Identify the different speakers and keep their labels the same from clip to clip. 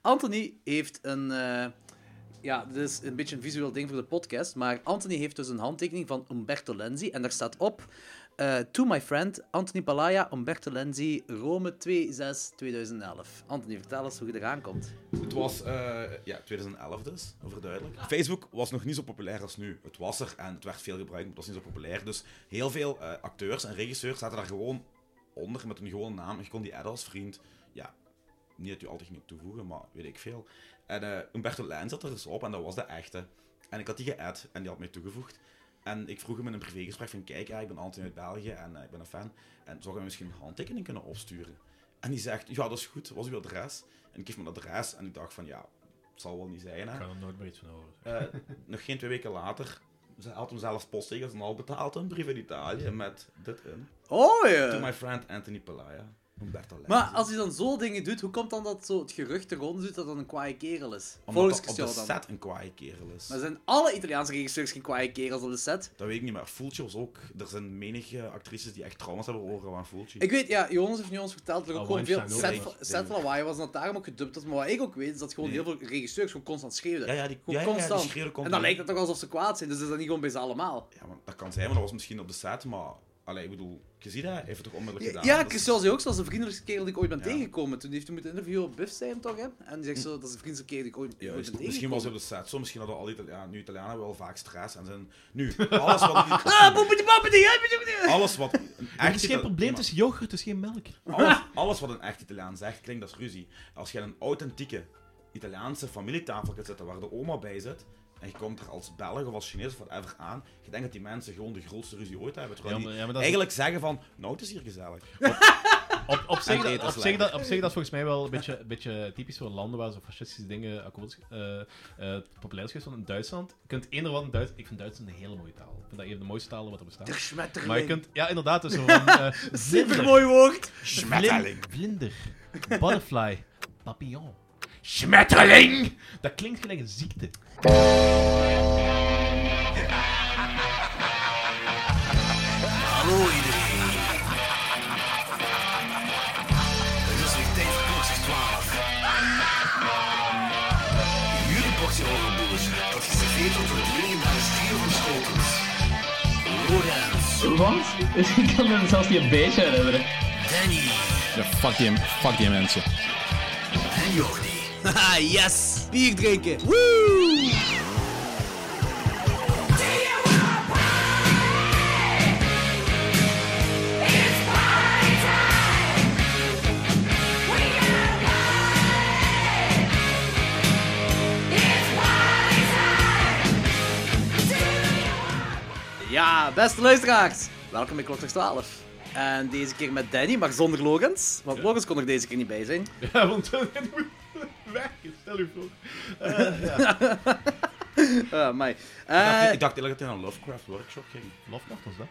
Speaker 1: Anthony heeft een. eh, ja, dit is een beetje een visueel ding voor de podcast. Maar Anthony heeft dus een handtekening van Umberto Lenzi. En daar staat op: eh, To my friend, Anthony Palaya, Umberto Lenzi, Rome 2-6-2011. Anthony, vertel eens hoe je eraan komt.
Speaker 2: Het was eh, ja, 2011 dus, overduidelijk. Facebook was nog niet zo populair als nu. Het was er en het werd veel gebruikt, maar het was niet zo populair. Dus heel veel eh, acteurs en regisseurs zaten daar gewoon onder met een gewone naam. En je kon die ad als vriend, ja, niet dat je altijd ging toevoegen, maar weet ik veel. En eh, Umberto Lijn zat er dus op en dat was de echte. En ik had die geadd en die had mij toegevoegd. En ik vroeg hem in een privégesprek van, kijk, ja, ik ben Anthony uit België en eh, ik ben een fan. En zou je me misschien een handtekening kunnen opsturen? En die zegt, ja, dat is goed, wat is uw adres? En ik geef me dat adres en ik dacht van, ja, het zal wel niet zijn, hè.
Speaker 3: Ik ga er nooit meer iets van horen.
Speaker 2: Eh, nog geen twee weken later ze had hem zelfs postzegels en al betaald een brief in Italië met dit in.
Speaker 1: Oh
Speaker 2: To
Speaker 1: ja!
Speaker 2: my friend Anthony Palaya. Humberto Lenzi.
Speaker 1: Maar als hij dan zo dingen doet, hoe komt dan dat zo het gerucht er rond doet dat dat een kwaaie kerel is?
Speaker 2: Omdat
Speaker 1: Volgens
Speaker 2: dat op de
Speaker 1: Christian dan.
Speaker 2: set een kwaaie kerel is.
Speaker 1: Maar zijn alle Italiaanse regisseurs geen kwaaie kerels op de set?
Speaker 2: Dat weet ik niet, maar Fulci was ook... Er zijn menige actrices die echt trauma's hebben overgehouden aan Fulci.
Speaker 1: Ik weet, ja, Jonas heeft nu ons verteld dat er ook
Speaker 3: Oh,
Speaker 1: gewoon veel
Speaker 3: Weinstein ook,
Speaker 1: set-
Speaker 2: Ah, denk ik.
Speaker 1: setlawaai was en dat daarom ook gedubt was. Maar wat ik ook weet, is dat gewoon
Speaker 2: Nee.
Speaker 1: heel veel regisseurs gewoon constant schreeuwden.
Speaker 2: Ja, ja, die, ja,
Speaker 1: Gewoon
Speaker 2: ja, ja, die
Speaker 1: constant.
Speaker 2: schreeuwen
Speaker 1: en dan
Speaker 2: continu.
Speaker 1: lijkt het toch alsof ze kwaad zijn, dus is dat niet gewoon bij ze allemaal?
Speaker 2: Ja, maar dat kan zijn, maar dat was misschien op de set, maar... Allee, ik bedoel, je ziet dat, hij heeft het toch onmiddellijk
Speaker 1: Ja,
Speaker 2: gedaan.
Speaker 1: ja
Speaker 2: Dat is-
Speaker 1: Christian zei ook, zo, dat is de vriendelijkste kerel die ik ooit ben
Speaker 2: Ja. Hm.
Speaker 1: tegengekomen. Toen heeft hij moeten interviewen op Buff zijn, toch? Hè? En die zegt zo, dat is de vriendelijkste kerel die ik ooit, ooit ben
Speaker 2: Juist.
Speaker 1: tegengekomen.
Speaker 2: Misschien was het op de set zo, misschien hadden al die Italianen... Nu, Italianen hebben wel vaak stress en zijn... Nu, alles wat...
Speaker 1: Ah, poepetje, poepetje, ja, poepetje, poepetje.
Speaker 2: alles wat een
Speaker 4: Er
Speaker 2: echt
Speaker 4: is geen
Speaker 2: Ita-
Speaker 4: probleem tussen yoghurt, dus geen melk.
Speaker 2: alles, alles wat een echt Italiaan zegt, klinkt als ruzie. Als je aan een authentieke Italiaanse familietafel gaat zitten waar de oma bij zit, en je komt er als Belg of als Chinees of whatever aan, je denkt dat die mensen gewoon de grootste ruzie ooit hebben. Terwijl
Speaker 3: Ja,
Speaker 2: die
Speaker 3: maar- ja, maar dat is-
Speaker 2: eigenlijk zeggen van, nou het is hier gezellig.
Speaker 4: Op, op, zich,
Speaker 2: En
Speaker 4: dat,
Speaker 2: eten
Speaker 4: op,
Speaker 2: is
Speaker 4: zich, dat,
Speaker 2: lekker.
Speaker 4: op zich dat is volgens mij wel een beetje, een beetje typisch voor landen waar zo fascistische dingen akkoord, eh, eh, populair is geweest. Want in Duitsland, je kunt eender wat in Duitsland... Ik vind Duitsland een hele mooie taal. Ik vind dat een van de mooiste talen wat
Speaker 1: Der
Speaker 4: er bestaat.
Speaker 1: Schmetterling.
Speaker 4: Maar je kunt... Ja, inderdaad. Dus zo van, eh, vlinder,
Speaker 1: Supermooi woord.
Speaker 2: Schmetterling.
Speaker 4: vlin- vlinder, butterfly, papillon, schmetterling. Dat klinkt gelijk een ziekte.
Speaker 5: Hallo iedereen. Het is weer tijd voor klokslag 12. Jullie portie hongerboers, dat geserveerd wordt door dringend naar de stier van Schotens. Lorenz,
Speaker 6: Want? Ik kan me zelfs niet een beetje herinneren.
Speaker 5: Danny
Speaker 7: Ja, fuck die, fuck die mensen.
Speaker 5: en Jordi.
Speaker 1: Haha, yes. Bier drinken. Woe! Ja, beste luisteraars. Welkom bij Klokslag 12. En deze keer met Danny, maar zonder Logans. Want Logans kon er deze keer niet bij zijn.
Speaker 4: Ja, want het moet weg. Stel je voor.
Speaker 1: Eh my.
Speaker 2: Ik dacht-
Speaker 1: Eh,
Speaker 2: ik dacht eigenlijk dat hij naar een Lovecraft workshop ging.
Speaker 4: Lovecraft was dat?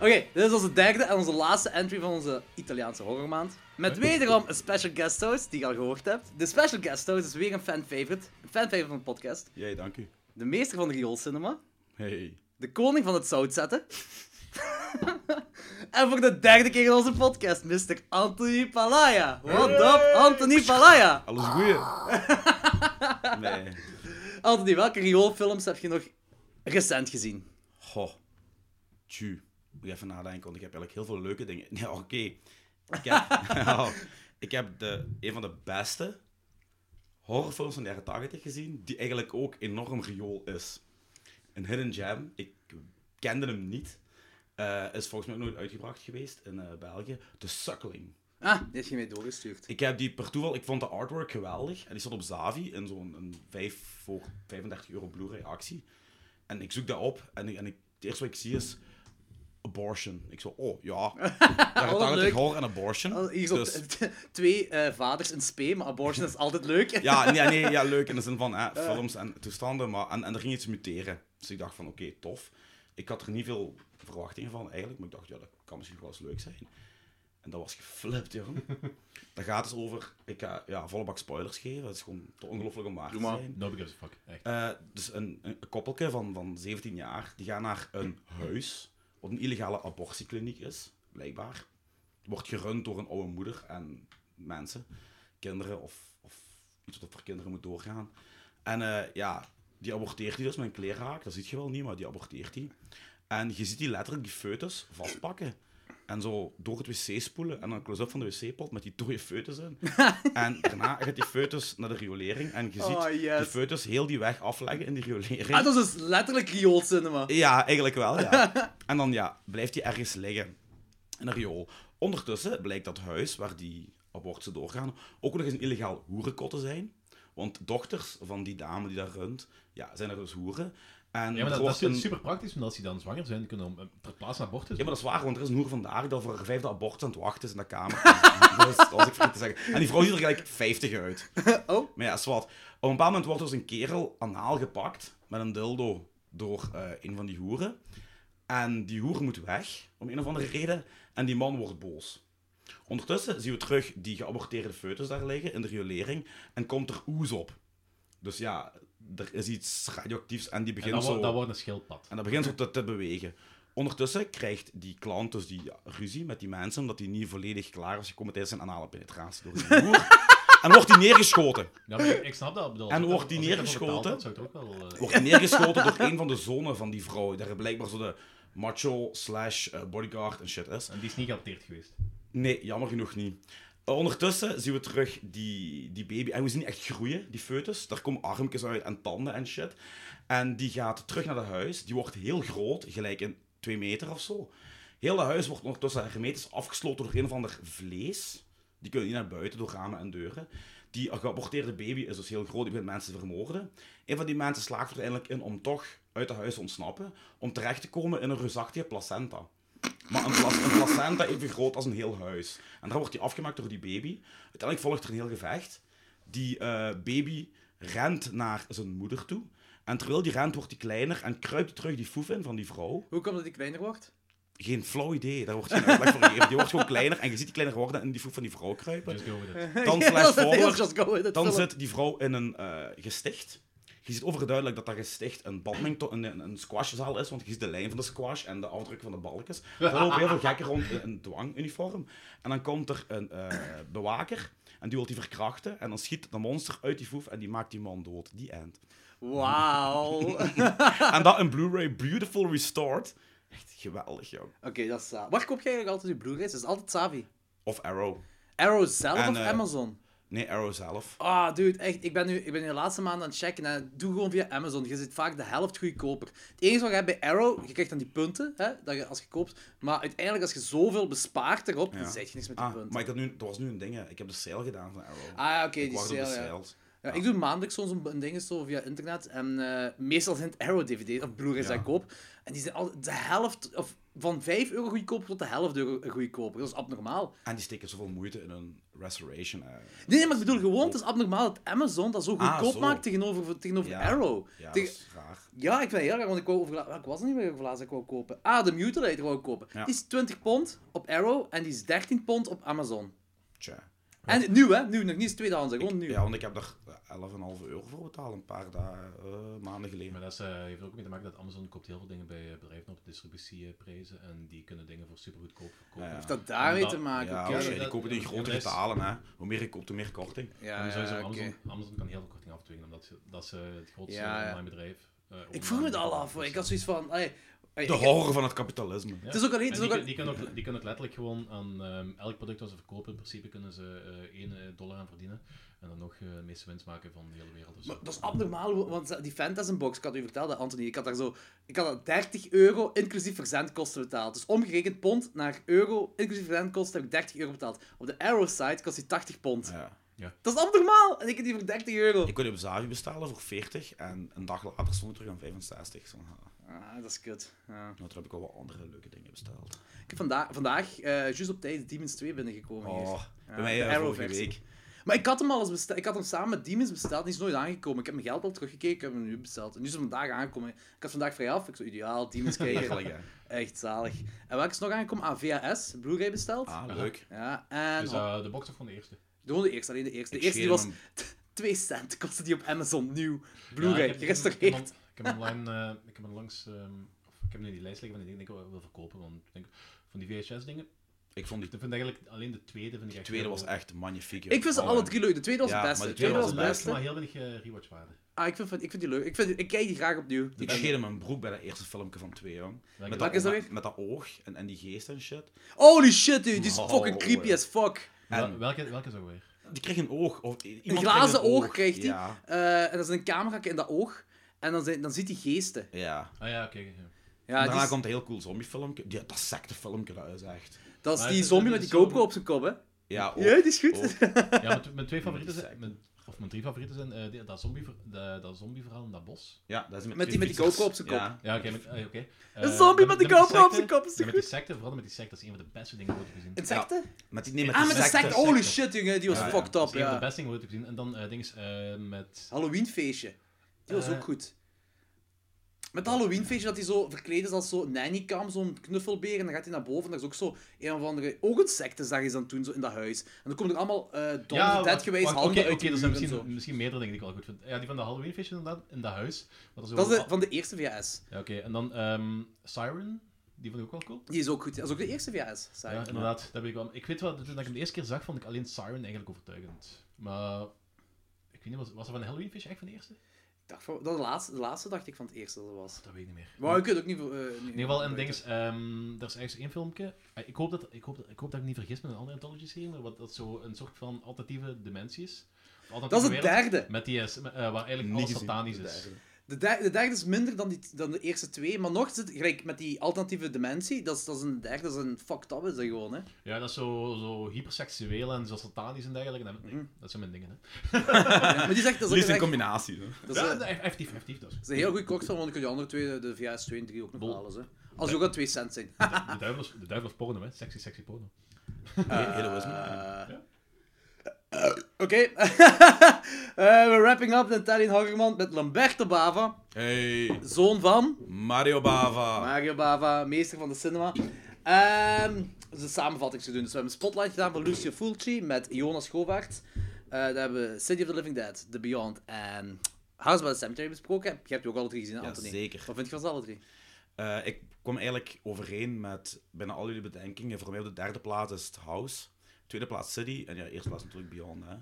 Speaker 1: Oké, dit is onze derde en onze laatste entry van onze Italiaanse horrormaand. Met wederom een special guest host, die je al gehoord hebt. De special guest host is weer een fan favorite. Een fan favorite van de podcast.
Speaker 2: Jij, dank u.
Speaker 1: De meester van de rioolcinema.
Speaker 2: Hey.
Speaker 1: De koning van het zoutzetten. en voor de derde keer in onze podcast, Mr. Anthony Palaya. What up, Anthony Palaya?
Speaker 2: Alles goeie? nee.
Speaker 1: Anthony, welke rioolfilms heb je nog recent gezien?
Speaker 2: Goh. Tju. Moet ik even nadenken, want ik heb eigenlijk heel veel leuke dingen. Nee, oh, oké. Ik heb, oh, ik heb de, een van de beste horrorfilms van de jaren 80 gezien, die eigenlijk ook enorm riool is. Een Hidden Gem. Ik kende hem niet. Eh, is volgens mij ook nooit uitgebracht geweest in eh, België. The Suckling.
Speaker 1: Ah, die heeft je mij doorgestuurd.
Speaker 2: Ik heb die per toeval, ik vond de artwork geweldig. En die stond op Zavi in zo'n een 5 voor 35 euro Blu-ray actie. En ik zoek dat op en, ik, en ik, het eerste wat ik zie is abortion. Ik zo, oh ja. Daar gaat
Speaker 1: leuk.
Speaker 2: het hoor en abortion.
Speaker 1: Oh, Hier
Speaker 2: Dus-
Speaker 1: zat twee eh, vaders in spe, maar abortion is altijd leuk.
Speaker 2: ja, nee, nee, ja, leuk in de zin van hè, films en toestanden. Maar, en, en er ging iets muteren. Dus ik dacht van, oké, tof. Ik had er niet veel verwachtingen van eigenlijk. Maar ik dacht, ja, dat kan misschien wel eens leuk zijn. En dat was geflipt, jongen. dat gaat dus over... Ik ga ja, volle bak spoilers geven. Dat is gewoon te ongelooflijk om waar te zijn.
Speaker 4: Nobody gives a fuck. Echt.
Speaker 2: Eh, dus een, een koppelke van, van 17 jaar, die gaan naar een huis, wat een illegale abortiekliniek is, blijkbaar. Wordt gerund door een oude moeder en mensen, kinderen of, of iets wat voor kinderen moet doorgaan. En eh, ja, die aborteert hij dus met een kleerhaak, dat ziet je wel niet, maar die aborteert hij. En je ziet die letterlijk die foetus vastpakken. En zo door het wc spoelen. En dan een close-up van de wc-pot met die dode foetus in. en daarna gaat die foetus naar de riolering. En je ziet
Speaker 1: Oh, yes.
Speaker 2: die foetus heel die weg afleggen in die riolering.
Speaker 1: Ah, dat is dus letterlijk rioolcinema.
Speaker 2: Ja, eigenlijk wel, ja. en dan ja, blijft hij ergens liggen. In een riool. Ondertussen blijkt dat huis waar die abortussen doorgaan ook nog eens een illegaal hoerenkot te zijn. Want dochters van die dame die daar runt, ja, zijn er dus hoeren. En
Speaker 4: Ja, maar
Speaker 2: er
Speaker 4: dat, dat is
Speaker 2: wordt een-
Speaker 4: super praktisch, want als die dan zwanger zijn, die kunnen om- eh, ter plaatse een abortus
Speaker 2: Ja, maar dat is waar, want er is een hoer vandaag dat voor haar vijfde abortus aan het wachten is in de kamer. dat, is, dat was ik vergeten te zeggen. En die vrouw ziet er gelijk 50 uit.
Speaker 1: Oh.
Speaker 2: Maar ja, is wat. Op een bepaald moment wordt dus een kerel anaal gepakt met een dildo door eh, een van die hoeren. En die hoer moet weg, om een of andere reden. En die man wordt boos. Ondertussen zien we terug die geaborteerde foetus daar liggen in de riolering. En komt er oes op. Dus ja, er is iets radioactiefs en die
Speaker 4: En
Speaker 2: begint
Speaker 4: dat,
Speaker 2: zo...
Speaker 4: wordt, dat wordt een schildpad.
Speaker 1: Ah.
Speaker 2: En dat begint zo te, te bewegen. Ondertussen krijgt die klant dus die ruzie met die mensen, omdat hij niet volledig klaar was gekomen tijdens zijn anale penetratie door zijn broer. en wordt hij neergeschoten.
Speaker 4: Ja, maar ik ik snap dat. ik Bedoel, als
Speaker 2: En
Speaker 4: ik-
Speaker 2: wordt die
Speaker 4: als ik daarvoor
Speaker 2: neergeschoten?
Speaker 4: betaald had, zou ik het ook wel... eh,
Speaker 2: Wordt hij neergeschoten door een van de zonen van die vrouw. Daar blijkbaar zo de macho slash eh, bodyguard en shit is.
Speaker 4: En die is niet geadopteerd geweest.
Speaker 2: Nee, jammer genoeg niet. Eh, ondertussen zien we terug die, die baby. En we zien die echt groeien, die foetus. Daar komen armpjes uit en tanden en shit. En die gaat terug naar het huis. Die wordt heel groot, gelijk in twee meter of zo. Heel dat huis wordt ondertussen hermetisch afgesloten door een of ander vlees. Die kunnen niet naar buiten door ramen en deuren. Die geaborteerde baby is dus heel groot. Die begint mensen te vermoorden. Een van die mensen slaagt er eindelijk in om toch uit het huis te ontsnappen. Om terecht te komen in een reusachtige placenta. Maar een, plas- een placenta even groot als een heel huis. En dan wordt die afgemaakt door die baby. Uiteindelijk volgt er een heel gevecht. Die eh, baby rent naar zijn moeder toe. En terwijl die rent, wordt die kleiner en kruipt die terug die foef in van die vrouw.
Speaker 1: Hoe komt dat die kleiner wordt?
Speaker 2: Geen flauw idee, daar wordt geen uitleg voor gegeven. Die wordt gewoon kleiner en je ziet die kleiner worden en in die foef van die vrouw kruipen.
Speaker 4: Just go with it.
Speaker 2: Dan
Speaker 1: Ja,
Speaker 2: flash
Speaker 1: dat is heel
Speaker 2: forward.
Speaker 1: Just Go With It
Speaker 2: Dan
Speaker 1: film.
Speaker 2: zit die vrouw in een eh, gesticht. Je ziet overduidelijk dat dat gesticht een badminton, een, een- een squashzaal is, want je ziet de lijn van de squash en de afdruk van de balkjes. Er lopen heel veel gekken rond in een dwanguniform. En dan komt er een eh, bewaker en die wil die verkrachten. En dan schiet dat monster uit die voef en die maakt die man dood. Die end.
Speaker 1: Wauw. Oké,
Speaker 2: En dat in Blu-ray Beautiful Restored. Echt geweldig, joh.
Speaker 1: dat is saai. Waar koop jij eigenlijk altijd je Blu-rays? Dat is altijd Savi.
Speaker 2: Of Arrow.
Speaker 1: Arrow zelf
Speaker 2: En,
Speaker 1: of
Speaker 2: eh,
Speaker 1: Amazon?
Speaker 2: Nee, Arrow zelf.
Speaker 1: Ah, dude, echt. Ik ben, nu, ik ben nu de laatste maand aan het checken. Hè. Doe gewoon via Amazon. Je zit vaak de helft goedkoper. Het enige wat je hebt bij Arrow, je krijgt dan die punten hè, dat je, als je koopt. Maar uiteindelijk, als je zoveel bespaart erop,
Speaker 2: Ja.
Speaker 1: dan zet je niks met die
Speaker 2: Ah,
Speaker 1: punten.
Speaker 2: maar ik had nu, er was nu een ding, hè. ik heb de sale gedaan van Arrow.
Speaker 1: Ah, ja, oké,
Speaker 2: Ik
Speaker 1: die
Speaker 2: wacht op de
Speaker 1: sale, ja.
Speaker 2: sales.
Speaker 1: Ja, Ik doe maandelijks soms een, een ding zo via internet. En eh, meestal zijn het Arrow-dvd's of Blu-rays dat ik koop. En die zijn al de helft, of van 5 euro goedkoper tot de helft euro goedkoper. Dat is abnormaal.
Speaker 2: En die steken zoveel moeite in een restoration. eh.
Speaker 1: Nee, nee, maar ik bedoel gewoon, het is abnormaal dat Amazon dat zo
Speaker 2: Ah,
Speaker 1: goedkoop
Speaker 2: zo.
Speaker 1: maakt tegenover, tegenover
Speaker 2: Ja.
Speaker 1: Arrow.
Speaker 2: Ja, dat
Speaker 1: Tegen-
Speaker 2: is raar.
Speaker 1: Ja, ik vind het heel erg, want ik wou overla- welk was het niet meer over laatst dat ik wou kopen? Ah, de Mutilator wou ik kopen.
Speaker 2: Ja.
Speaker 1: Die is 20 pond op Arrow en die is 13 pond op Amazon.
Speaker 2: Tja.
Speaker 1: En nu, hè? Nu, nog niet eens tweedehands, hè, gewoon nu.
Speaker 2: Ja, want ik heb daar 11,5 euro voor betaald een paar dagen, eh, maanden geleden.
Speaker 4: Maar dat is, eh, heeft er ook mee te maken dat Amazon koopt heel veel dingen bij eh, bedrijven op distributieprijzen. En die kunnen dingen voor super goedkoop verkopen.
Speaker 2: Ja, ja.
Speaker 1: Heeft dat daarmee
Speaker 4: Omdat-
Speaker 1: te maken?
Speaker 2: Ja, oh
Speaker 1: Oké.
Speaker 2: als je
Speaker 4: dat-
Speaker 2: die kopen die in
Speaker 4: ja,
Speaker 2: grote
Speaker 4: dat is-
Speaker 2: getalen, hè. Hoe meer je koopt, hoe meer korting.
Speaker 1: Ja,
Speaker 4: En sowieso,
Speaker 1: ja, oké.
Speaker 4: Amazon, Amazon kan heel veel korting afdwingen, omdat ze, dat ze het grootste
Speaker 1: Ja, ja.
Speaker 4: online bedrijf... eh,
Speaker 1: Ik
Speaker 4: online-
Speaker 1: vroeg me het al af, hoor. ik had zoiets van... Allee, allee,
Speaker 2: De
Speaker 1: ik-
Speaker 2: horror van het kapitalisme.
Speaker 1: Het is ook alleen... Het is ook
Speaker 4: En die, kun-
Speaker 1: alleen
Speaker 4: die, kunnen ook, die kunnen het letterlijk gewoon aan ehm, elk product dat ze verkopen, in principe kunnen ze eh 1 dollar aan verdienen. En dan nog eh, de meeste winst maken van de hele wereld. Dus
Speaker 1: Maar dat is abnormaal, hoe- want die Fantasy Box, ik had u verteld, hè, Anthony, ik had daar zo... Ik had daar 30 euro inclusief verzendkosten betaald. Dus omgerekend pond naar euro, inclusief verzendkosten, heb ik 30 euro betaald. Op de Arrow-site kost die 80 pond.
Speaker 2: Ja.
Speaker 1: Dat is abnormaal! En ik heb die voor 30 euro.
Speaker 2: Ik kon die op Zavi bestellen voor 40 en een dag later stond het terug aan 65. Zo, ha.
Speaker 1: Ah, dat is kut. Ja.
Speaker 2: nou, toen heb ik al wat andere leuke dingen besteld.
Speaker 1: Ik heb vanda vandaag, eh juist op tijd, Demons 2 binnengekomen hier.
Speaker 2: Oh, bij
Speaker 1: Ja,
Speaker 2: mij
Speaker 1: de
Speaker 2: eh,
Speaker 1: Arrow
Speaker 2: vorige
Speaker 1: versie.
Speaker 2: week.
Speaker 1: Maar ik had hem al eens besteld. Ik had hem samen met Demons besteld. Die is nooit aangekomen. Ik heb mijn geld al teruggekeken. Ik heb hem nu besteld. En nu is hij vandaag aangekomen. Ik had vandaag vrij af. Ik zo ideaal. Demons
Speaker 2: Heerlijk,
Speaker 1: kijken.
Speaker 2: hè.
Speaker 1: Echt zalig. En welke is nog aangekomen? Ah, VHS. Blu-ray besteld.
Speaker 2: Ah, leuk.
Speaker 1: Ja, en
Speaker 4: Dus,
Speaker 1: oh,
Speaker 4: eh, de box toch van de eerste.
Speaker 1: gewoon de eerste. Alleen de eerste. De
Speaker 2: Ik
Speaker 1: eerste die
Speaker 2: scheer
Speaker 1: was
Speaker 2: hem.
Speaker 1: 2 cent. Kostte die op Amazon nieuw.
Speaker 4: Ja,
Speaker 1: Blu-ray.
Speaker 4: ik heb- Ik heb,
Speaker 1: Gerestaureerd.
Speaker 4: hem- ik heb hem online, eh, ik heb hem langs, ehm, of ik heb hem in die lijst liggen van die dingen die ik wel wil verkopen. Want ik denk, van die VHS dingen,
Speaker 2: Ik vond die
Speaker 4: Ik vind eigenlijk alleen de tweede vind ik echt
Speaker 2: tweede
Speaker 4: heel
Speaker 2: was
Speaker 4: mooi.
Speaker 2: echt magnifiek. joh.
Speaker 1: Ik vind ze
Speaker 2: Oh,
Speaker 1: alle
Speaker 2: man.
Speaker 1: drie leuk. De tweede was
Speaker 2: Ja,
Speaker 1: het beste.
Speaker 2: maar de
Speaker 1: De tweede was
Speaker 4: Heel
Speaker 1: het
Speaker 2: was
Speaker 1: beste.
Speaker 4: leuk, maar heel weinig eh, rewatchwaarde.
Speaker 1: Ah, ik vind, ik vind die leuk. Ik, vind, ik kijk die graag opnieuw. Die
Speaker 2: Ik scheerde mijn broek bij dat eerste filmpje van twee, jong. Met
Speaker 1: Welke is dat
Speaker 2: oog-
Speaker 1: weer?
Speaker 2: met dat oog en, en die geest en shit.
Speaker 1: Holy shit, dude. Die is
Speaker 2: Oh,
Speaker 1: fucking creepy
Speaker 2: eh.
Speaker 1: as fuck.
Speaker 2: En-
Speaker 4: Wel- Welke, welke is ook weer?
Speaker 2: Die kreeg een oog. Of, iemand
Speaker 1: Een
Speaker 2: kreeg
Speaker 1: glazen oog krijgt hij.
Speaker 2: Ja.
Speaker 1: Eh, en dat is een camera in dat oog. En dan, zijn, dan ziet hij geesten.
Speaker 2: ja.
Speaker 4: Ah ja, oké. ja.
Speaker 1: Ja,
Speaker 2: daarna
Speaker 1: die, is-
Speaker 2: komt een heel cool zombiefilmpje. Die, dat secte filmpje, dat is echt...
Speaker 1: dat is
Speaker 4: Maar
Speaker 1: die
Speaker 4: het is-
Speaker 1: zombie
Speaker 4: het
Speaker 1: met
Speaker 4: is
Speaker 1: die
Speaker 4: Oh. zo-
Speaker 1: GoPro op zijn kop, hè?
Speaker 2: Ja, ook.
Speaker 1: Ja, die is goed.
Speaker 2: ook.
Speaker 4: Ja, mijn, tw- mijn twee favorieten
Speaker 2: die
Speaker 4: zijn... mijn- of mijn drie favorieten zijn eh, die- dat, zombie, dat, dat zombieverhaal en dat bos.
Speaker 2: Ja, dat is
Speaker 1: Met
Speaker 2: met,
Speaker 1: die-
Speaker 2: twee
Speaker 1: met die GoPro op
Speaker 2: fietsers.
Speaker 1: zijn
Speaker 2: Ja.
Speaker 4: Ja, oké. met- eh, oké. Eh,
Speaker 1: Een zombie
Speaker 4: dan-
Speaker 1: met
Speaker 4: dan
Speaker 1: de GoPro op
Speaker 4: secte-
Speaker 1: zijn kop. Is
Speaker 4: dan
Speaker 1: toch
Speaker 4: Met die
Speaker 1: goed?
Speaker 4: secte, vooral met die secte, dat is een van de beste dingen die ik ooit heb gezien.
Speaker 1: Insecten?
Speaker 2: Met die, nee, met
Speaker 1: ah,
Speaker 2: die
Speaker 1: met de
Speaker 2: secte.
Speaker 1: secte. Holy shit, jongen. Die was
Speaker 2: Ja, ja.
Speaker 1: fucked
Speaker 4: Dat
Speaker 1: up,
Speaker 4: is een van de
Speaker 1: ja.
Speaker 4: beste dingen die ik ooit heb gezien. En dan eh dingen eh, met...
Speaker 1: Halloweenfeestje. Die was
Speaker 4: Eh.
Speaker 1: ook goed. Met het Halloweenfeestje dat hij zo verkleed is als zo'n nannycam, zo'n knuffelbeer. En dan gaat hij naar boven en daar is ook zo een of andere... Ook een secte zag je dan toen zo in dat huis. En dan komen er allemaal eh Dawn of the Dead
Speaker 4: wacht,
Speaker 1: geweest,
Speaker 4: wacht,
Speaker 1: handen
Speaker 4: Oké, dus
Speaker 1: uit
Speaker 4: oké,
Speaker 1: de
Speaker 4: er zijn
Speaker 1: muur en
Speaker 4: misschien,
Speaker 1: zo.
Speaker 4: misschien meerdere dingen die ik wel goed vind. Ja, die van de Halloweenfeestje inderdaad, in dat huis. wat zo-
Speaker 1: Dat is de- van de eerste VHS.
Speaker 4: Ja, oké. En dan ehm, Siren, die vond ik ook wel cool.
Speaker 1: Die is ook goed. Dat is ook de eerste VHS, zei
Speaker 4: Ja,
Speaker 1: ik.
Speaker 4: inderdaad. Dat weet ik, wel. ik weet wel, toen ik hem de eerste keer zag, vond ik alleen Siren eigenlijk overtuigend. Maar ik weet niet, was, was dat van de Halloween Fish echt van de eerste?
Speaker 1: Ik dacht van- dat de, laatste, de laatste dacht ik van het eerste dat het was.
Speaker 4: Dat weet ik niet meer.
Speaker 1: Maar ik weet ook niet... eh,
Speaker 4: In ieder geval, en ding is, ehm, er is ergens één filmpje. Eh, Ik hoop, dat, ik, hoop dat, ik hoop dat ik niet vergis met een andere anthology serie, maar wat, dat zo een soort van alternatieve dimensie is. Of alternatieve
Speaker 1: Dat is het
Speaker 4: wereld,
Speaker 1: derde.
Speaker 4: Met die, eh, s- met, eh, waar eigenlijk
Speaker 2: Niet
Speaker 4: alles
Speaker 2: gezien.
Speaker 4: satanisch
Speaker 2: De
Speaker 4: is.
Speaker 2: derde.
Speaker 1: De, der- de derde is minder dan, die, dan de eerste twee, maar nog zit gelijk met die alternatieve dimensie. Dat is, dat is een derde, dat is een fucked up, is dat gewoon, hè.
Speaker 4: Ja, dat is zo, zo hyperseksueel en zo satanisch en dergelijke. En dat- Dat zijn mijn dingen, hè.
Speaker 1: Ja, maar die zegt, dat is ook
Speaker 2: Liefst in
Speaker 1: echt...
Speaker 2: combinatie. hè.
Speaker 1: Dat is, eh,
Speaker 4: Ja,
Speaker 1: een, dat
Speaker 4: nee, effectief, effectief. Dat is.
Speaker 1: is een heel goede kortfilm, want ik kan die andere twee, de VHS 2 en 3, ook nog
Speaker 4: Bol.
Speaker 1: halen, hè. Als die ook al 2 cent zijn.
Speaker 4: De duivel, is, de duivel is porno, hè. Sexy, sexy porno. Eh,
Speaker 2: He- Hedonisme.
Speaker 1: Oké. Eh, we wrapping up de Italian Horrorman met Lamberto Bava,
Speaker 2: Hey,
Speaker 1: zoon van...
Speaker 2: Mario Bava.
Speaker 1: Mario Bava, meester van de cinema. Ehm dus een samenvatting te doen. Dus we hebben een spotlight gedaan van Lucio Fulci met Jonas Govaert. Eh dan hebben we City of the Living Dead, The Beyond en House by the Cemetery besproken. Je hebt die ook alle drie gezien, hè,
Speaker 2: Ja,
Speaker 1: Anthony.
Speaker 2: zeker.
Speaker 1: Wat vind je van ze alle drie?
Speaker 2: Eh, ik kwam eigenlijk overeen met bijna al jullie bedenkingen. Voor mij op de derde plaats is het House. Tweede plaats City. En ja, eerste plaats natuurlijk Beyond. Hè.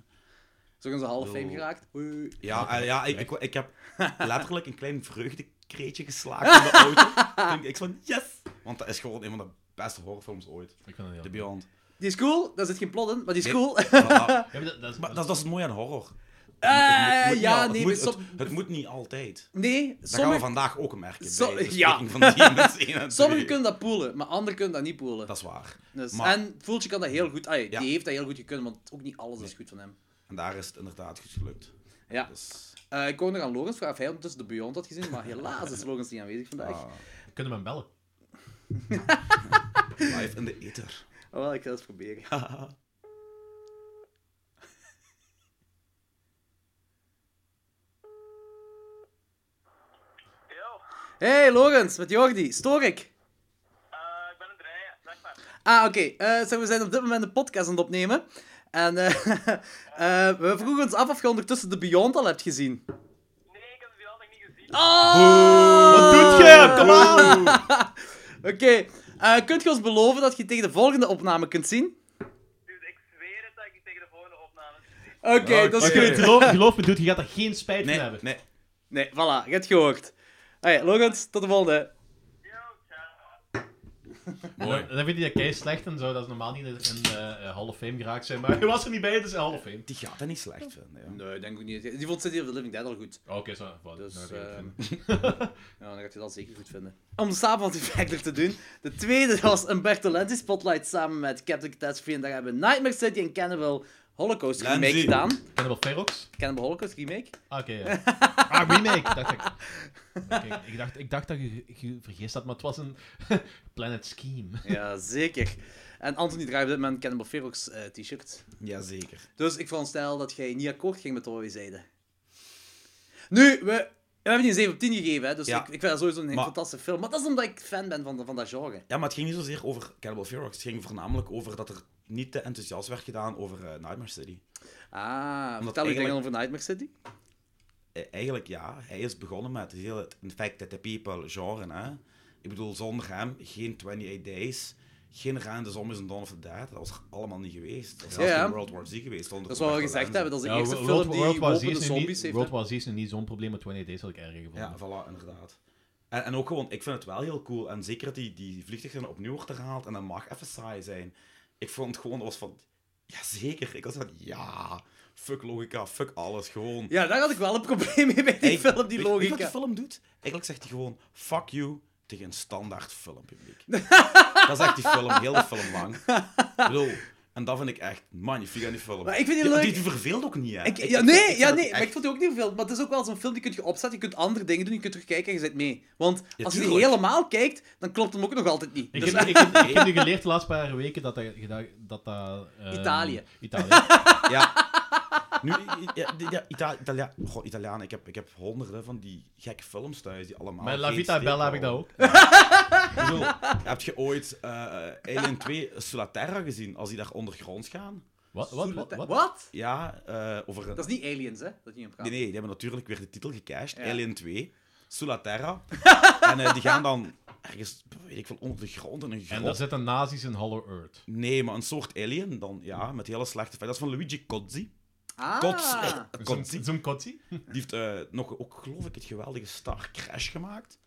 Speaker 1: Zo gaan ze half
Speaker 2: Bedoel-
Speaker 1: fame geraakt. Oei.
Speaker 2: Ja, eh, ja ik, ik, ik heb letterlijk een klein vreugdekreetje geslagen in de auto. Toen ik zo van, yes! Want dat is gewoon een van de beste horrorfilms ooit.
Speaker 4: Ik vind dat heel
Speaker 2: The Beyond.
Speaker 1: Die is cool, daar zit geen plot in, maar die is
Speaker 2: Nee.
Speaker 1: cool.
Speaker 2: Voilà. Maar
Speaker 4: Ja, maar dat, dat is,
Speaker 2: dat, dat is het mooie aan horror.
Speaker 1: Eh,
Speaker 2: Het moet niet
Speaker 1: ja,
Speaker 2: al- het
Speaker 1: nee, maar
Speaker 2: moet, het,
Speaker 1: som-
Speaker 2: het moet niet altijd.
Speaker 1: nee,
Speaker 2: Dat gaan we
Speaker 1: sommigen
Speaker 2: vandaag ook merken.
Speaker 1: Som-
Speaker 2: bij de
Speaker 1: ja.
Speaker 2: bespreking van Demons 1 en 2.
Speaker 1: sommigen kunnen dat poelen, maar anderen kunnen dat niet poelen.
Speaker 2: Dat is waar.
Speaker 1: Dus,
Speaker 2: maar-
Speaker 1: En Fulci kan dat heel goed. Ah,
Speaker 2: Ja.
Speaker 1: Die heeft dat heel goed gekund, want ook niet alles is goed van hem.
Speaker 2: En daar is het inderdaad goed gelukt.
Speaker 1: Ja.
Speaker 2: Dus,
Speaker 1: Eh, ik wou nog aan Logans vragen of hij ondertussen de Beyond had gezien, maar helaas is Logans niet aanwezig vandaag.
Speaker 2: ah,
Speaker 4: Kunnen we hem bellen?
Speaker 2: live in de ether.
Speaker 1: Oh, wel, ik ga het proberen.
Speaker 3: Yo,
Speaker 1: Hey Logans, met Jordi, stoor ik?
Speaker 3: eh, ik ben aan het rijden, zeg maar.
Speaker 1: Ah, oké. Eh, zeg, we zijn op dit moment een podcast aan het opnemen. En eh, eh, we vroegen ons af of je ondertussen de Beyond al hebt gezien.
Speaker 3: Nee, ik heb het al nog niet gezien.
Speaker 1: Ah. Oh! Wat doet je? Kom aan! Oké, eh, kunt je ons beloven dat je tegen de volgende opname kunt zien?
Speaker 3: Dus ik zweer het dat ik tegen de volgende opname.
Speaker 1: Oké, dat is
Speaker 2: Oké.
Speaker 1: goed.
Speaker 4: Geloof, geloof me, dude, je gaat er geen spijt van
Speaker 2: Nee,
Speaker 4: hebben.
Speaker 2: nee.
Speaker 1: Nee, voilà, je hebt het gehoord. Hey, Logans, tot de volgende.
Speaker 3: Yo, ciao.
Speaker 2: Mooi.
Speaker 4: Dan vind je dat kei slecht en zo. Dat is normaal niet in eh, eh, Hall of Fame geraakt zijn, maar hij was er niet bij, dus Hall of Fame.
Speaker 2: Die gaat dat niet slecht vinden. joh.
Speaker 1: Nee, ik denk ook niet. Die vond City of the Living Dead al goed.
Speaker 4: Oh, Oké, zo. wat,
Speaker 1: Dus,
Speaker 4: nou, dat weet ik
Speaker 1: ehm,
Speaker 4: niet.
Speaker 1: Ja, dan gaat je dat zeker goed vinden. Om de samenvatting verder te doen. De tweede was Umberto Lenzi Spotlight samen met Captain Catastrophe. En daar hebben we Nightmare City en Cannibal Holocaust
Speaker 2: Lenzi.
Speaker 1: remake gedaan.
Speaker 4: Cannibal Ferox?
Speaker 1: Cannibal Holocaust remake.
Speaker 4: Ah, oké, ja. Ah, remake, dacht ik. Oké, ik, dacht, ik dacht dat je, je vergist had, maar het was een Planet Scheme.
Speaker 1: Ja, zeker. En Anthony draait op dit moment een Cannibal Ferox eh, t-shirt.
Speaker 2: Jazeker.
Speaker 1: Dus ik veronderstel dat jij niet akkoord ging met wat we zeiden. Nu, we, we hebben die een 7 op 10 gegeven, hè, dus
Speaker 2: Ja.
Speaker 1: ik, ik vind dat sowieso een
Speaker 2: Maar-
Speaker 1: fantastische film. Maar dat is omdat ik fan ben van, van dat genre.
Speaker 2: Ja, maar het ging niet zozeer over Cannibal Ferox. Het ging voornamelijk over dat er niet te enthousiast werd gedaan over eh, Nightmare City.
Speaker 1: Ah, vertel je
Speaker 2: eigenlijk-
Speaker 1: dingen over Nightmare City?
Speaker 2: Eh, eigenlijk ja, hij is begonnen met het hele infected people genre. Hè? Ik bedoel, zonder hem geen 28 Days, Geen Ra en de Zombies en Dawn of the Dead. Dat was er allemaal niet geweest. Dat is
Speaker 1: Ja,
Speaker 2: zelfs
Speaker 1: ja.
Speaker 2: geen World War Z geweest.
Speaker 1: Dat is wat we gezegd hebben. Dat is de eerste film die
Speaker 4: War Z
Speaker 1: wopende
Speaker 4: is nu
Speaker 1: zombies
Speaker 4: niet,
Speaker 1: heeft.
Speaker 4: World
Speaker 1: hè.
Speaker 4: War Z is nu niet zo'n probleem, maar 20 Days had ik erger gevonden.
Speaker 1: Mm.
Speaker 2: Ja, voilà, inderdaad. En, en ook gewoon, ik vind het wel heel cool. En zeker dat die, die vliegtuigen opnieuw wordt herhaald. En dat mag even saai zijn. Ik vond het gewoon, dat was van... Jazeker. Ik was van, ja... Fuck logica, fuck alles. Gewoon...
Speaker 1: Ja, daar had ik wel een probleem mee bij die
Speaker 2: Hey,
Speaker 1: film, die
Speaker 2: weet- weet je wat die
Speaker 1: logica.
Speaker 2: film doet? Eigenlijk zegt hij gewoon, fuck you, tegen een standaard filmpubliek. dat zegt die film, heel de film lang. Ik bedoel, en dat vind ik echt magnifiek aan die film.
Speaker 1: Maar ik vind die
Speaker 2: Die-
Speaker 1: leuk.
Speaker 2: Die, die verveelt ook niet, hè?
Speaker 1: Ik,
Speaker 2: Ik-
Speaker 1: ja,
Speaker 2: ik-
Speaker 1: nee,
Speaker 2: ik vind
Speaker 1: ja,
Speaker 2: dat
Speaker 1: nee
Speaker 2: die
Speaker 1: maar ik
Speaker 2: echt-
Speaker 1: vond het ook niet veel. Maar het is ook wel zo'n film die kun je opzetten, je kunt andere dingen doen, je kunt terugkijken en je zit mee. Want als je die
Speaker 2: tuurlijk.
Speaker 1: helemaal kijkt, dan klopt hem ook nog altijd niet.
Speaker 4: Ik
Speaker 1: Dus-
Speaker 4: heb, ik, heb, ik heb nu geleerd de laatste paar weken dat dat... dat, dat, dat ehm,
Speaker 1: Italië.
Speaker 4: Italië.
Speaker 2: Ja. Nu, ja, die- ja, Ita- Italia- Goh, Italianen, ik heb, ik heb honderden van die gekke films thuis die allemaal.
Speaker 4: Bij La
Speaker 2: geen
Speaker 4: Vita
Speaker 2: steek
Speaker 4: Bella heb ik dat
Speaker 2: houden.
Speaker 4: ook.
Speaker 2: Ik bedoel, heb je ooit eh Alien 2 Sulla Terra gezien, als die daar ondergronds gaan?
Speaker 4: Wat? Wat? Wat? wat?
Speaker 1: Wat?
Speaker 2: Ja, eh, over een...
Speaker 1: Dat is niet Aliens, hè? Dat je hem gaat.
Speaker 2: Nee, nee, die hebben natuurlijk weer de titel gecashed.
Speaker 1: Ja.
Speaker 2: Alien 2, Sulla Terra. en eh, die gaan dan ergens, weet ik veel, onder de grond in een
Speaker 4: En daar
Speaker 2: grot.
Speaker 4: zitten nazi's in Hollow Earth.
Speaker 2: Nee, maar een soort alien dan, ja, met hele slechte... Dat is van Luigi Cozzi.
Speaker 1: Ah.
Speaker 2: Cots.
Speaker 4: Zo'n-
Speaker 2: Cozzi.
Speaker 4: Zo'n kotsie?
Speaker 2: Die heeft eh, nog ook, geloof ik, het geweldige Star Crash gemaakt.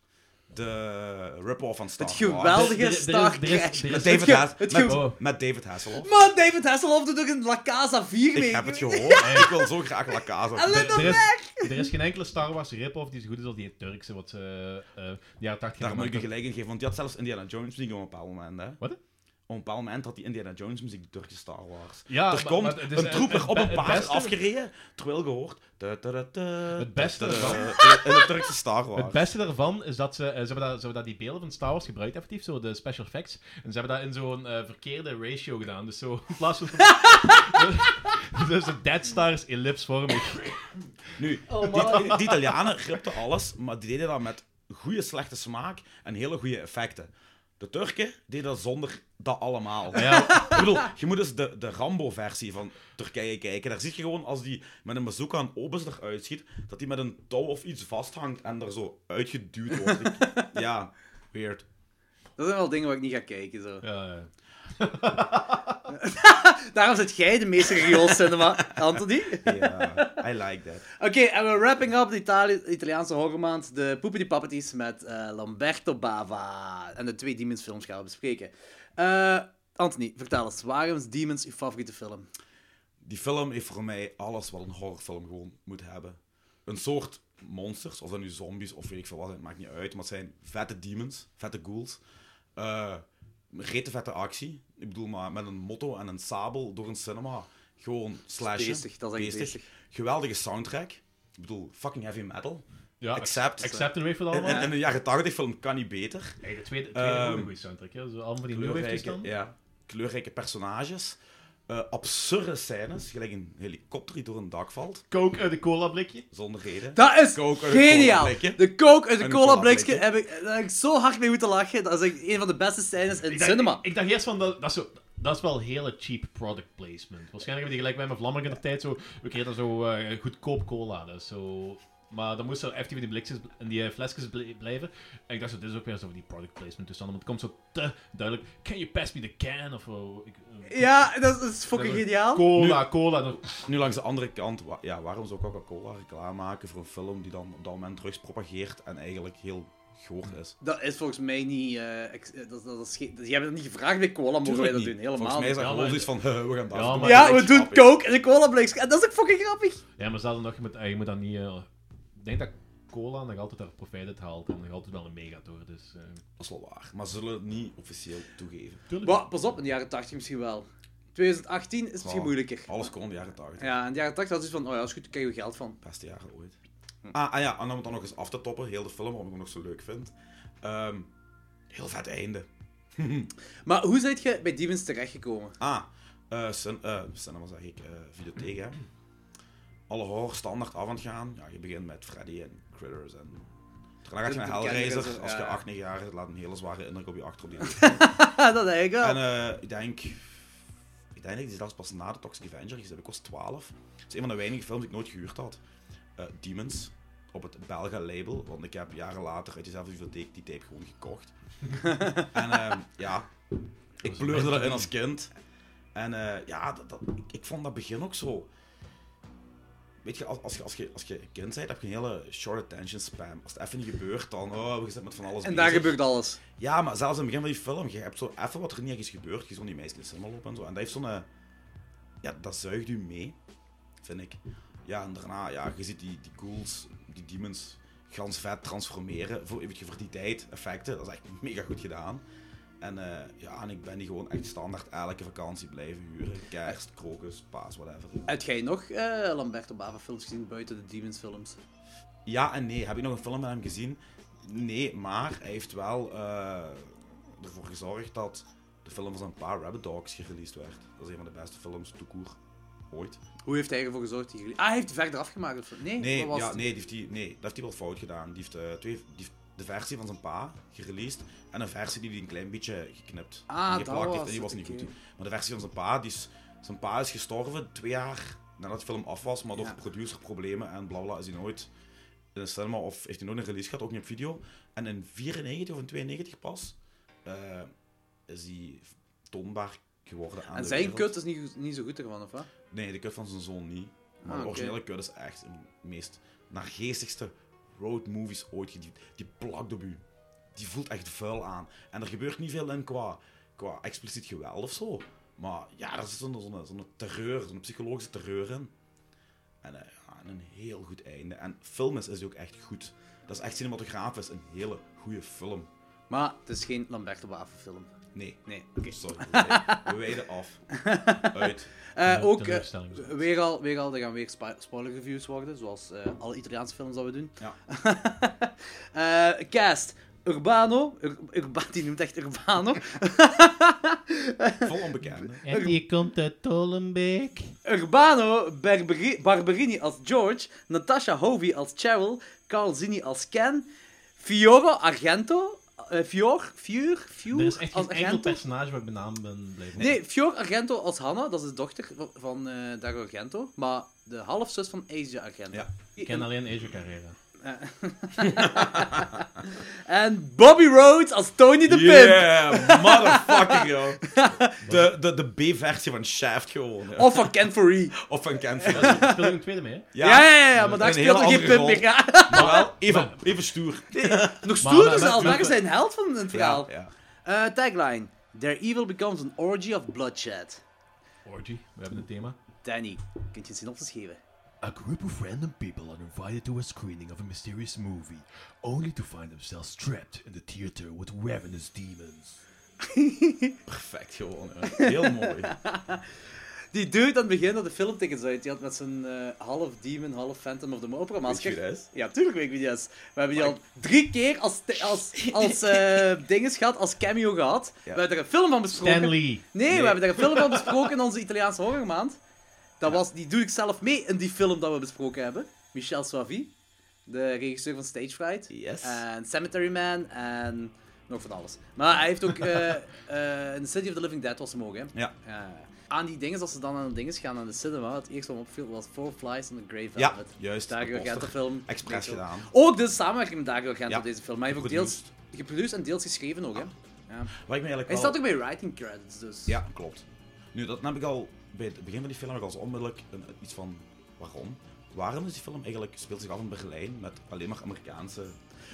Speaker 2: De rip-off van Star
Speaker 1: Het
Speaker 2: Wars.
Speaker 1: geweldige
Speaker 4: Er- er- er is-
Speaker 1: Star
Speaker 4: er is-
Speaker 1: Crash.
Speaker 4: er is-
Speaker 2: Met
Speaker 1: Het
Speaker 2: David,
Speaker 1: ge-
Speaker 2: Hass-
Speaker 1: het
Speaker 2: met,
Speaker 1: ge-
Speaker 4: Oh.
Speaker 2: met David Hasselhoff.
Speaker 1: Man, David Hasselhoff doet ook een La Casa 4 mee.
Speaker 2: Ik heb het gehoord. Ik wil zo graag La Casa.
Speaker 1: Allee, dat-
Speaker 4: Er
Speaker 1: de
Speaker 4: is, er is geen enkele Star Wars rip-off die zo goed is als die Turkse, wat ze eh eh, de jaren 80
Speaker 2: Daar moet ik je
Speaker 4: gemaakt
Speaker 2: gelijk in geven, want die had zelfs Indiana Jones muziek op een bepaald moment. Hè.
Speaker 4: Wat?
Speaker 2: Op een bepaald moment had die Indiana Jones muziek de Turkse Star Wars.
Speaker 4: Ja,
Speaker 2: er
Speaker 4: maar-
Speaker 2: komt
Speaker 4: maar het is- eh,
Speaker 2: een trooper
Speaker 4: het-
Speaker 2: op een
Speaker 4: het
Speaker 2: paard
Speaker 4: beste-
Speaker 2: afgereden, terwijl gehoord... da, da, da, da,
Speaker 4: Het beste
Speaker 2: da, da,
Speaker 4: ervan-
Speaker 2: da, in- In de Turkse Star Wars.
Speaker 4: Het beste daarvan is dat ze, eh, ze, hebben dat, ze hebben dat die beelden van Star Wars gebruikt, effectief, zo de special effects. En ze hebben dat in zo'n eh, verkeerde ratio gedaan. Dus zo, in plaats van. dus de Dead Star is ellipsvormig.
Speaker 2: Nu, die, die Italianen ripten alles, maar die deden dat met goede slechte smaak en hele goede effecten. De Turken deden dat zonder dat allemaal.
Speaker 4: Ja,
Speaker 2: Ik bedoel, je moet eens de, de Rambo-versie van Turkije kijken. Daar zie je gewoon als die met een bazooka een obus eruit schiet, dat die met een touw of iets vasthangt en er zo uitgeduwd wordt. Ik- ja, weird.
Speaker 1: Dat zijn wel dingen waar ik niet ga kijken. Zo.
Speaker 4: ja, ja.
Speaker 1: Daarom zit jij de meester in cinema, Anthony.
Speaker 2: Ja, I like that.
Speaker 1: Oké, en we wrapping up de Itali- Italiaanse horrormaand, de Poepie die Papeties met eh, Lamberto Bava. En de twee Demons films gaan we bespreken. Eh, Anthony, vertel eens, waarom is Demons uw favoriete film?
Speaker 2: Die film heeft voor mij alles wat een horrorfilm gewoon moet hebben. Een soort monsters, of dat nu zombies of weet ik veel wat, het maakt niet uit. Maar het zijn vette demons, vette ghouls. Eh rete vette actie. Ik bedoel, maar met een motto en een sabel door een cinema. Gewoon slashen.
Speaker 1: Beestig, dat is echt beestig.
Speaker 2: Geweldige soundtrack. Ik bedoel, fucking heavy metal.
Speaker 4: ja
Speaker 2: Accept.
Speaker 4: Accept and wait for the
Speaker 2: En,
Speaker 4: allemaal.
Speaker 2: en, en een jaren 80 film kan niet beter.
Speaker 4: Hey, de tweede, de tweede
Speaker 2: Ehm,
Speaker 4: um, goede soundtrack, ja. Zo, allemaal van die New Wave
Speaker 2: kleurrijke,
Speaker 4: toestanden.
Speaker 2: ja, kleurrijke personages. eh, absurde scènes, gelijk een helikopter die door een dak valt,
Speaker 4: Coke uit de cola blikje.
Speaker 2: zonder reden.
Speaker 1: Dat is
Speaker 2: Coke uit een
Speaker 1: geniaal!
Speaker 2: cola-blikje.
Speaker 1: De coke uit de
Speaker 2: Een
Speaker 1: cola blikje
Speaker 2: cola-blikje.
Speaker 1: heb ik, daar heb ik zo hard mee moeten lachen. Dat is echt een van de beste scènes in
Speaker 4: Ik
Speaker 1: het
Speaker 4: dacht-
Speaker 1: cinema.
Speaker 4: Ik, ik dacht eerst van, dat, dat, is zo, dat is wel hele cheap product placement. Waarschijnlijk hebben die gelijk bij mijn Vlammer in de tijd zo... We kregen zo eh, goedkoop cola, dus zo... Maar dan moest er effectief in die blikjes en die eh, flesjes bl- blijven. En ik dacht zo, dit is ook weer zo van die product placement toestanden. Want het komt zo te duidelijk. Can you pass me the can? Of oh, ik- eh,
Speaker 1: Ja, dat is fucking geniaal.
Speaker 4: Cola, cola. dan-
Speaker 2: Nu langs de andere kant, wa- ja, waarom zou Coca-Cola reclame maken voor een film die dan op dat moment drugs propageert en eigenlijk heel goor is?
Speaker 1: Dat is volgens mij niet... eh, ex- eh, dat, dat, dat is geen- die hebben dat niet gevraagd bij cola, mogen wij
Speaker 2: Tuurlijk
Speaker 1: dat
Speaker 2: niet.
Speaker 1: doen? Helemaal
Speaker 2: Volgens mij is dat
Speaker 4: niet.
Speaker 2: gewoon
Speaker 4: Ja,
Speaker 2: zoiets van, "Huh, we gaan dat
Speaker 4: Ja,
Speaker 2: doen."
Speaker 4: maar-
Speaker 1: Ja,
Speaker 2: Dat
Speaker 1: we
Speaker 2: is
Speaker 1: doen
Speaker 2: grappig.
Speaker 1: coke en de cola blikjes. En dat is ook fucking grappig.
Speaker 4: Ja, maar zelfs nog, je moet, eh, je moet dat niet... eh, ik denk dat cola nog altijd haar profijt uit haalt. En nog altijd wel een mega door, dus... eh,
Speaker 2: Dat is wel waar, maar ze zullen het niet officieel toegeven.
Speaker 4: tuurlijk.
Speaker 1: Maar pas op, in de jaren 80 misschien wel. 2018 is misschien
Speaker 2: Ja.
Speaker 1: moeilijker.
Speaker 2: Alles kon in de jaren 80.
Speaker 1: Ja, in de jaren 80 had zoiets van, oh ja, is goed, daar krijgen we geld van.
Speaker 2: Beste jaren ooit.
Speaker 1: Hm.
Speaker 2: Ah, ah ja, en om het dan nog eens af te toppen, heel de film, waarom ik hem nog zo leuk vind. Ehm, heel vet einde.
Speaker 1: Maar hoe zijt je bij Demons terechtgekomen?
Speaker 2: Ah, eh cin eh, cinema zeg ik, eh videotheek hè. Alle horror standaard af aan het gaan. Ja, je begint met Freddy en Critters en... Daarna gaat je
Speaker 1: De-
Speaker 2: naar
Speaker 1: de bekende
Speaker 2: Hellraiser.
Speaker 1: mensen,
Speaker 2: Als je
Speaker 1: ja.
Speaker 2: 8, 9 jaar is, laat een hele zware indruk op je achter op die
Speaker 1: Ja, dat denk ik wel.
Speaker 2: En eh, ik denk... Ik denk dat ik die zelfs pas na de Toxic Avenger gezien heb. Ik was 12. Dat is een van de weinige films die ik nooit gehuurd had. Eh, Demons. Op het Belga label. Want ik heb jaren later uit diezelfde bibliotheek die tape gewoon gekocht. en ehm, ja... Ik pleurde dat in als kind. En eh, ja, dat, dat, ik, ik vond dat begin ook zo. Weet je, als, als, je, als, je, als je kind bent, heb je een hele short attention spam. Als het even niet gebeurt, dan oh, we zitten met van alles
Speaker 1: En
Speaker 2: bezig.
Speaker 1: daar gebeurt alles.
Speaker 2: Ja, maar zelfs in het begin van die film, je hebt zo even wat er niet echt is gebeurd. Je zo'n die meisjes in de cinema lopen en zo. En dat heeft zo'n... eh, Ja, dat zuigt u mee, vind ik. Ja, en daarna, ja, je ziet die, die ghouls, die demons, gans vet transformeren. Voor, weet je, voor die tijd, effecten, dat is echt mega goed gedaan. En eh, ja, en ik ben die gewoon echt standaard elke vakantie blijven huren. Kerst, krokus, paas, whatever.
Speaker 1: Heb jij nog eh, Lamberto Bava films gezien buiten de Demons films?
Speaker 2: Ja en nee. Heb ik nog een film met hem gezien? Nee, maar hij heeft wel eh, ervoor gezorgd dat de film van zijn paar Rabbit Dogs gereleased werd. Dat is een van de beste films toekoer ooit.
Speaker 1: Hoe heeft hij ervoor gezorgd? dat jullie- Ah, hij heeft verder afgemaakt. of zo? Nee,
Speaker 2: Nee,
Speaker 1: wat was
Speaker 2: ja,
Speaker 1: het?
Speaker 2: nee, die heeft die, nee, dat heeft hij wel fout gedaan. Die heeft, eh, twee, die heeft de versie van zijn pa gereleased en een versie die hij een klein beetje geknipt
Speaker 1: Ah,
Speaker 2: en
Speaker 1: dat
Speaker 2: geplakt
Speaker 1: was
Speaker 2: heeft. En die
Speaker 1: het,
Speaker 2: was niet
Speaker 1: oké.
Speaker 2: goed. Maar de versie van zijn pa, die is, zijn pa is gestorven twee jaar nadat de film af was, maar door
Speaker 1: Ja.
Speaker 2: producerproblemen en bla bla is hij nooit in de cinema of heeft hij nooit een release gehad, ook niet op video. En in 94 of in 92 pas eh, is hij toonbaar geworden aan
Speaker 1: En
Speaker 2: de
Speaker 1: zijn
Speaker 2: wereld.
Speaker 1: kut is niet, goed- niet zo goed ervan, of wat?
Speaker 2: Nee, de kut van zijn zoon niet. Maar
Speaker 1: Ah, oké.
Speaker 2: de originele kut is echt de meest naargeestigste roadmovies ooit gediend. Die plakt op u. Die voelt echt vuil aan. En er gebeurt niet veel in qua, qua expliciet geweld of zo. Maar ja, er zit zo'n zo'n- zo'n terreur, zo'n psychologische terreur in. En, eh, ja, en een heel goed einde. En film is, is die ook echt goed. Dat is echt cinematografisch een hele goede film.
Speaker 1: Maar het is geen Lamberto Bava film.
Speaker 2: Nee,
Speaker 1: Nee, oké.
Speaker 2: sorry. we wij- We wijden af. Uit.
Speaker 1: Eh,
Speaker 4: Ja,
Speaker 1: ook eh,
Speaker 4: teleurstelling.
Speaker 1: weer, al, weer al, er gaan weer spo- spoiler reviews worden, zoals eh, alle Italiaanse films dat we doen.
Speaker 2: Ja.
Speaker 1: Eh, cast. Urbano, Ur- Urba- die noemt echt Urbano.
Speaker 2: Vol onbekende.
Speaker 4: En die komt uit Tolenbeek.
Speaker 1: Urbano Berberi- Barberini als George, Natasha Hovey als Cheryl, Carl Zini als Ken, Fioro Argento, eh, Fior, Fior, Fior
Speaker 4: Er is echt
Speaker 1: als
Speaker 4: geen enkel
Speaker 1: Argento.
Speaker 4: personage waar ik benaamd ben blijven.
Speaker 1: Nee, Fior Argento als Hanna, dat is de dochter van- van eh Dario Argento, maar de halfzus van Asia Argento.
Speaker 2: Ja.
Speaker 4: Ik ken alleen Asia Carrera.
Speaker 1: En Bobby Rhodes als Tony de Pimp.
Speaker 2: Yeah, motherfucking yo. De, de, de B-versie van Shaft gewoon. ja.
Speaker 1: Of van Ken Foree.
Speaker 2: Of van Cancer.
Speaker 4: dus Ik speel ook een tweede mee, hè?
Speaker 1: Ja, ja, ja, maar daar
Speaker 2: een
Speaker 1: speelt
Speaker 2: hele
Speaker 1: er geen
Speaker 2: andere
Speaker 1: pimp
Speaker 2: rol.
Speaker 1: meer. Ja.
Speaker 2: Maar wel even, even stoer.
Speaker 1: Nog
Speaker 4: maar-
Speaker 1: stoerder
Speaker 4: maar-
Speaker 1: zelfs,
Speaker 4: maar-
Speaker 1: daar is hij een held van in het
Speaker 2: Ja,
Speaker 1: verhaal.
Speaker 2: ja.
Speaker 1: Eh, tagline. Their evil becomes an orgy of bloodshed.
Speaker 4: Orgy, we hebben een thema.
Speaker 1: Danny, kunt je een synopsis geven?
Speaker 8: A group of random people are invited to a screening of a mysterious movie, only to find themselves trapped in the theater with ravenous demons.
Speaker 2: Perfect gewoon. ja. Heel mooi.
Speaker 1: Die dude aan het begin dat de film tekens uit, die had met zijn eh, half demon, half phantom of the opera masker.
Speaker 2: wie dat is?
Speaker 1: Ja, tuurlijk weet ik wie dat is. We hebben die al drie keer als, te- als, als eh, dinges gehad, als cameo gehad. We hebben er een film van besproken.
Speaker 4: Stanley.
Speaker 1: Nee, we hebben daar een film van besproken in onze Italiaanse horrormaand. Dat was, die doe ik zelf mee in die film dat we besproken hebben. Michel Soavi, de regisseur van Stage Fright.
Speaker 2: Yes.
Speaker 1: En Cemetery Man en nog van alles. Maar hij heeft ook eh, eh, in The City of the Living Dead was hem ook, hè.
Speaker 2: Ja.
Speaker 1: Eh, aan die dingen, als ze dan aan de dingen gaan aan de cinema, het eerste wat me opviel was Four Flies on the Grey
Speaker 2: Ja,
Speaker 1: Velvet.
Speaker 2: juist.
Speaker 1: Dario
Speaker 2: de poster.
Speaker 1: Argento film.
Speaker 2: Expres
Speaker 1: Denk ik ook.
Speaker 2: gedaan.
Speaker 1: Ook de samenwerking met Dario Argento
Speaker 2: Ja,
Speaker 1: deze film. Maar hij heeft ook deels
Speaker 2: geproduceerd.
Speaker 1: geproduceerd en deels geschreven ook, hè. Ja.
Speaker 2: Wat ik me
Speaker 1: Hij
Speaker 2: eigenlijk wel...
Speaker 1: staat ook bij writing credits, dus...
Speaker 2: Ja, klopt. Nu, dat heb ik al... Bij het begin van die film heb ik al zo onmiddellijk een- iets van... Waarom? Waarom is die film eigenlijk... Speelt zich af in Berlijn met alleen maar Amerikaanse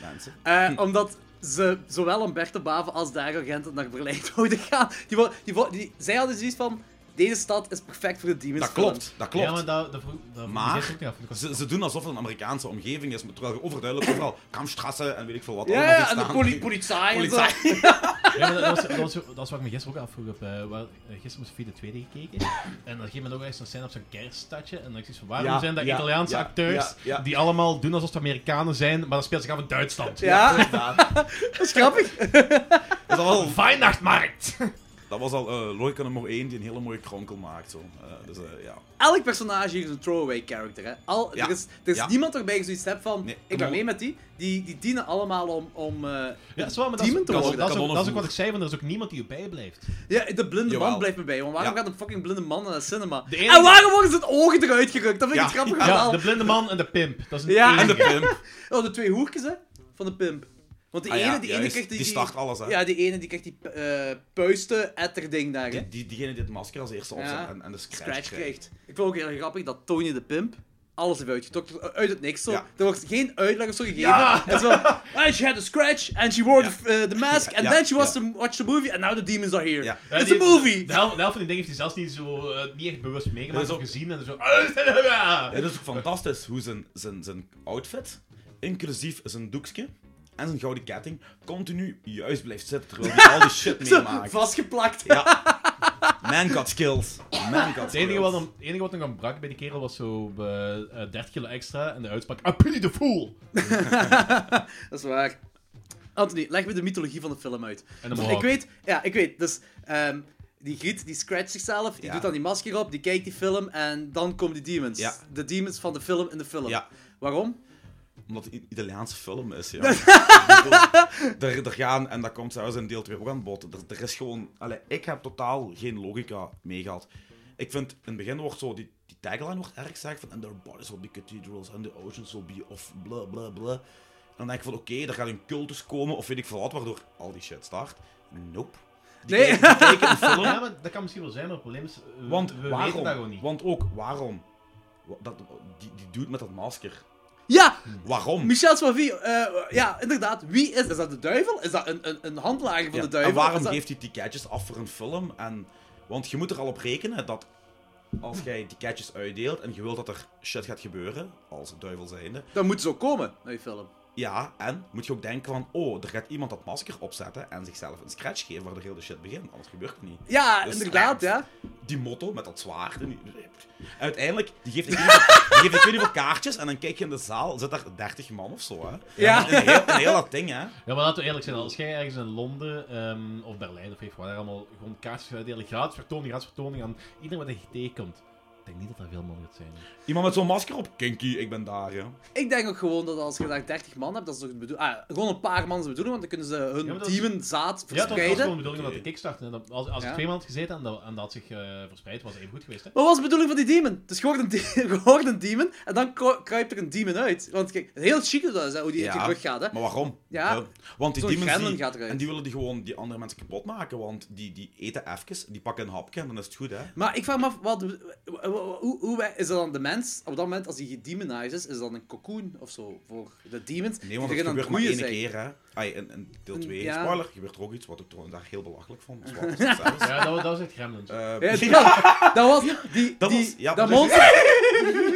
Speaker 2: mensen?
Speaker 1: Eh, omdat ze zowel Humberto Bava als Dario Gent naar Berlijn zouden gaan. Die, wo- die, wo- die, zij hadden zoiets van, deze stad is perfect voor de demons
Speaker 2: Dat klopt, dat klopt.
Speaker 4: Ja, maar dat, dat, vroeg- dat
Speaker 2: Maar-
Speaker 4: die zit ook niet af. Ik was-
Speaker 2: Ze, ze doen alsof het een Amerikaanse omgeving is, maar terwijl je overduidelijk overal Kamstrassen en weet ik veel wat
Speaker 1: Ja,
Speaker 2: allemaal ziet
Speaker 1: ja, en de
Speaker 2: staan.
Speaker 1: poli politie en zo.
Speaker 2: Politie.
Speaker 4: Ja, maar dat, was, dat, was, dat was wat ik me gisteren ook afvroeg. Op, eh, waar, eh, gisteren moest Sophie de Tweede gekeken. En dan ging men ook eens een scène op zijn kerststadje. En dan dacht ik zo, waarom
Speaker 2: Ja,
Speaker 4: zijn dat
Speaker 2: ja,
Speaker 4: Italiaanse
Speaker 2: ja,
Speaker 4: acteurs
Speaker 2: ja, ja.
Speaker 4: die allemaal doen alsof ze Amerikanen zijn, maar dat speelt zich af in Duitsland?
Speaker 1: Ja,
Speaker 2: Inderdaad.
Speaker 1: dat is grappig.
Speaker 2: Dat was al,
Speaker 4: Weihnachtsmarkt!
Speaker 2: dat was al eh, logica nummer 1 die een hele mooie kronkel maakt. Zo. Eh, dus eh, ja.
Speaker 1: Elk personage hier is een throwaway character. Hè. Al,
Speaker 2: Ja,
Speaker 1: Er is, er is
Speaker 2: ja.
Speaker 1: niemand waarbij je zoiets hebt van,
Speaker 2: Nee,
Speaker 1: ik ben
Speaker 2: kom
Speaker 1: mee
Speaker 2: op.
Speaker 1: met die. Die, die dienen allemaal om... om eh,
Speaker 4: Ja, dat is wel, maar dat is,
Speaker 1: Demon te
Speaker 4: dat,
Speaker 1: worden,
Speaker 4: is, dat, is ook,
Speaker 2: kanonnen
Speaker 4: dat is ook
Speaker 2: voer.
Speaker 4: wat ik zei, want er is ook niemand die erbij blijft.
Speaker 1: ja, de blinde
Speaker 2: Jawel.
Speaker 1: man blijft me bij. Want waarom
Speaker 2: Ja.
Speaker 1: gaat een fucking blinde man naar de cinema?
Speaker 4: De enige-
Speaker 1: En waarom worden zijn ogen eruit gerukt? Dat vind ik
Speaker 2: Ja,
Speaker 1: het grappig
Speaker 4: Ja,
Speaker 1: verhaal.
Speaker 4: de blinde man en de pimp. Dat is een
Speaker 1: Ja,
Speaker 4: enige.
Speaker 2: En de pimp.
Speaker 1: Oh, de twee hoertjes, hè? Van de pimp. Want die
Speaker 2: Ah ja,
Speaker 1: ene, die, ene
Speaker 2: juist.
Speaker 1: krijgt die,
Speaker 2: Die start alles, hè.
Speaker 1: Ja, die ene die krijgt die eh puisten etterding daar, hè.
Speaker 2: Die, die, diegene die het masker als eerste opzet en, en de scratch,
Speaker 1: Scratch
Speaker 2: krijgt.
Speaker 1: krijgt. Ik vond ook heel grappig dat Tony de Pimp alles heeft uitgetokt. Uit het niks zo.
Speaker 2: Ja.
Speaker 1: Er wordt geen uitleg of zo gegeven. En zo, "Ah, she had a scratch and she wore the, eh, the mask and
Speaker 2: ja,
Speaker 1: then she was
Speaker 2: ja.
Speaker 1: to watch the movie and now the demons are here.
Speaker 2: Ja.
Speaker 4: Ja,
Speaker 1: It's
Speaker 4: die-
Speaker 1: a movie!
Speaker 4: De helft, de helft van die dingen heeft hij zelfs niet, zo, eh, niet echt bewust meegemaakt
Speaker 2: Dat is
Speaker 4: of
Speaker 2: ook-
Speaker 4: gezien. En zo...
Speaker 2: Het is ook fantastisch hoe zijn, zijn, zijn outfit, inclusief zijn doekje en zijn gouden ketting, continu juist blijft zitten terwijl hij al die shit
Speaker 1: Zo,
Speaker 2: meemaakt.
Speaker 1: vastgeplakt.
Speaker 2: Ja. Man got skills. Man got skills.
Speaker 4: Het enige wat, hem- het enige wat nog aan brak bij die kerel was zo eh, eh, 30 kilo extra en de uitspraak I pity the fool!
Speaker 1: Dat is waar. Anthony, leg me de mythologie van de film uit.
Speaker 4: En de
Speaker 1: Dus
Speaker 4: mohawk.
Speaker 1: ik weet, ja, ik weet. Dus ehm, die Griet, die scratcht zichzelf, die
Speaker 2: Ja.
Speaker 1: doet dan die masker op, die kijkt die film en dan komen die demons.
Speaker 2: Ja.
Speaker 1: De demons van de film in de film.
Speaker 2: Ja.
Speaker 1: Waarom?
Speaker 2: Omdat het een Italiaanse film is, ja. Ik bedoel, er, er gaan, en dat komt zelfs in deel 2 ook aan bod. Er, er is gewoon... Allee, ik heb totaal geen logica meegehaald. Ik vind, in het begin wordt zo... Die, die tagline wordt erg sterk van... And their bodies will be cathedrals, and the oceans will be of blah, blah, blah. En dan denk ik van, oké, er gaat een cultus komen, of weet ik veel wat, waardoor al die shit start. Nope. Die
Speaker 1: Nee.
Speaker 2: kijken- die kijken een film...
Speaker 4: Ja, maar dat kan misschien wel zijn, maar het probleem is, eh,
Speaker 2: Want
Speaker 4: we
Speaker 2: waarom?
Speaker 4: weten dat gewoon niet.
Speaker 2: Want ook, waarom? Wa- Dat, die, die dude met dat masker.
Speaker 1: Ja,
Speaker 4: Hmm.
Speaker 2: Waarom?
Speaker 1: Michel Swavi, eh, ja, inderdaad. Wie is, is dat de duivel? Is dat een, een, een handlager van
Speaker 2: Ja,
Speaker 1: de duivel?
Speaker 2: En waarom
Speaker 1: Is dat-
Speaker 2: geeft hij ticketjes af voor een film? En, want je moet er al op rekenen dat als jij ticketjes uitdeelt en je wilt dat er shit gaat gebeuren, als duivel zijnde,
Speaker 1: Dan moet zo komen, naar je film.
Speaker 2: ja, en moet je ook denken van, oh, er gaat iemand dat masker opzetten en zichzelf een scratch geven waar de hele shit begint, anders gebeurt het niet.
Speaker 1: Ja,
Speaker 2: Dus
Speaker 1: inderdaad,
Speaker 2: ja.
Speaker 1: ja.
Speaker 2: Die motto met dat zwaard. en die- En uiteindelijk, die geeft ik weet niet wat- die geeft ik weet niet wat kaartjes en dan kijk je in de zaal, zit daar 30 man of zo, hè.
Speaker 1: Ja.
Speaker 2: En heel, en heel dat ding, hè.
Speaker 4: Ja, maar laten we eerlijk zijn, als jij ergens in Londen ehm, of Berlijn of weet ik waar allemaal gewoon kaartjes gaat uitdelen, gratis vertoning, gratis vertoning aan iedereen wat je tegenkomt. Ik denk niet dat dat veel man gaat zijn.
Speaker 2: Iemand met zo'n masker op, kinky, ik ben daar, ja.
Speaker 1: Ik denk ook gewoon dat als je daar 30 man hebt, dat is toch de bedoeling. Ah, gewoon een paar man is de bedoeling, want dan kunnen ze hun
Speaker 4: Ja, maar dat is-
Speaker 1: demon zaad
Speaker 4: Ja, dat was gewoon
Speaker 1: verspreiden.
Speaker 4: de bedoeling dat de kickstart. En dat- als als
Speaker 1: Ja.
Speaker 4: ik twee maanden gezeten en dat, en dat had zich eh, verspreid, was het even goed geweest. Hè?
Speaker 1: Maar wat was de bedoeling van die demon? Dus je hoort een, de- je hoort een demon en dan kru- kruipt er een demon uit. Want kijk, heel chic dat is, hè, hoe die uit je rug gaat. Hè.
Speaker 2: Maar waarom?
Speaker 1: Ja.
Speaker 2: Want die
Speaker 1: Zo'n
Speaker 2: demons
Speaker 1: gremlin
Speaker 2: die-
Speaker 1: gaat eruit.
Speaker 2: en die willen die gewoon die andere mensen kapot maken, want die, die eten even, die pakken een hapje en dan is het goed, hè?
Speaker 1: Maar ik vraag me af, wat, w- w- hoe, hoe wij- is dat dan de mens? Op dat moment, als hij gedemoniseerd is, is dat een cocoon of zo voor de demons?
Speaker 2: Nee, want
Speaker 1: die erin aan het
Speaker 2: dat gebeurt maar
Speaker 1: groeien
Speaker 2: één
Speaker 1: zijn.
Speaker 2: keer, hè? Ai, in, in deel
Speaker 1: Een-
Speaker 2: 2,
Speaker 1: ja.
Speaker 2: spoiler, gebeurt er ook iets wat ik trouwens daar heel belachelijk vond. dat is wat het zelfs.
Speaker 4: Ja, dat, dat was echt gremlins.
Speaker 2: Eh,
Speaker 1: Ja, die- ja, dat was... Die,
Speaker 2: Dat
Speaker 1: die,
Speaker 2: was- ja,
Speaker 1: dat
Speaker 2: maar-
Speaker 1: monster...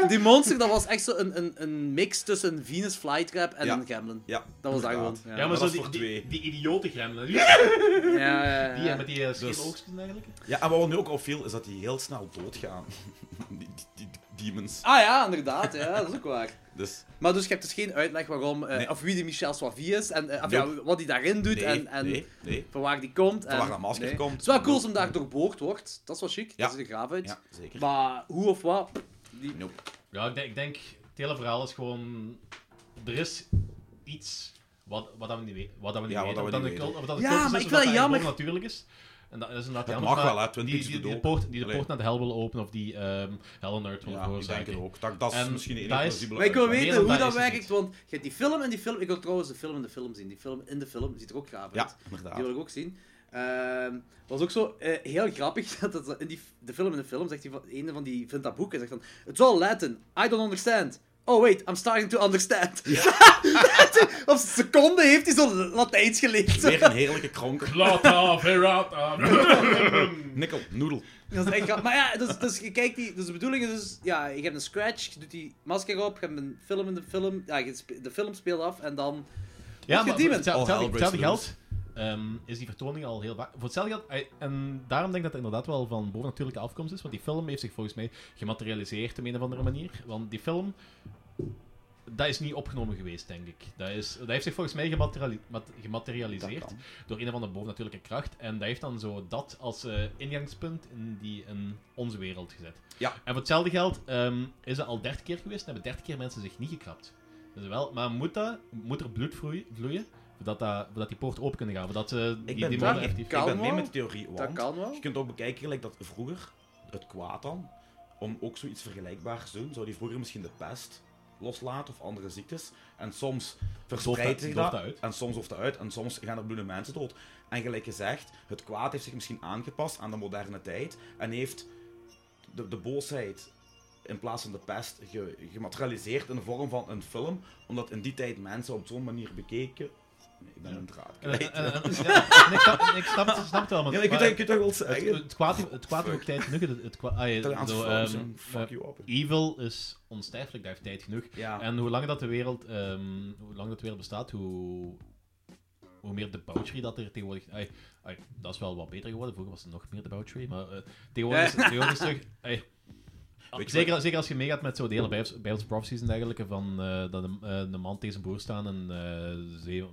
Speaker 1: Die monster, dat was echt zo een, een, een mix tussen een Venus flytrap en
Speaker 2: Ja.
Speaker 1: een gremlin.
Speaker 2: ja,
Speaker 1: Dat was daar gewoon.
Speaker 2: inderdaad.
Speaker 1: Ja,
Speaker 4: ja,
Speaker 1: ja,
Speaker 2: dat
Speaker 4: maar zo
Speaker 2: was
Speaker 4: die,
Speaker 2: voor
Speaker 4: die,
Speaker 2: twee.
Speaker 4: die idiote gremlin. Die,
Speaker 1: ja, ja.
Speaker 4: die met die uh,
Speaker 2: Dus-
Speaker 4: oogjes en dergelijke.
Speaker 2: Ja, en wat nu ook opviel, is dat die heel snel doodgaan. die, die, die- die demons.
Speaker 1: Ah ja, inderdaad. Ja, dat is ook waar.
Speaker 2: Dus
Speaker 1: Maar dus je hebt dus geen uitleg waarom, eh,
Speaker 2: Nee.
Speaker 1: of wie die Michel Soivie is, en eh, of ja,
Speaker 2: Nope.
Speaker 1: wat hij daarin doet,
Speaker 2: nee,
Speaker 1: en, en
Speaker 2: nee, nee.
Speaker 1: van waar die komt. en,
Speaker 2: waar dat masker komt.
Speaker 1: Het is wel cool als
Speaker 2: Nope.
Speaker 1: hem daar doorboord wordt, dat is wel chic,
Speaker 2: Ja.
Speaker 1: dat ziet er gaaf uit.
Speaker 2: Ja, zeker.
Speaker 1: Maar hoe of wat, die...
Speaker 2: Nope.
Speaker 4: Ja, ik denk, ik denk, het hele verhaal is gewoon... Er is iets wat, wat dat we niet weten. Wat dat we niet
Speaker 2: Ja,
Speaker 4: weten.
Speaker 2: wat
Speaker 4: Of
Speaker 2: dat
Speaker 4: dat
Speaker 2: we
Speaker 4: een
Speaker 2: niet
Speaker 4: cult- of dat een
Speaker 1: Ja,
Speaker 4: cultus
Speaker 1: maar
Speaker 4: is,
Speaker 1: ik
Speaker 4: of
Speaker 1: wil
Speaker 4: dat dat
Speaker 1: jammer-
Speaker 4: gewoon natuurlijk is. En dat is inderdaad
Speaker 2: Dat
Speaker 4: jammer,
Speaker 2: mag
Speaker 4: maar
Speaker 2: wel, hè, Twin
Speaker 4: die,
Speaker 2: Peaks
Speaker 4: die, die,
Speaker 2: bedoel.
Speaker 4: de poort, die de
Speaker 2: Allee.
Speaker 4: poort naar de hel willen openen, of die ehm Hell on Earth willen
Speaker 2: Ja, ik denk
Speaker 4: veroorzaken.
Speaker 2: het ook. Dat, dat is
Speaker 4: En
Speaker 2: misschien de
Speaker 4: dat
Speaker 2: enige
Speaker 4: is-
Speaker 2: plausibele
Speaker 1: Maar ik wil
Speaker 2: uitweg.
Speaker 1: weten
Speaker 4: dan
Speaker 1: hoe
Speaker 4: dat
Speaker 1: dat
Speaker 4: is het
Speaker 1: werkt,
Speaker 4: niet.
Speaker 1: want je hebt die film en die film... Ik wil trouwens de film en de film zien. Die film in de film ziet er ook gaaf uit.
Speaker 2: Ja, inderdaad.
Speaker 1: Die wil ik ook zien. Ehm, was ook zo eh, heel grappig dat het in die, de film in de film zegt die van, een van die vindt dat boek en zegt dan It's all Latin, I don't understand. Oh wait, I'm starting to understand. Op seconde heeft hij zo Latijns geleerd.
Speaker 2: Weer een heerlijke kronk.
Speaker 4: Plata, verrata.
Speaker 2: Nikkel, noedel.
Speaker 1: Dat is echt grap- Maar ja, dus, dus je kijkt die... Dus de bedoeling is dus... Ja, je hebt een scratch, je doet die masker op, je hebt een film in de film... Ja, je spe- de film speelt af en dan...
Speaker 4: Ja,
Speaker 1: Goed
Speaker 4: maar voor
Speaker 1: gediemen.
Speaker 4: hetzelfde-
Speaker 2: All hell
Speaker 4: hetzelfde
Speaker 2: breaks
Speaker 4: hetzelfde geld ehm, is die vertoning al heel vaak. Voor hetzelfde geld, eh, en daarom denk ik dat het inderdaad wel van bovennatuurlijke afkomst is, want die film heeft zich volgens mij gematerialiseerd op een of andere manier. Want die film, dat is niet opgenomen geweest, denk ik. Dat, is, dat heeft zich volgens mij gemateriali- mat-
Speaker 2: Dat
Speaker 4: gematerialiseerd
Speaker 2: kan.
Speaker 4: door een of andere bovennatuurlijke kracht. En dat heeft dan zo dat als eh, ingangspunt in, die, in onze wereld gezet.
Speaker 2: Ja.
Speaker 4: En voor hetzelfde geld ehm, is dat al 30 keer geweest en hebben 30 keer mensen zich niet gekrapt. Dus wel, maar moet, dat, moet er bloed vloeien, vloeien voordat, dat, voordat die poort open kunnen gaan? Voordat ze die
Speaker 2: Ik ben,
Speaker 4: demonen
Speaker 2: mee,
Speaker 4: effectief...
Speaker 2: ik
Speaker 1: Kan
Speaker 2: ben mee
Speaker 1: wel.
Speaker 2: met de theorie, want
Speaker 1: kan wel.
Speaker 2: je kunt ook bekijken gelijk dat vroeger, het kwaad dan, om ook zoiets vergelijkbaars te doen, zou die vroeger misschien de pest loslaat of andere ziektes. En soms verspreidt zich dat.
Speaker 4: dooft dat uit.
Speaker 2: En soms hoeft dat uit. En soms gaan er bloedende mensen dood. En gelijk gezegd, het kwaad heeft zich misschien aangepast aan de moderne tijd. En heeft de, de boosheid in plaats van de pest ge- gematerialiseerd in de vorm van een film. Omdat in die tijd mensen op zo'n manier bekeken. Nee, ik ben een draad.
Speaker 4: En- en-
Speaker 2: kwijt.
Speaker 4: en- en- ja, en eh, ik snap, ik snap, het- snap het wel, want-
Speaker 2: Ja, ik
Speaker 4: maar-
Speaker 2: weet dat ik het toch wel zeggen.
Speaker 4: het kwaad, het kwaad heeft ook tijd genoeg. Het, het kwaad, ah, ja,
Speaker 2: Italiaanse
Speaker 4: zo,
Speaker 2: films,
Speaker 4: ehm,
Speaker 2: hè. fuck you up.
Speaker 4: Evil is onsterfelijk, daar heeft tijd genoeg.
Speaker 2: eh, Ja.
Speaker 4: En hoe langer dat de wereld, ehm, hoe langer dat de wereld bestaat, hoe, hoe meer debauchery dat er tegenwoordig... Ai, ai, dat is wel wat beter geworden. Vroeger was er nog meer debauchery, maar eh, tegenwoordig, is, tegenwoordig is terug... ai.
Speaker 2: Weet je
Speaker 4: zeker, zeker als je meegaat met zo'n delen bij Bijbels Prophecies en dergelijke, van eh, dat de, eh, de man tegen zijn broer staan en eh, ze,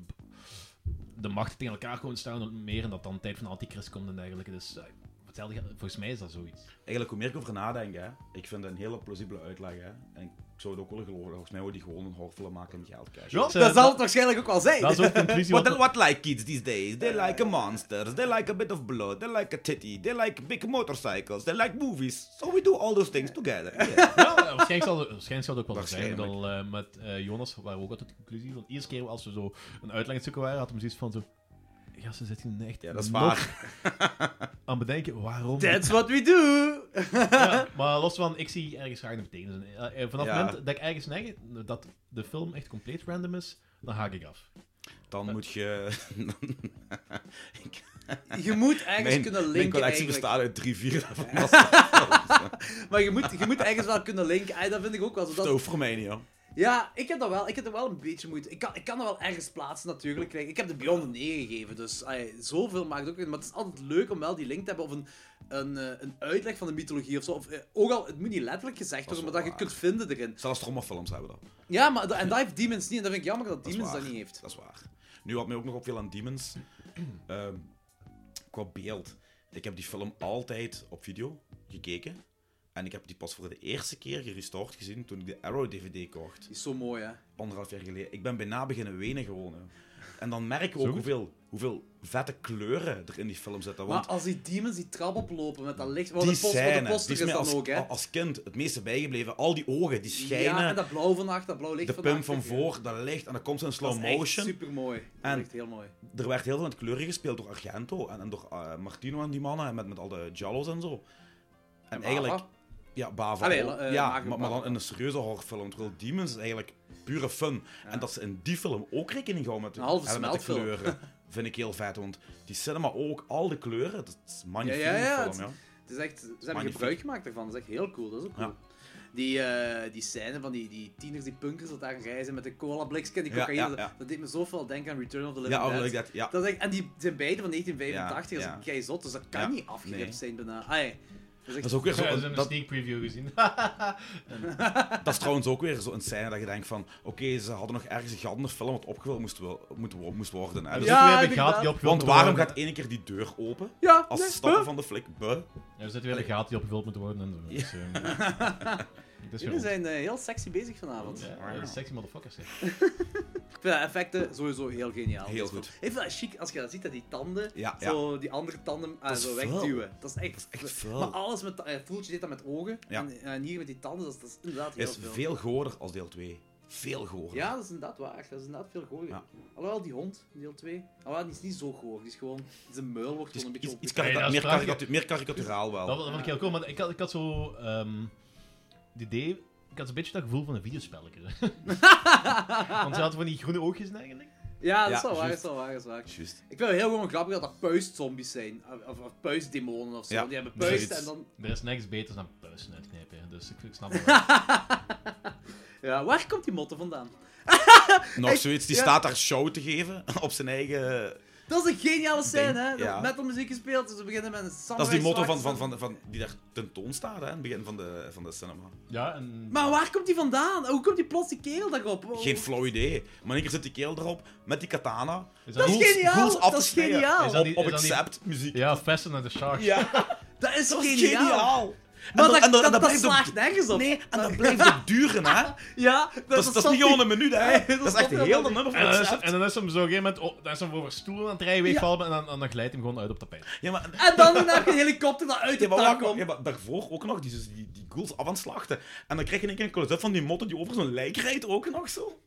Speaker 4: de machten tegen elkaar gewoon staan en meer en dat dan tijd van de antichrist komt en dergelijke. Dus ai, hetzelfde gaat- volgens mij is dat zoiets.
Speaker 2: Eigenlijk, hoe meer ik over nadenk, hè, ik vind het een hele plausibele uitleg. Hè, en ik zou het ook willen geloven. Volgens mij worden die gewoon een horfelen maken en geld cashen.
Speaker 4: Ja,
Speaker 1: Eh, Dat zal het waarschijnlijk ook wel zijn.
Speaker 4: Dus, eh, Dat is ook de conclusie.
Speaker 2: What,
Speaker 4: wat-
Speaker 2: what like kids these days? They like monsters, they like a bit of blood, they like a titty, they like big motorcycles, they like movies. So we do all those things together.
Speaker 4: Ja, waarschijnlijk zal, waarschijnlijk zal het ook wel zijn.
Speaker 2: Waarschijnlijk.
Speaker 4: Ik bedoel, eh, met eh, Jonas waren we ook altijd de conclusie. Want eerste keer als we zo een uitleg aan het zoeken waren, had hem zoiets van zo. Ja, ze zitten nu echt
Speaker 2: Ja, dat is
Speaker 4: nog
Speaker 2: waar.
Speaker 4: aan bedenken waarom.
Speaker 1: That's what we do.
Speaker 4: Ja, maar los van, ik zie ergens graag een betekenis. in. Eh, eh, vanaf
Speaker 2: Ja.
Speaker 4: het moment dat ik ergens neig dat de film echt compleet random is, dan haak ik af.
Speaker 2: Dan moet je... Ik-
Speaker 1: Je moet ergens
Speaker 2: mijn,
Speaker 1: kunnen linken.
Speaker 2: mijn collectie
Speaker 1: eigenlijk.
Speaker 2: bestaat uit drie, vier daarvan. Dat
Speaker 1: Maar je moet, je moet ergens wel kunnen linken. Ah, dat vind ik ook wel. zo. Dat,
Speaker 2: voor mij niet, hoor.
Speaker 1: ja, ik heb dat wel. Ik heb er wel een beetje moeite. Ik kan, ik kan dat wel ergens plaatsen natuurlijk. Kijk, Ik heb de Beyond een 9 gegeven, dus ai, zoveel maakt het ook niet. Maar het is altijd leuk om wel die link te hebben of een, een, eh, een uitleg van de mythologie of zo. Of, eh, ook al, het moet niet letterlijk gezegd worden, maar dat
Speaker 2: wel
Speaker 1: je
Speaker 2: waar.
Speaker 1: kunt vinden erin.
Speaker 2: Zelfs trommelfilms hebben dat.
Speaker 1: Ja, maar, dat- en dat heeft Demons niet. En dat vind ik jammer dat,
Speaker 2: Dat is
Speaker 1: Demons dat
Speaker 2: waar.
Speaker 1: niet heeft.
Speaker 2: Dat is waar. Nu wat mij ook nog opviel aan Demons, ehm, qua beeld. Ik heb die film altijd op video gekeken. En ik heb die pas voor de eerste keer gerestored gezien toen ik de Arrow DVD kocht.
Speaker 1: Die is zo mooi, hè.
Speaker 2: Anderhalf jaar geleden. Ik ben bijna beginnen wenen gewoon. hè. En dan merken we ook
Speaker 4: goed?
Speaker 2: hoeveel, hoeveel vette kleuren er in die film zitten.
Speaker 1: Maar
Speaker 2: Want
Speaker 1: als die demons die trap oplopen met dat licht... Want
Speaker 2: die
Speaker 1: de post, want
Speaker 2: scène,
Speaker 1: de
Speaker 2: die
Speaker 1: poster
Speaker 2: is
Speaker 1: is
Speaker 2: mij
Speaker 1: dan
Speaker 2: als,
Speaker 1: ook, hè.
Speaker 2: als kind het meeste bijgebleven. Al die ogen, die schijnen.
Speaker 1: Ja, en dat blauw van achter, dat blauw licht
Speaker 2: de
Speaker 1: van
Speaker 2: pump
Speaker 1: achter,
Speaker 2: van
Speaker 1: ja.
Speaker 2: voor, dat licht. En dan komt ze in
Speaker 1: Dat
Speaker 2: slow
Speaker 1: is echt
Speaker 2: motion.
Speaker 1: supermooi. Dat
Speaker 2: En-
Speaker 1: is echt heel mooi.
Speaker 2: er werd heel veel met kleuren gespeeld door Argento en, en door eh, Martino en die mannen en met, met al de Giallo's en zo. En,
Speaker 1: Bava?
Speaker 2: eigenlijk, ja, Bava.
Speaker 1: Allee,
Speaker 2: ook.
Speaker 1: eh,
Speaker 2: ja,
Speaker 1: Mario
Speaker 2: maar, maar
Speaker 1: Bava.
Speaker 2: dan in een serieuze horrorfilm. Terwijl Demons is eigenlijk pure fun. En dat ze in die film ook rekening houden met,
Speaker 1: Een halve
Speaker 2: hebben met de
Speaker 1: smeltfilm.
Speaker 2: kleuren, vind ik heel vet. Want die cinema ook, al de kleuren, dat is magnifiek.
Speaker 1: Ja, ja, ja,
Speaker 2: film,
Speaker 1: het-
Speaker 2: ja.
Speaker 1: Het is echt, ze hebben
Speaker 2: magnifiek.
Speaker 1: gebruik gemaakt ervan. Dat is echt heel cool. Dat is ook cool.
Speaker 2: Ja.
Speaker 1: Die, eh, die scène van die, die tieners, die punkers dat daar reizen met de cola blikjes en die
Speaker 2: Ja,
Speaker 1: cocaïne.
Speaker 2: ja,
Speaker 1: dat-
Speaker 2: ja.
Speaker 1: Dat deed me zoveel denken aan Return of the Living
Speaker 2: Ja,
Speaker 1: Dead.
Speaker 2: of like that, ja.
Speaker 1: Dat is echt, en die zijn beide van 1985,
Speaker 2: Ja,
Speaker 1: dat
Speaker 2: ja.
Speaker 1: is kei zot, dus dat kan
Speaker 2: Ja,
Speaker 1: niet afgerept
Speaker 2: nee.
Speaker 1: zijn bijna. Ah, ja. Dat is echt
Speaker 2: Dat is ook weer zo.
Speaker 4: Ja,
Speaker 2: een-
Speaker 4: ze hebben een
Speaker 2: dat,
Speaker 4: sneak preview gezien.
Speaker 2: dat is trouwens ook weer zo'n scène dat je denkt van... Oké, ze hadden nog ergens een gat in de film wat opgevuld moest, wo- moet, wo- moest worden. hè. Dus-
Speaker 1: Ja,
Speaker 4: ja, we
Speaker 1: inderdaad.
Speaker 4: gaat die opgevuld
Speaker 2: Want waarom
Speaker 4: moeten
Speaker 2: gaat één keer die deur open?
Speaker 1: Ja,
Speaker 2: Als
Speaker 1: nee,
Speaker 2: ze stappen
Speaker 1: huh?
Speaker 2: van de flik. Buh.
Speaker 4: worden? Ja, Er zit weer een gaten die opgevuld moeten worden en zo. Dus, ehm, het is weer
Speaker 1: Jullie
Speaker 4: ons.
Speaker 1: zijn eh, heel sexy bezig vanavond.
Speaker 4: Ja, ja, sexy motherfuckers. hè.
Speaker 1: Ik vind de effecten sowieso heel geniaal.
Speaker 2: Heel
Speaker 1: Dat is
Speaker 2: goed.
Speaker 1: cool. Ik vind dat chic als je dat ziet, dat die tanden,
Speaker 2: Ja, ja.
Speaker 1: zo die andere tanden ah,
Speaker 2: Dat is
Speaker 1: zo
Speaker 2: vuil.
Speaker 1: wegduwen. Dat is echt,
Speaker 2: is echt vuil.
Speaker 1: Maar alles met, eh voeltje deed dat met ogen.
Speaker 2: Ja.
Speaker 1: En, eh, en hier met die tanden, dat is, dat is inderdaad heel
Speaker 2: is
Speaker 1: veel.
Speaker 2: veel goorder als deel 2. Veel goorder.
Speaker 1: Ja, dat is inderdaad waar. Dat is inderdaad veel gooier.
Speaker 2: Ja.
Speaker 1: Alhoewel, die hond, deel 2, alhoewel, die is niet zo goor. Die is gewoon, zijn muil wordt
Speaker 2: Het
Speaker 1: gewoon een
Speaker 2: is
Speaker 1: beetje
Speaker 2: iets,
Speaker 1: op.
Speaker 2: iets
Speaker 4: Nee,
Speaker 2: karika-
Speaker 4: dat is
Speaker 2: meer,
Speaker 4: graag-
Speaker 2: karikatu- meer karikaturaal wel.
Speaker 4: Dat, vond- dat vond ik heel cool, maar ik had, ik had zo... ehm, het idee... Ik had een beetje dat gevoel van een videospelletje. Want ze hadden van die groene oogjes eigenlijk.
Speaker 1: Ja, dat is
Speaker 2: Ja,
Speaker 1: wel waar, dat
Speaker 2: juist.
Speaker 1: is wel waar, dat is waar.
Speaker 2: Juist.
Speaker 1: Ik vind het heel gewoon grappig dat dat puistzombies zijn. Of, of, of puistdemonen of zo.
Speaker 2: Ja,
Speaker 1: Die hebben puisten
Speaker 2: zoiets.
Speaker 1: en dan...
Speaker 4: Er is niks beters dan puisten uitknijpen, hè. dus ik, ik snap het wel.
Speaker 1: Ja, waar komt die motto vandaan?
Speaker 2: Nog zoiets, die
Speaker 1: ja.
Speaker 2: staat daar show te geven op zijn eigen...
Speaker 1: Dat is een geniale scène, hè? Dat
Speaker 2: ja.
Speaker 1: metalmuziek gespeeld, dus we beginnen met een samurai
Speaker 2: dat is die motto van,
Speaker 1: zwaard.
Speaker 2: van, van, van, die daar tentoon staat hè, in het begin van de, van de cinema.
Speaker 4: Ja, en...
Speaker 1: Maar waar komt die vandaan? Hoe komt die plots die kerel daarop? Oh.
Speaker 2: Geen flauw idee. Maar in één keer zit die kerel erop met die katana.
Speaker 4: Is
Speaker 1: Dat is
Speaker 4: dat niet-
Speaker 2: Ghouls-
Speaker 1: geniaal!
Speaker 2: ghouls af
Speaker 1: dat
Speaker 2: te
Speaker 1: is
Speaker 2: snijden.
Speaker 1: geniaal!
Speaker 4: Is
Speaker 2: Op,
Speaker 4: die-
Speaker 2: op
Speaker 4: is dat niet-
Speaker 2: accept muziek.
Speaker 4: Ja, Fasten and the Shark.
Speaker 1: Dat is
Speaker 2: Dat is
Speaker 1: geniaal!
Speaker 2: geniaal.
Speaker 1: Maar
Speaker 2: dan-
Speaker 1: dat,
Speaker 2: en dan-
Speaker 1: dat,
Speaker 2: en dan
Speaker 1: dat
Speaker 2: blijft het-
Speaker 1: slaagt nergens op.
Speaker 2: Nee, en dat blijft het duren, hè? Dat,
Speaker 1: Ja, dat,
Speaker 2: is, dat is niet gewoon een minuut, hè? Dat is echt
Speaker 1: klopt
Speaker 2: heel de
Speaker 1: wel.
Speaker 2: nummer van
Speaker 4: En
Speaker 2: het
Speaker 4: dan, is,
Speaker 2: recept.
Speaker 4: en dan is hem zo op een gegeven moment, oh, dan is hem over stoelen aan het rijden wegvallen en dan, en dan glijdt hem gewoon uit op tapijt.
Speaker 2: Ja, maar,
Speaker 1: En dan heb je een helikopter dat uit
Speaker 2: ja,
Speaker 1: de
Speaker 2: maar,
Speaker 1: tak
Speaker 2: wacht,
Speaker 1: komt.
Speaker 2: ja, maar daarvoor ook nog die, die, die ghouls af aan het slachten. En dan krijg je in één keer een close-up van die motten die over zo'n lijk rijdt ook nog zo.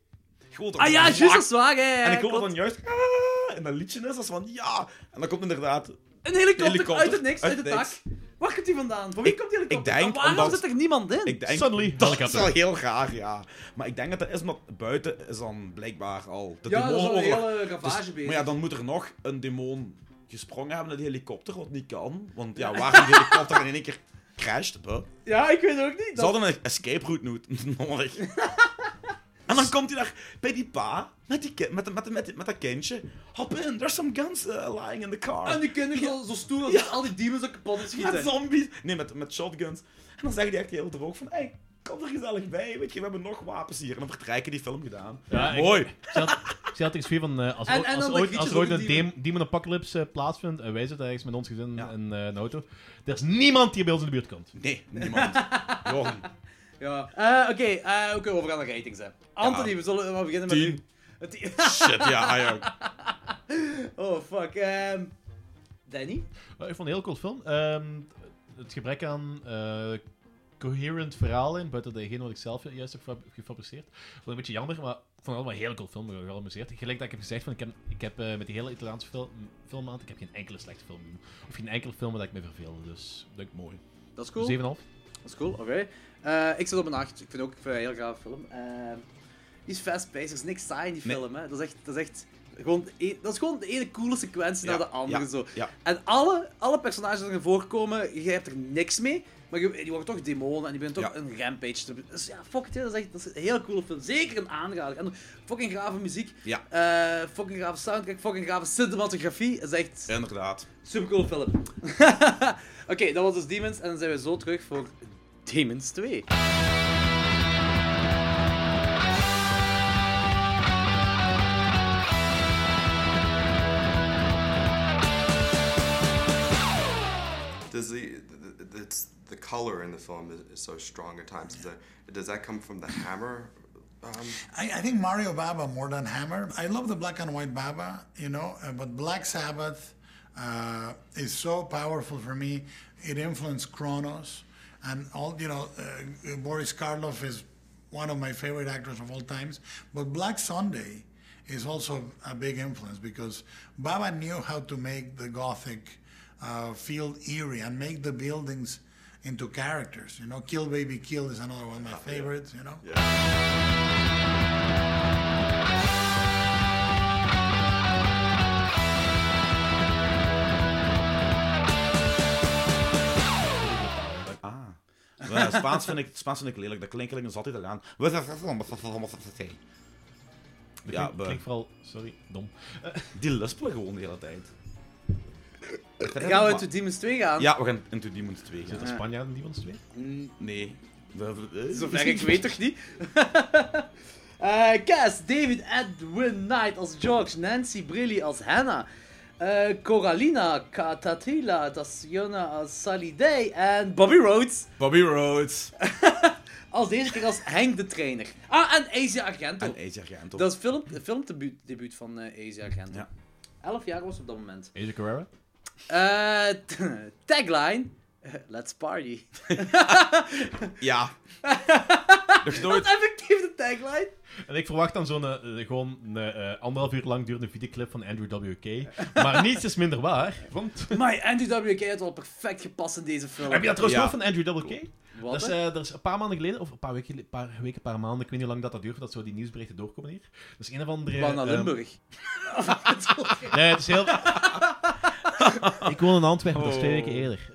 Speaker 2: Gewoon dat
Speaker 1: Ah ja,
Speaker 2: vlak-
Speaker 1: juist, dat is waar, hè.
Speaker 2: En ik hoor
Speaker 1: klopt.
Speaker 2: dan juist... "Ah," en dat liedje is, dat is van ja. En dan komt inderdaad...
Speaker 1: Een helikopter,
Speaker 2: helikopter
Speaker 1: uit het niks, uit,
Speaker 2: uit
Speaker 1: de
Speaker 2: het
Speaker 1: tak. Waar komt die vandaan? Voor wie
Speaker 2: Ik-
Speaker 1: komt die helikopter?
Speaker 2: ik denk
Speaker 1: En waarom
Speaker 2: omdat-
Speaker 1: zit er niemand in?
Speaker 2: Ik denk,
Speaker 4: Suddenly,
Speaker 2: dat is
Speaker 4: helikopter.
Speaker 2: wel heel raar, ja. Maar ik denk dat dat is omdat buiten is dan blijkbaar al de
Speaker 1: ja, dat is al een
Speaker 2: demon
Speaker 1: hele ravage bezig.
Speaker 2: Dus- Maar ja, dan moet er nog een demon gesprongen hebben naar die helikopter, wat niet kan. Want ja, waar die helikopter in één keer crasht, hè?
Speaker 1: Ja, ik weet ook niet.
Speaker 2: Ze hadden een escape route nood- nodig. en dan komt hij daar bij die pa, met, die ki- met, met, met, met dat kindje. Hop in, there's some guns eh, lying in the car.
Speaker 1: En die kinderen zo, zo stoer dat al die demons ook kapot is schieten.
Speaker 2: Met zombies. Nee, met, met shotguns. En dan zeggen die echt heel droog van, hey, kom er gezellig bij, weet je, we hebben nog wapens hier. En dan vertrekken die film gedaan.
Speaker 4: Ja, ik-
Speaker 2: Mooi.
Speaker 4: Ze had, ze had iets van, eh, als,
Speaker 1: En-
Speaker 4: ooit-
Speaker 1: en
Speaker 4: als,
Speaker 1: dan dat
Speaker 4: ooit,
Speaker 1: liedje
Speaker 4: als er
Speaker 1: zo
Speaker 4: ooit
Speaker 1: die
Speaker 4: een
Speaker 1: demon-
Speaker 4: dem- demon apocalypse eh, plaatsvindt, en wij zitten ergens met ons gezin
Speaker 2: Ja.
Speaker 4: in eh, een auto, er is niemand die bij ons in de buurt komt.
Speaker 2: Nee, niemand. Jorn.
Speaker 1: Ja. Eh, Oké, eh, we kunnen overgaan naar ratings, hè. Anthony, we zullen we beginnen met
Speaker 2: Tien.
Speaker 1: u. Het tien.
Speaker 2: Shit, ja, ja.
Speaker 1: oh, fuck. ehm, Danny?
Speaker 4: Eh, ik vond het een heel cool film. Ehm, het gebrek aan eh, coherent verhaal in, buiten datgene wat ik zelf juist heb gefab- gefabriceerd, vond ik een beetje jammer, maar ik vond het allemaal een heel cool film. Ik ben wel geamuseerd. Gelijk dat ik heb gezegd, van, ik heb, ik heb eh, met die hele Italiaanse film, filmmaand, ik heb geen enkele slechte film gezien. Of geen enkele film waar ik me verveelde, dus dat ik mooi.
Speaker 1: Dat is cool.
Speaker 4: 7,5.
Speaker 1: Dat is cool, oké. Eh, ik zit op een 8. Ik vind ook ik vind het een heel graag film. Ehm, die is fast-paced, er is niks saai in die
Speaker 2: Nee.
Speaker 1: film. Hè. Dat, is echt, dat, is echt gewoon, e- dat is gewoon de ene coole sequentie
Speaker 2: Ja,
Speaker 1: naar de andere.
Speaker 2: ja,
Speaker 1: zo.
Speaker 2: ja.
Speaker 1: En alle, alle personages die erin voorkomen, je hebt er niks mee. Maar je, die worden toch demonen en die beginnen toch
Speaker 2: Ja.
Speaker 1: een rampage te... Dus ja, fuck it, hè. dat is echt dat is een heel coole film. Zeker een aanrader. En fucking grave muziek.
Speaker 2: Ja.
Speaker 1: Eh, fucking grave soundtrack, fucking grave cinematografie. Dat is echt...
Speaker 2: Inderdaad.
Speaker 1: Super cool film. Oké, dat was dus Demons. En dan zijn we zo terug voor Demons 2.
Speaker 9: Does the, the- the it's the color in the film is, is so strong at times? Is that, does that come from the hammer? Um,
Speaker 5: I, I think Mario Baba more than Hammer. I love the black and white Baba, you know, uh, but Black Sabbath uh, is so powerful for me. It influenced Kronos, and all you know, uh, Boris Karloff is one of my favorite actors of all times. But Black Sunday is also a big influence because Baba knew how to make the Gothic uh, feel eerie and make the buildings into characters. You know, Kill Baby Kill is another one of my favorites. You know.
Speaker 2: Ja, Spaans, vind ik, Spaans vind ik lelijk, dat klinkt gelijk een zat Italiaan.
Speaker 4: Dat
Speaker 2: Ja,
Speaker 4: klinkt,
Speaker 2: we-
Speaker 4: klinkt vooral, sorry, dom.
Speaker 2: Die lispelen gewoon de hele tijd.
Speaker 1: Gaan we to Demons 2 gaan?
Speaker 2: Ja, we gaan into Demons 2 gaan.
Speaker 4: Zit er Spanjaarden die van ons twee?
Speaker 2: Nee. We- eh,
Speaker 1: Zover ik weet toch niet? Eh Cass, David Edwin Knight als George, Nancy Brilli als Hannah, eh, Coralina Katatila, Tassiona als Sally Day en Bobby Rhodes
Speaker 2: Bobby Rhodes.
Speaker 1: als deze keer als Henk de Trainer. Ah, en Asia Argento.
Speaker 2: En Ace Argento.
Speaker 1: dat is film, filmdebuut debuut van eh Asia Argento.
Speaker 2: Ja.
Speaker 1: 11 jaar was ze op dat moment.
Speaker 4: Asia Carrera?
Speaker 1: Eh, t- tagline. eh, Let's party.
Speaker 2: Ja. Nog nooit.
Speaker 1: Effectief de tagline.
Speaker 4: En ik verwacht dan zo'n eh, eh, gewoon een eh, anderhalf uur lang durende videoclip van Andrew W.K. Maar niets is minder waar, want...
Speaker 1: Maar Andy W.K. had wel perfect gepast in deze film.
Speaker 4: Heb je dat trouwens
Speaker 2: Ja.
Speaker 4: gehoord van Andrew W.K.?
Speaker 1: Wat,
Speaker 4: Dat is,
Speaker 1: hè?
Speaker 4: eh, dat is een paar maanden geleden, of een paar weken, geleden- paar weken, paar maanden, ik weet niet hoe lang dat, dat duurt, dat zo die nieuwsberichten doorkomen hier. Dat is een of andere...
Speaker 1: Van naar
Speaker 4: ehm,
Speaker 1: Limburg.
Speaker 4: nee, het is heel... ik woon in Antwerpen, dat is twee
Speaker 1: Oh.
Speaker 4: weken eerder.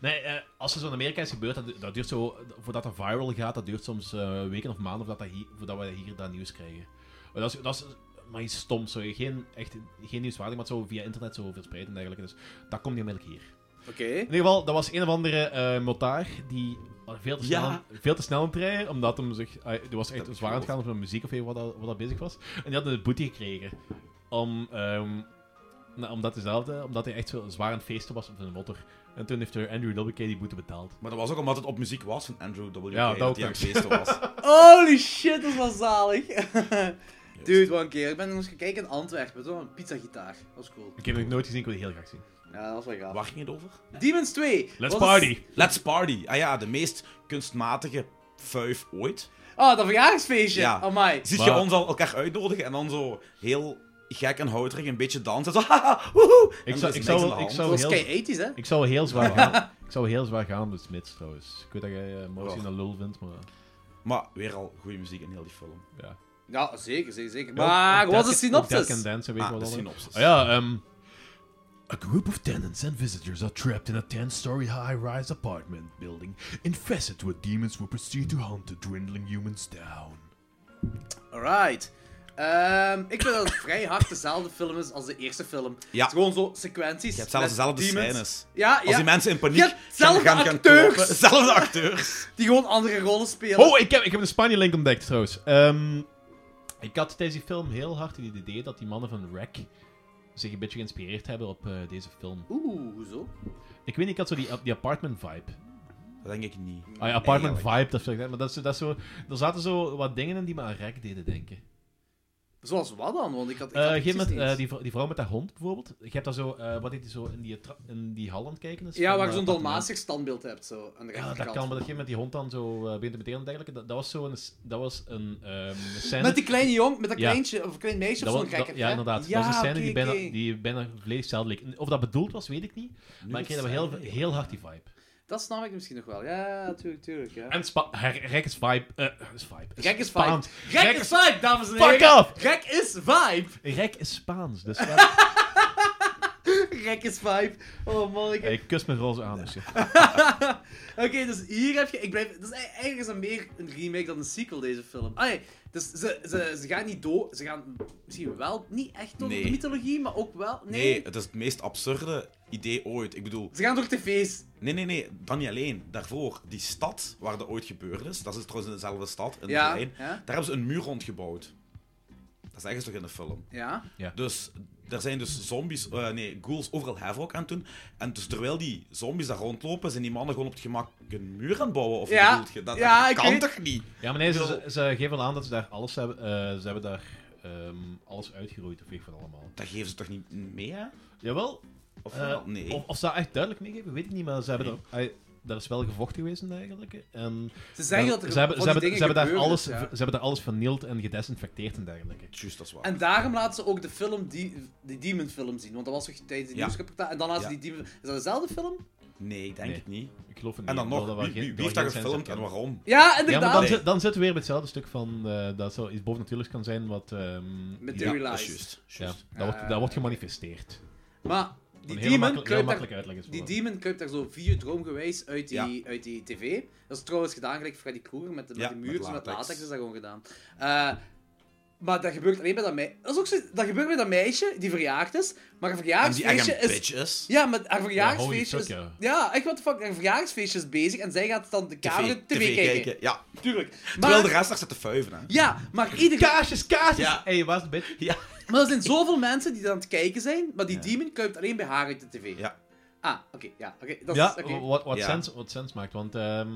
Speaker 4: nee, eh, als er zo in Amerika is gebeurd, dat, dat duurt zo... Voordat dat viral gaat, dat duurt soms eh, weken of maanden voordat, dat hier, voordat we hier dat nieuws krijgen. Maar dat is... Dat is maar iets stoms, zo. Geen, echt, geen nieuwswaardig, maar zo via internet zo verspreid en dergelijke. Dus dat komt niet onmiddellijk hier.
Speaker 1: Oké.
Speaker 4: In ieder geval, dat was een of andere eh motaar die eh, veel te, snel,
Speaker 2: Ja.
Speaker 4: veel te snel aan het rijden, omdat hem zich... hij- die was echt
Speaker 2: heb ik
Speaker 4: zwaar aan het
Speaker 2: gehoord.
Speaker 4: gaan of met muziek of even wat, dat- wat dat bezig was. En die had een boete gekregen om ehm, Nou, omdat, dezelfde, omdat hij echt zo zwaar aan het feesten was op zijn motor. En toen heeft er Andrew WK die boete betaald.
Speaker 2: Maar dat was ook omdat het op muziek was van Andrew W.K.
Speaker 4: Ja, dat
Speaker 2: dat
Speaker 4: ook
Speaker 2: hij aan
Speaker 4: nog.
Speaker 2: het feesten was.
Speaker 1: Holy shit, dat was zalig. Dude, wat een keer. Ik ben nog eens gekeken in Antwerpen. Toen een pizzagitaar. Dat was cool.
Speaker 4: Ik heb het nog nooit gezien, ik wil die heel graag zien.
Speaker 1: Ja, dat was wel gaaf.
Speaker 2: Waar ging het over?
Speaker 1: Demons 2.
Speaker 4: Let's
Speaker 1: was
Speaker 4: party!
Speaker 1: een-
Speaker 2: Let's Party. Ah ja, de meest kunstmatige fuif ooit.
Speaker 1: Oh, dat verjaardagsfeestje.
Speaker 2: Ja.
Speaker 1: Amai.
Speaker 2: Ziet je
Speaker 4: Maar-
Speaker 2: ons al elkaar uitnodigen en dan zo heel gek en houterig een beetje dansen. Zo, haha, woehoe. En
Speaker 4: Ik
Speaker 2: er
Speaker 4: zou,
Speaker 2: is niks
Speaker 4: ik zou,
Speaker 2: aan
Speaker 4: wel-
Speaker 2: de
Speaker 4: ik
Speaker 2: hand.
Speaker 1: Dat
Speaker 4: zou
Speaker 1: was
Speaker 4: heel,
Speaker 1: kei 80s, hè?
Speaker 4: ik zou heel zwaar gaan. Ik zou heel zwaar gaan met Smits trouwens. Ik weet dat jij eh Mousy
Speaker 2: Waar?
Speaker 4: een lul vindt, maar
Speaker 2: Maar weer al goede muziek in heel die film.
Speaker 4: ja.
Speaker 1: Ja, zeker, zeker, zeker. Maar wat is synopsis?
Speaker 4: Dead Dance, weet
Speaker 2: Ah,
Speaker 4: je
Speaker 2: de
Speaker 4: wat allemaal.
Speaker 2: synopsis.
Speaker 4: Ah ja, ehm,
Speaker 8: A group of tenants and visitors are trapped in a 10 story high rise apartment building infested with demons who proceed to hunt the dwindling humans down.
Speaker 1: Alright. Ehm, ik vind dat het vrij hard dezelfde film is als de eerste film.
Speaker 2: Ja.
Speaker 1: Het is gewoon zo sequenties.
Speaker 2: Je hebt zelfs
Speaker 1: met
Speaker 2: dezelfde
Speaker 1: demons.
Speaker 2: scènes.
Speaker 1: Ja,
Speaker 2: Als
Speaker 1: ja.
Speaker 2: die mensen in paniek
Speaker 1: Je hebt
Speaker 2: gaan,
Speaker 1: zelfde
Speaker 2: gaan, gaan
Speaker 1: acteurs.
Speaker 2: kloppen. Zelfde acteurs.
Speaker 1: Die gewoon andere rollen spelen.
Speaker 4: Oh, ik heb, ik heb een Spanje-link ontdekt trouwens. Ehm, ik had tijdens die film heel hard het idee dat die mannen van Rec zich een beetje geïnspireerd hebben op eh, deze film.
Speaker 1: Oeh, hoezo?
Speaker 4: Ik weet niet, ik had zo die, die apartment-vibe.
Speaker 2: Dat denk ik niet.
Speaker 4: Ah ja, apartment-vibe, dat vind ik net, Maar dat is, zo- dat is zo, er zaten zo wat dingen in die me aan Rec deden denken.
Speaker 1: Zoals wat dan? Want ik had. Ik
Speaker 4: Eh,
Speaker 1: had
Speaker 4: op een
Speaker 1: precies
Speaker 4: gegeven moment,
Speaker 1: niks.
Speaker 4: eh, die, vrou- die vrouw met haar hond bijvoorbeeld. Je hebt daar zo, eh, wat heet die zo, in die, tra- in die hal aan het kijken is.
Speaker 1: Ja,
Speaker 4: van,
Speaker 1: waar je
Speaker 4: eh,
Speaker 1: zo'n
Speaker 4: appartement.
Speaker 1: Dalmatisch standbeeld hebt. Zo, aan de
Speaker 4: Ja, dat
Speaker 1: rechterkant.
Speaker 4: kan, maar dat geeft met die hond dan zo eh begint te meteen en dergelijke. Dat, dat was zo een, s- dat was een ehm, scène...
Speaker 1: Met die kleine jong, met dat
Speaker 4: Ja.
Speaker 1: kleintje, of klein meisje
Speaker 4: Dat
Speaker 1: of
Speaker 4: was-
Speaker 1: zo'n
Speaker 4: dat-
Speaker 1: gekker.
Speaker 4: ja,
Speaker 1: hè?
Speaker 4: inderdaad.
Speaker 1: Ja,
Speaker 4: dat was een scène die
Speaker 1: oké,
Speaker 4: bijna,
Speaker 1: oké.
Speaker 4: die bijna volledig hetzelfde leek. Of dat bedoeld was, weet ik niet. maar ik kreeg dat wel heel, heel hard die vibe.
Speaker 1: Dat snap ik misschien nog wel. Ja, tuurlijk, tuurlijk. Ja.
Speaker 4: En spa her- Rek is vibe. eh, is vibe.
Speaker 1: Gek is vibe.
Speaker 4: Spaans.
Speaker 1: Gek is vibe, dames en
Speaker 4: Fuck
Speaker 1: heren.
Speaker 4: off!
Speaker 1: Gek is vibe.
Speaker 4: Rek is Spaans. Dus eh,
Speaker 1: Gek is vibe. Oh man, ik heb-
Speaker 4: ik kus mijn roze aan. Dus, ja.
Speaker 1: Oké, dus hier heb je. Ik blijf, dus eigenlijk is dat meer een remake dan een sequel, deze film. Ah, nee, dus ze, ze, ze gaan niet dood. Ze gaan misschien wel niet echt door
Speaker 2: Nee.
Speaker 1: de mythologie, maar ook wel. Nee.
Speaker 2: Nee, het is het meest absurde idee ooit. Ik bedoel,
Speaker 1: Ze gaan door tv's.
Speaker 2: Nee, nee, nee, dan niet alleen. Daarvoor, die stad waar dat ooit gebeurd is, dat is trouwens in dezelfde stad, in
Speaker 1: Ja,
Speaker 2: Berlijn,
Speaker 1: ja.
Speaker 2: daar hebben ze een muur rondgebouwd. Dat is ergens toch in de film.
Speaker 1: Ja.
Speaker 2: Dus er zijn dus zombies, eh, nee, ghouls overal havoc aan het doen. En dus terwijl die zombies daar rondlopen, zijn die mannen gewoon op het gemak een muur aan het bouwen. Of
Speaker 1: Ja,
Speaker 2: hoe bedoelt je? Dat,
Speaker 1: ja,
Speaker 2: dat
Speaker 1: ik
Speaker 2: kan
Speaker 1: weet-
Speaker 2: toch niet?
Speaker 4: ja, maar nee, ze, ze- ze geven wel aan dat ze daar alles hebben. eh, ze hebben daar ehm, alles uitgeroeid. Of weet ik van allemaal.
Speaker 2: Dat geven ze toch niet mee, hè?
Speaker 4: Jawel.
Speaker 2: Of
Speaker 4: eh,
Speaker 2: wel? Nee.
Speaker 4: Of, of ze dat echt duidelijk meegeven, weet ik niet. Maar ze hebben daar. eh, daar is wel gevochten geweest en dergelijke. En
Speaker 1: Ze zeggen
Speaker 4: daar-
Speaker 1: dat er
Speaker 4: ze hebben,
Speaker 1: van
Speaker 4: ze
Speaker 1: die
Speaker 4: hebben,
Speaker 1: dingen
Speaker 4: ze hebben daar
Speaker 1: gebeuren,
Speaker 4: alles,
Speaker 1: ja.
Speaker 4: Ze hebben daar alles vernield en gedesinfecteerd en dergelijke.
Speaker 2: Juist, dat is waar.
Speaker 1: En daarom laten ze ook de film, die, die Demon film zien. Want dat was toch tijdens die
Speaker 2: Ja.
Speaker 1: nieuwsreportage. En dan laten ze
Speaker 2: Ja.
Speaker 1: die Demon. Is dat dezelfde film?
Speaker 2: Nee, ik denk
Speaker 4: Nee.
Speaker 2: het niet.
Speaker 4: Ik geloof het niet.
Speaker 2: En dan
Speaker 4: ik geloof
Speaker 2: nog,
Speaker 4: dat
Speaker 2: wie,
Speaker 4: we geen-
Speaker 2: wie, wie
Speaker 4: dat
Speaker 2: heeft
Speaker 4: we
Speaker 2: dat
Speaker 4: geen
Speaker 2: gefilmd
Speaker 4: scènes
Speaker 2: en
Speaker 4: hebben.
Speaker 2: waarom?
Speaker 1: Ja,
Speaker 4: Ja,
Speaker 1: inderdaad.
Speaker 4: maar dan,
Speaker 2: Nee.
Speaker 4: zit- dan zitten we weer bij hetzelfde stuk van eh, dat zo iets bovennatuurlijks kan zijn wat... ehm,
Speaker 1: Material.
Speaker 2: Ja, dat is juist.
Speaker 4: Ja, ja,
Speaker 2: juist. Ah.
Speaker 4: dat, wordt, dat wordt gemanifesteerd.
Speaker 1: Maar die
Speaker 4: Een heel,
Speaker 1: Demon
Speaker 4: makkelijk, heel
Speaker 1: kruipt daar
Speaker 4: makkelijk uitleg is
Speaker 1: Die
Speaker 4: voor
Speaker 1: demon kruipt daar zo videodroomgewijs uit die, uit die tv. Dat is trouwens gedaan gelijk Freddy Krueger met, de, met
Speaker 2: Ja,
Speaker 1: die
Speaker 2: met
Speaker 1: muur, met latex.
Speaker 2: latex.
Speaker 1: is dat gewoon gedaan. Eh, maar dat gebeurt alleen bij dat meisje. Dat, is ook zo- dat gebeurt bij dat meisje die verjaagd is, maar haar
Speaker 2: En die echt
Speaker 1: verjaardagsfeestje
Speaker 2: een
Speaker 1: is...
Speaker 2: bitch is.
Speaker 1: Ja, maar haar verjaardagsfeestje
Speaker 4: holy
Speaker 1: is...
Speaker 4: fuck, ja.
Speaker 1: Ja, echt wat de fuck, haar verjaardagsfeestje is bezig en zij gaat dan de camera tv, kijken.
Speaker 2: Ja,
Speaker 1: Tuurlijk.
Speaker 2: terwijl de
Speaker 1: Maar,
Speaker 2: rest daar zit te fuiven, hè.
Speaker 1: ja, maar iedereen...
Speaker 4: Kaarsjes, kaarsjes!
Speaker 2: Ja.
Speaker 4: hey, waar is de bitch?
Speaker 2: Ja.
Speaker 1: Maar er zijn zoveel mensen die dan aan het kijken zijn, maar die demon kruipt alleen bij haar uit de tv.
Speaker 2: Ja.
Speaker 1: Ah, oké, ja, oké. dat
Speaker 4: Ja,
Speaker 1: is... oké.
Speaker 4: wat, wat,
Speaker 2: Ja. oh,
Speaker 4: Sens, wat sens maakt, want... ehm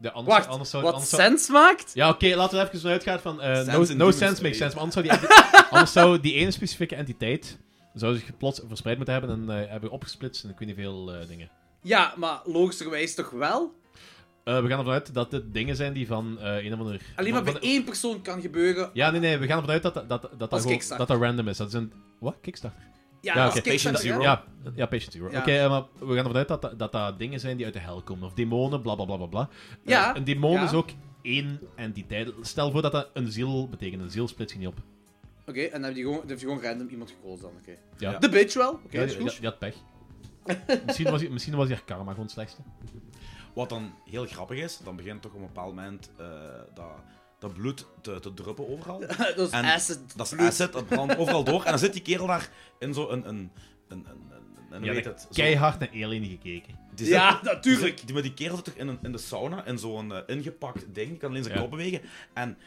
Speaker 4: ja, anders,
Speaker 1: Wacht,
Speaker 4: anders zou,
Speaker 1: wat
Speaker 4: anders zou-
Speaker 1: sens maakt?
Speaker 4: Ja, oké, laten we er even vanuit gaan van... eh,
Speaker 2: Sense
Speaker 4: no
Speaker 2: and
Speaker 4: no
Speaker 2: demons, baby.
Speaker 4: sense makes sense, maar anders zou, die, anders zou die ene specifieke entiteit zou zich plots verspreid moeten hebben en eh, hebben opgesplitst en ik weet niet veel eh, dingen.
Speaker 1: Ja, maar logischerwijs toch wel?
Speaker 4: Eh, we gaan ervan uit dat dit dingen zijn die van eh een of ander...
Speaker 1: Alleen
Speaker 4: van-
Speaker 1: maar bij
Speaker 4: van-
Speaker 1: één persoon kan gebeuren.
Speaker 4: Ja, nee, nee, we gaan ervan uit dat dat, dat, dat, dat,
Speaker 1: Als
Speaker 4: gewoon-
Speaker 1: Kickstarter.
Speaker 4: dat dat random is. Dat is een... Wat? Kickstarter?
Speaker 1: Ja,
Speaker 4: Ja,
Speaker 1: als
Speaker 4: oké.
Speaker 1: Kickstarter,
Speaker 2: Patient
Speaker 1: hè?
Speaker 2: Zero.
Speaker 4: Ja, ja Patient Zero.
Speaker 1: Ja.
Speaker 4: Oké, eh, maar we gaan ervan uit dat, dat dat dat dingen zijn die uit de hel komen. Of demonen, bla bla bla bla. bla. Eh,
Speaker 1: Ja,
Speaker 4: een demon
Speaker 1: ja.
Speaker 4: is ook één entiteit. Stel voor dat dat een ziel betekent. Een ziel splits je niet op.
Speaker 1: Oké, en dan heb je gewoon, dan heb je gewoon random iemand gekozen dan, oké.
Speaker 4: Ja.
Speaker 1: De bitch wel, oké,
Speaker 4: Ja,
Speaker 1: is
Speaker 4: die,
Speaker 1: goed.
Speaker 4: die- die had pech. misschien, was, die- misschien was die haar karma gewoon het slechtste.
Speaker 2: Wat dan heel grappig is, dan begint toch op een bepaald moment eh, dat, dat bloed te, te druppen overal.
Speaker 1: dat is
Speaker 2: En
Speaker 1: acid.
Speaker 2: Dat is
Speaker 1: bloed.
Speaker 2: acid, dat brandt overal door. En dan zit die kerel daar in zo'n... Een, een, een, een, een, een
Speaker 4: Ja,
Speaker 2: weet
Speaker 4: die
Speaker 2: het,
Speaker 4: had
Speaker 2: zo-
Speaker 4: keihard naar Alien gekeken.
Speaker 2: die
Speaker 1: Ja,
Speaker 2: zit-
Speaker 1: natuurlijk.
Speaker 2: Die, zit- die- maar die kerel zit toch in, een, in de sauna, in zo'n eh, ingepakt ding. Die kan alleen zijn
Speaker 4: Ja.
Speaker 2: kop bewegen. En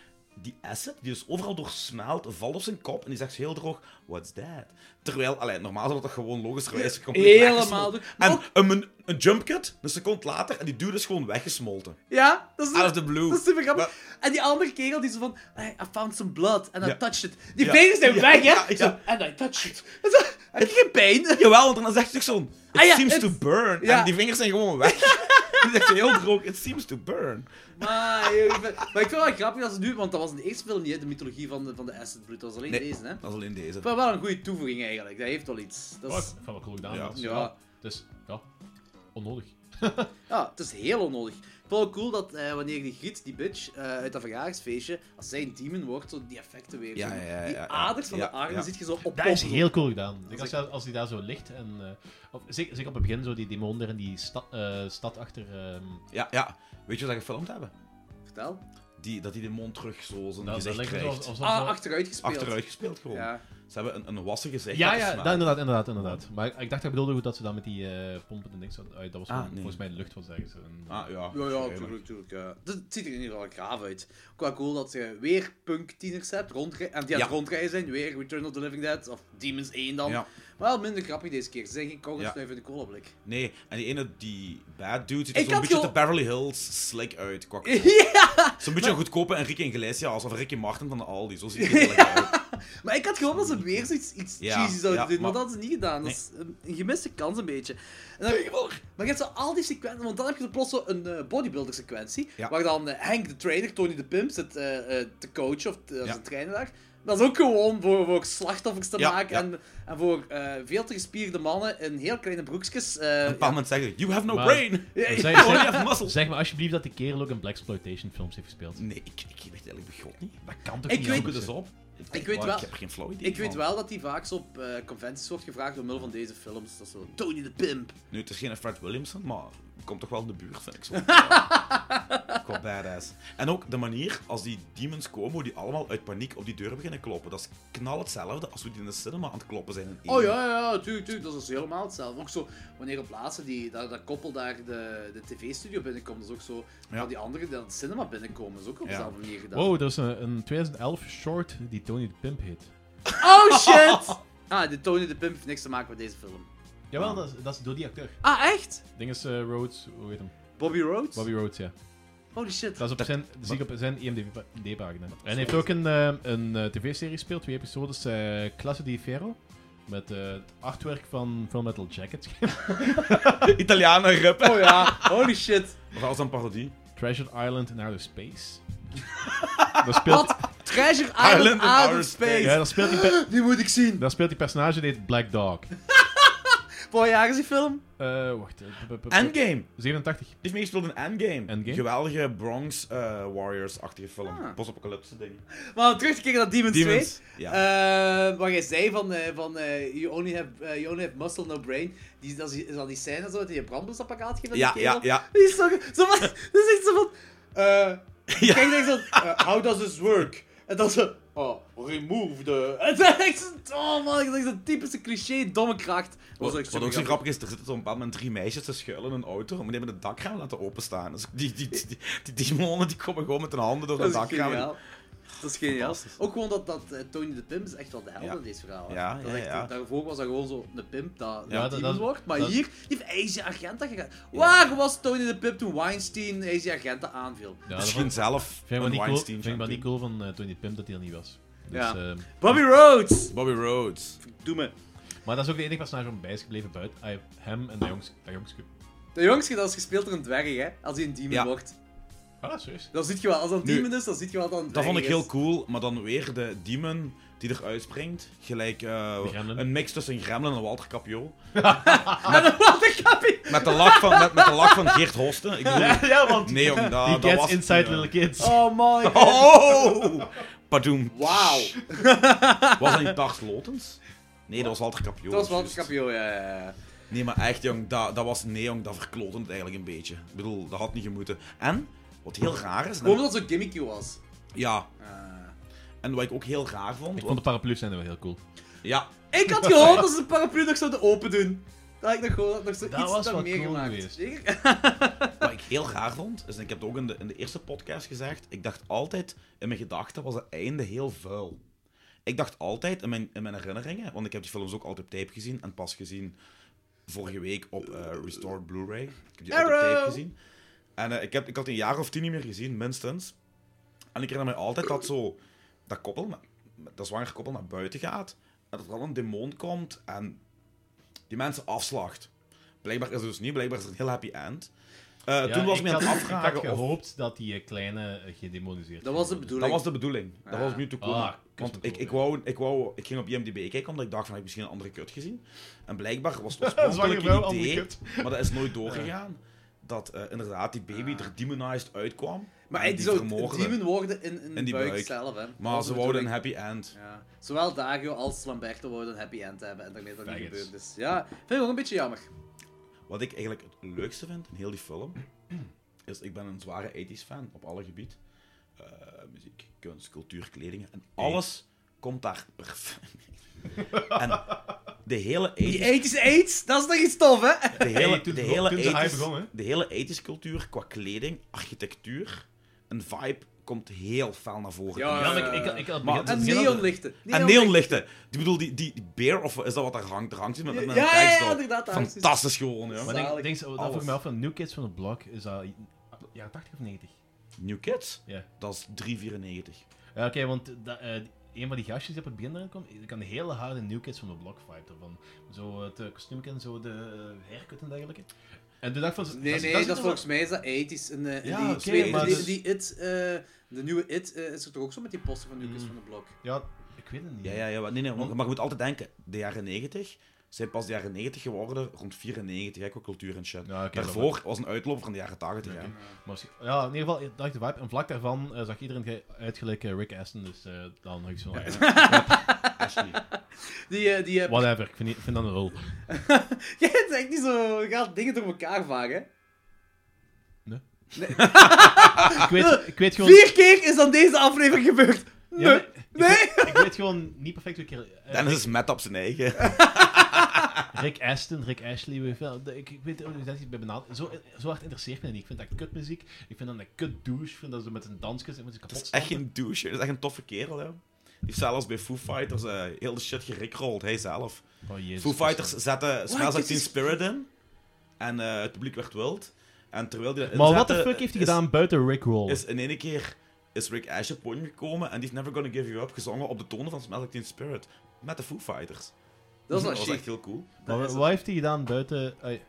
Speaker 2: die acid, die dus overal doorsmelt, valt op zijn kop en die zegt heel droog, what's that? Terwijl, allee, normaal zou dat toch gewoon logischerwijs compleet
Speaker 1: Helemaal
Speaker 2: weggesmolten.
Speaker 1: doen.
Speaker 2: En
Speaker 1: Ook-
Speaker 2: een, een, een jump cut, een seconde later, en die dude is gewoon weggesmolten.
Speaker 1: Ja, dat is
Speaker 2: Out of the blue.
Speaker 1: Dat is super grappig.
Speaker 2: Maar-
Speaker 1: En die andere kerel die zo van, I, I found some blood and I
Speaker 2: Ja.
Speaker 1: touched it. Die
Speaker 2: Ja.
Speaker 1: vingers zijn
Speaker 2: Ja,
Speaker 1: weg, hè?
Speaker 2: ja, ja.
Speaker 1: Zo, and I touched it. Dat is- Heb je geen pijn?
Speaker 2: Jawel, want dan zegt hij toch zo'n, it
Speaker 1: Ah ja,
Speaker 2: seems to
Speaker 1: it's-
Speaker 2: burn.
Speaker 1: ja.
Speaker 2: En die vingers zijn gewoon weg. die zegt heel droog, it seems to burn.
Speaker 1: Maar, joh, ik ben- Ah, maar ik vind het wel grappig dat ze nu, want dat was in de eerste film niet, hè, de mythologie van de, van de Acid Brute. Dat was alleen deze, hè?
Speaker 2: dat is alleen deze.
Speaker 1: Maar wel een goede toevoeging eigenlijk, dat heeft wel iets. Dat
Speaker 4: Fuck,
Speaker 1: is,
Speaker 4: ik vond wel cool gedaan.
Speaker 2: Ja.
Speaker 4: dat is-
Speaker 1: Ja.
Speaker 4: Dus, ja, onnodig.
Speaker 1: ja, het is heel onnodig. Ik vond het cool dat eh, wanneer die giet, die bitch, eh, uit dat verjaringsfeestje, als zij een demon wordt, zo die effecten weer.
Speaker 2: Ja,
Speaker 1: zo,
Speaker 2: ja, ja,
Speaker 1: die
Speaker 2: ja, ja.
Speaker 1: aders van
Speaker 2: Ja,
Speaker 1: de armen
Speaker 2: ja.
Speaker 1: zit je zo op
Speaker 4: Dat is
Speaker 1: poppen.
Speaker 4: heel cool gedaan. Ik als, als die daar zo ligt en. eh, of, zeker, zeker op het begin, zo die demon daar in die stad, eh, stad achter. ehm,
Speaker 2: Ja, ja. Weet je wat ze gefilmd hebben?
Speaker 1: Vertel.
Speaker 2: Die, dat hij de mond terug zo zijn
Speaker 4: dat- dat
Speaker 2: gezicht
Speaker 4: lijkt me
Speaker 2: krijgt.
Speaker 4: alsof- alsof-
Speaker 1: Ah, achteruit gespeeld.
Speaker 2: Achteruit gespeeld gewoon.
Speaker 1: Ja.
Speaker 2: Ze hebben een, een wassen gezicht.
Speaker 4: Ja,
Speaker 2: laten
Speaker 4: ja,
Speaker 2: slaan.
Speaker 4: dat, inderdaad, inderdaad, inderdaad. Maar ik dacht, ik bedoelde goed dat ze dan met die eh, pompen en niks hadden. Ah, dat was
Speaker 2: Ah,
Speaker 4: gewoon-
Speaker 2: nee.
Speaker 4: volgens mij lucht, was ergens. Een,
Speaker 2: Ah, ja.
Speaker 1: Ja, ja,
Speaker 2: sorry,
Speaker 1: tuurlijk, tuurlijk. Ja. Dat het ziet er in ieder geval graaf uit. Ook wel cool dat je weer punk-tieners hebt, rondre- en die aan het
Speaker 2: Ja.
Speaker 1: rondrijden zijn, weer Return of the Living Dead, of Demons 1 dan.
Speaker 2: maar- Ja.
Speaker 1: Maar wel minder grappig deze keer. Ze zijn geen kogels
Speaker 2: Ja.
Speaker 1: snuiven in de kolablik.
Speaker 2: Nee, en die ene, die bad dude, ziet
Speaker 1: Ik
Speaker 2: er zo'n
Speaker 1: had
Speaker 2: beetje
Speaker 1: ge-
Speaker 2: de Beverly Hills slick uit. Qua...
Speaker 1: ja!
Speaker 2: Zo'n beetje een goedkope Enrique Iglesias, alsof Ricky Martin van de Aldi. Zo ziet hij er lekker uit.
Speaker 1: Maar ik had gehoopt dat ze weer zoiets iets
Speaker 2: Ja,
Speaker 1: cheesy zouden
Speaker 2: ja,
Speaker 1: doen, maar
Speaker 2: maar-
Speaker 1: dat hadden ze niet gedaan. Dat is een een gemiste kans een beetje. En dan, maar je hebt zo al die sequenties, want dan heb je er plots zo een eh, bodybuilder sequentie,
Speaker 2: Ja.
Speaker 1: waar dan eh, Henk de trainer, Tony de Pimp zit eh, eh, te coachen of te, als
Speaker 2: Ja.
Speaker 1: een trainer daar. Dat is ook gewoon voor, voor slachtoffers te
Speaker 2: Ja,
Speaker 1: maken
Speaker 2: ja.
Speaker 1: En, en voor eh, veel te gespierde mannen in heel kleine broekjes. eh,
Speaker 2: Op een bepaald moment zeggen You have no
Speaker 4: Maar-
Speaker 2: brain!
Speaker 1: ja, ja,
Speaker 4: Zeg,
Speaker 2: You only
Speaker 4: zeg,
Speaker 2: have muscles!
Speaker 4: zeg maar alsjeblieft dat die kerel ook in Blaxploitation films heeft gespeeld.
Speaker 2: Nee, ik, ik weet eigenlijk begot niet.
Speaker 4: Dat kan toch
Speaker 1: Ik
Speaker 4: niet
Speaker 1: weet-
Speaker 2: Zoek
Speaker 4: anders
Speaker 2: het eens
Speaker 4: zijn?
Speaker 2: op.
Speaker 1: Ik weet
Speaker 2: Oh,
Speaker 1: wel-
Speaker 2: Ik heb er geen flow idee
Speaker 1: Ik weet
Speaker 2: van.
Speaker 1: wel dat die vaak zo op eh, conventies wordt gevraagd door middel van deze films. Dat is zo, Tony de Pimp.
Speaker 2: Nu, het is geen Fred Williamson, maar komt toch wel in de buurt, vind ik zo. Qua badass. En ook de manier als die demons komen, hoe die allemaal uit paniek op die deur beginnen kloppen. Dat is knal hetzelfde als hoe die in de cinema aan het kloppen zijn in één.
Speaker 1: Oh ja, ja, ja, tuurlijk, tuurlijk. Dat is dus helemaal hetzelfde. Ook zo, wanneer op laatste die, dat, dat koppel daar de, de tv-studio binnenkomt, dat is ook zo.
Speaker 2: Ja.
Speaker 1: Van die anderen die aan het cinema binnenkomen, dat is ook op
Speaker 2: Ja.
Speaker 1: dezelfde manier gedaan.
Speaker 4: Wow, dat is een, een 2011 short die Tony de Pimp heet.
Speaker 1: Oh shit! Ah, de Tony de Pimp heeft niks te maken met deze film.
Speaker 4: Jawel, dat is, dat is door die acteur.
Speaker 1: Ah, echt?
Speaker 4: Ah. Ding is eh, Rhodes, hoe heet hem?
Speaker 1: Bobby Rhodes?
Speaker 4: Bobby Rhodes, ja.
Speaker 1: Holy shit.
Speaker 4: Dat is op zijn, zie ik op zijn IMDb-pagina. En hij heeft ook een, eh, een eh, tv-serie gespeeld, twee episodes, eh Classe di Ferro. Met eh, het artwork van Full Metal Jacket.
Speaker 2: Italianen rippen.
Speaker 1: Oh ja, holy shit.
Speaker 2: Dat was een parodie.
Speaker 4: Treasure Island in Outer Space. daar, speelt,
Speaker 1: Treasure Island,
Speaker 2: Island in
Speaker 1: Out
Speaker 2: Outer
Speaker 1: of Space.
Speaker 4: ja, daar, speelt die pe-
Speaker 1: Die moet ik zien.
Speaker 4: daar speelt die personage, die heet Black Dog.
Speaker 1: Voor jaar is die film?
Speaker 4: Eh, wacht. eh, p- p- p-
Speaker 2: Endgame.
Speaker 4: 87.
Speaker 2: Die heeft meegespeeld in Endgame.
Speaker 4: Endgame?
Speaker 2: Geweldige Bronx eh, Warriors-achtige film.
Speaker 1: Ah.
Speaker 2: Post-apocalypse ding.
Speaker 1: Maar om terug te keren naar Demons,
Speaker 2: Demons,
Speaker 1: 2.
Speaker 2: ja.
Speaker 1: eh, waar jij zei van, eh, van eh, you, only have, eh, you only have muscle, no brain. Die, dat is, is dat die scène zo, dat die een brandblusapparaat geeft aan
Speaker 2: Ja,
Speaker 1: die kerel?
Speaker 2: ja, ja.
Speaker 1: Die is zo, zo van, dat is echt zo van... eh
Speaker 2: Ja.
Speaker 1: Kijk, denk zo, eh, how does this work? En dan zo, oh, remove the... En dan echt zo, oh man, dat is een typische cliché, domme kracht. Dat was
Speaker 2: Wat,
Speaker 1: echt
Speaker 2: wat ook zo
Speaker 1: supergrappig.
Speaker 2: grappig is, er zitten zo'n bepaald moment drie meisjes te schuilen in een auto, maar die hebben het dakraam laten openstaan. Dus die, die, die, die, die demonen die komen gewoon met hun handen door het
Speaker 1: Dat is
Speaker 2: dakraam.
Speaker 1: geniaal. Dat is geniaal.
Speaker 2: Fantastisch.
Speaker 1: Ook gewoon dat, dat eh, Tony de Pimp is echt wel de held
Speaker 2: Ja.
Speaker 1: in deze verhaal. hè.
Speaker 2: Ja,
Speaker 1: dat is
Speaker 2: ja,
Speaker 1: echt,
Speaker 2: ja.
Speaker 1: Daarvoor was dat gewoon zo een pimp dat
Speaker 4: Ja,
Speaker 1: een
Speaker 4: dat-
Speaker 1: demon
Speaker 4: dat-
Speaker 1: wordt. Maar
Speaker 4: dat-
Speaker 1: hier die heeft hij zijn agent dat gegaan. Waar was Tony de Pimp toen Weinstein hij zijn agent dat aanviel?
Speaker 4: Ja, dat
Speaker 2: Misschien
Speaker 4: vond-
Speaker 2: zelf
Speaker 4: vind ik wel
Speaker 2: een
Speaker 4: niet cool- vind ik wel
Speaker 2: Weinstein-champion.
Speaker 4: niet cool van eh, Tony de Pimp dat hij er niet was. Dus,
Speaker 1: Ja.
Speaker 4: eh,
Speaker 1: Bobby Rhodes!
Speaker 2: Bobby Rhodes.
Speaker 1: Doe me.
Speaker 4: maar dat is ook de enige personage van bij is gebleven buiten. ah, Hem en dat jongs- dat jongske.
Speaker 1: De jongste dat is gespeeld door een dwerg, hè? Als hij een demon
Speaker 2: Ja.
Speaker 1: wordt.
Speaker 4: Ah, serieus?
Speaker 1: Dan zie je wel, als dat een
Speaker 2: Nu,
Speaker 1: demon is, dan zie je wel dat een
Speaker 2: Dat
Speaker 1: dwerg
Speaker 2: vond ik heel
Speaker 1: is.
Speaker 2: cool, maar dan weer de demon die eruit springt. Gelijk eh,
Speaker 4: De gremlin.
Speaker 2: een mix tussen een gremlin en Walter Capio.
Speaker 1: En dan was ik happy!
Speaker 2: Met de lak van, met, met de lak van Geert Hosten. Ik bedoel,
Speaker 4: Ja, want
Speaker 2: nee, omdat
Speaker 4: die
Speaker 2: Ah, dat
Speaker 4: kids
Speaker 2: was...
Speaker 4: inside little kids.
Speaker 1: Oh my god.
Speaker 2: Oh! Padoem.
Speaker 1: Wauw.
Speaker 2: Was dat niet Bart Lotens? Nee, dat was Walter Capio.
Speaker 1: Dat was wel een
Speaker 2: Oh, juist.
Speaker 1: kampioen, ja, ja, ja.
Speaker 2: Nee, maar echt, jong, dat, dat was... Nee, jong, dat verkloten het eigenlijk een beetje. Ik bedoel, dat had niet gemoeten. En, wat heel raar is...
Speaker 1: Gewoon omdat het zo gimmicky was.
Speaker 2: Ja,
Speaker 1: Eh.
Speaker 2: en wat ik ook heel raar vond...
Speaker 4: Ik vond de
Speaker 2: want-
Speaker 4: paraplu's zijn wel heel cool.
Speaker 2: Ja,
Speaker 1: Ik had gehoopt dat ze de paraplu nog zouden open doen. Dat had ik nog gewoon nog zo
Speaker 4: Dat
Speaker 1: iets
Speaker 4: was
Speaker 1: had
Speaker 4: wel cool
Speaker 1: meegemaakt.
Speaker 4: geweest.
Speaker 1: Zeker?
Speaker 2: maar ik heel raar vond, is, en ik heb het ook in de, in de eerste podcast gezegd, ik dacht altijd, in mijn gedachten was het einde heel vuil. Ik dacht altijd, in mijn, in mijn herinneringen, want ik heb die films ook altijd op tape gezien en pas gezien vorige week op eh, Restored Blu-ray. Ik heb die altijd op tape gezien. En eh, ik, heb, ik had die een jaar of tien niet meer gezien, minstens. En ik herinner me altijd dat zo dat koppel, na- dat zwangere koppel naar buiten gaat. En dat er dan een demon komt en die mensen afslacht. Blijkbaar is het dus niet, blijkbaar is het een heel happy end. Eh,
Speaker 4: Ja,
Speaker 2: toen was
Speaker 4: ik
Speaker 2: ik me aan het
Speaker 4: had- Ik
Speaker 2: afvragen
Speaker 4: had
Speaker 2: of...
Speaker 4: gehoopt dat die eh, kleine eh, gedemoniseerd
Speaker 1: Dat was de
Speaker 2: Dat
Speaker 4: ging worden.
Speaker 1: bedoeling.
Speaker 2: was de bedoeling. Dat was nu te komen.
Speaker 4: Ah,
Speaker 2: Want
Speaker 4: kut,
Speaker 2: ik, ik,
Speaker 4: ja.
Speaker 2: wou, ik, wou, ik ging op IMDb kijken, omdat ik dacht van, heb ik misschien een andere kut gezien? En blijkbaar was het
Speaker 4: Zwangere
Speaker 2: oorspronkelijk
Speaker 4: vrouw,
Speaker 2: een idee,
Speaker 4: andere
Speaker 2: maar dat is nooit doorgegaan, dat eh, inderdaad die baby er demonized uitkwam.
Speaker 1: Maar
Speaker 2: en
Speaker 1: hij
Speaker 2: die
Speaker 1: zou
Speaker 2: vermoorde.
Speaker 1: demon worden in, in,
Speaker 2: In die
Speaker 1: die buik,
Speaker 2: buik.
Speaker 1: zelf. Hè. Dat
Speaker 2: Maar
Speaker 1: was
Speaker 2: ze
Speaker 1: de
Speaker 2: wouden een
Speaker 1: bedoeling.
Speaker 2: happy end.
Speaker 1: Ja. Zowel Dario als Lamberto wouden een happy end hebben. En daarmee is dat niet
Speaker 4: Faggots.
Speaker 1: gebeurd. Dus ja, vind ik ook een beetje jammer.
Speaker 2: Wat ik eigenlijk het leukste vind in heel die film, is ik ben een zware 80s fan op alle gebieden. Eh, muziek, kunst, cultuur, kleding. En alles komt daar perfect. en de hele 80s
Speaker 1: Die AIDS is AIDS, dat is nog iets tof, hè?
Speaker 2: de hele,
Speaker 4: toen
Speaker 2: de
Speaker 4: begon-
Speaker 2: hele
Speaker 4: toen ze high
Speaker 2: 80s
Speaker 4: begon, hè?
Speaker 2: de hele 80s cultuur qua kleding, architectuur, een vibe komt heel fel naar voren.
Speaker 1: Ja,
Speaker 4: Ja,
Speaker 2: En-
Speaker 4: maar ik, ik, ik had
Speaker 2: Maar-
Speaker 4: begin-
Speaker 1: En
Speaker 4: begin-
Speaker 1: neonlichten.
Speaker 2: en neonlichten. Ik bedoel, die, die, die beer, of is dat wat daar hangt? Er hangt iets met, met
Speaker 1: Ja,
Speaker 2: een
Speaker 1: ja, ja,
Speaker 2: kijkstol.
Speaker 1: inderdaad, daar hangt iets.
Speaker 2: Fantastisch gewoon, ja.
Speaker 4: Maar denk,
Speaker 1: Zalig.
Speaker 4: denk, dat vroeg
Speaker 2: Alles.
Speaker 4: ik me af van New Kids van het Blok, is dat jaren 80 of 90?
Speaker 2: New Kids,
Speaker 4: Ja.
Speaker 2: dat is 3,94.
Speaker 4: Ja, oké, want dat, eh, een van die gastjes die op het begin erin komt, ik kan een hele harde New Kids van de Block vibe ervan. Zo het eh, kostuum en zo de eh, haircut en dergelijke. En toen dacht ik van...
Speaker 1: Nee, nee, dat,
Speaker 4: zit er
Speaker 1: volgens mij is dat 80s. In, eh, in
Speaker 4: Ja,
Speaker 1: die
Speaker 4: oké,
Speaker 1: tweede,
Speaker 2: maar
Speaker 1: die,
Speaker 4: dus-
Speaker 1: die It, eh, de nieuwe It, eh, is er toch ook zo met die poster van Lucas
Speaker 4: Mm.
Speaker 1: van de Blok?
Speaker 4: wel- Ja, Hm? ik weet het niet.
Speaker 2: Ja, ja, ja. Maar, nee, nee, maar, maar je moet altijd denken, de jaren 90 zijn pas de jaren 90 geworden, rond 94, hè, qua cultuur en shit.
Speaker 4: Ja, oké,
Speaker 2: Daarvoor was een uitloop van de jaren 80. Ja.
Speaker 4: Maar, misschien- ja, in ieder geval, dacht de vibe. En vlak daarvan eh, zag iedereen ge- uitgelijk eh, Rick Aston, dus eh, dan had ik zo van, ja,
Speaker 2: Ashley.
Speaker 1: Die, eh, die, eh,
Speaker 4: whatever, ik vind, die- ik vind dat een rol.
Speaker 1: Jij bent echt niet zo... Je gaat dingen door elkaar vagen. Ah.
Speaker 4: Ik weet, ik weet gewoon...
Speaker 1: Vier keer is dan deze aflevering gebeurd. Nee.
Speaker 4: Ja, maar ik
Speaker 1: nee.
Speaker 4: weet- Ik weet gewoon niet perfect hoe ik er... eh,
Speaker 2: Dennis is met op zijn eigen.
Speaker 4: Rick Aston, Rick Ashley, weet je wel. De- ik, ik weet de organisatie bij benaderd. Zo, zo hard interesseert me dat niet. Ik vind dat kutmuziek. Ik vind dat een kut douche. Ik vind dat ze met een dansjes en moet ze kapot
Speaker 2: Dat is echt
Speaker 4: stampen.
Speaker 2: geen douche, dat is echt een toffe kerel, hè. Die heeft zelfs bij Foo Fighters eh, heel de shit gerikrold, hij zelf.
Speaker 4: Oh, jezus
Speaker 2: Foo Fighters
Speaker 4: Christus.
Speaker 2: zetten Smells Like
Speaker 1: this
Speaker 2: Teen
Speaker 1: is-
Speaker 2: Spirit in. En eh, het publiek werd wild. En terwijl die dat
Speaker 4: Maar wat
Speaker 2: inzette,
Speaker 4: de fuck heeft hij
Speaker 2: is-
Speaker 4: gedaan buiten Rick Roll?
Speaker 2: Is in ene keer is Rick Ash op podium gekomen en die heeft Never Gonna Give You Up gezongen op de tonen van Smells Like Teen Spirit. Met de Foo Fighters.
Speaker 1: Dat is wel
Speaker 2: dat was
Speaker 1: chic.
Speaker 2: echt heel cool.
Speaker 4: maar wat- wat heeft hij gedaan buiten... eh,
Speaker 2: Die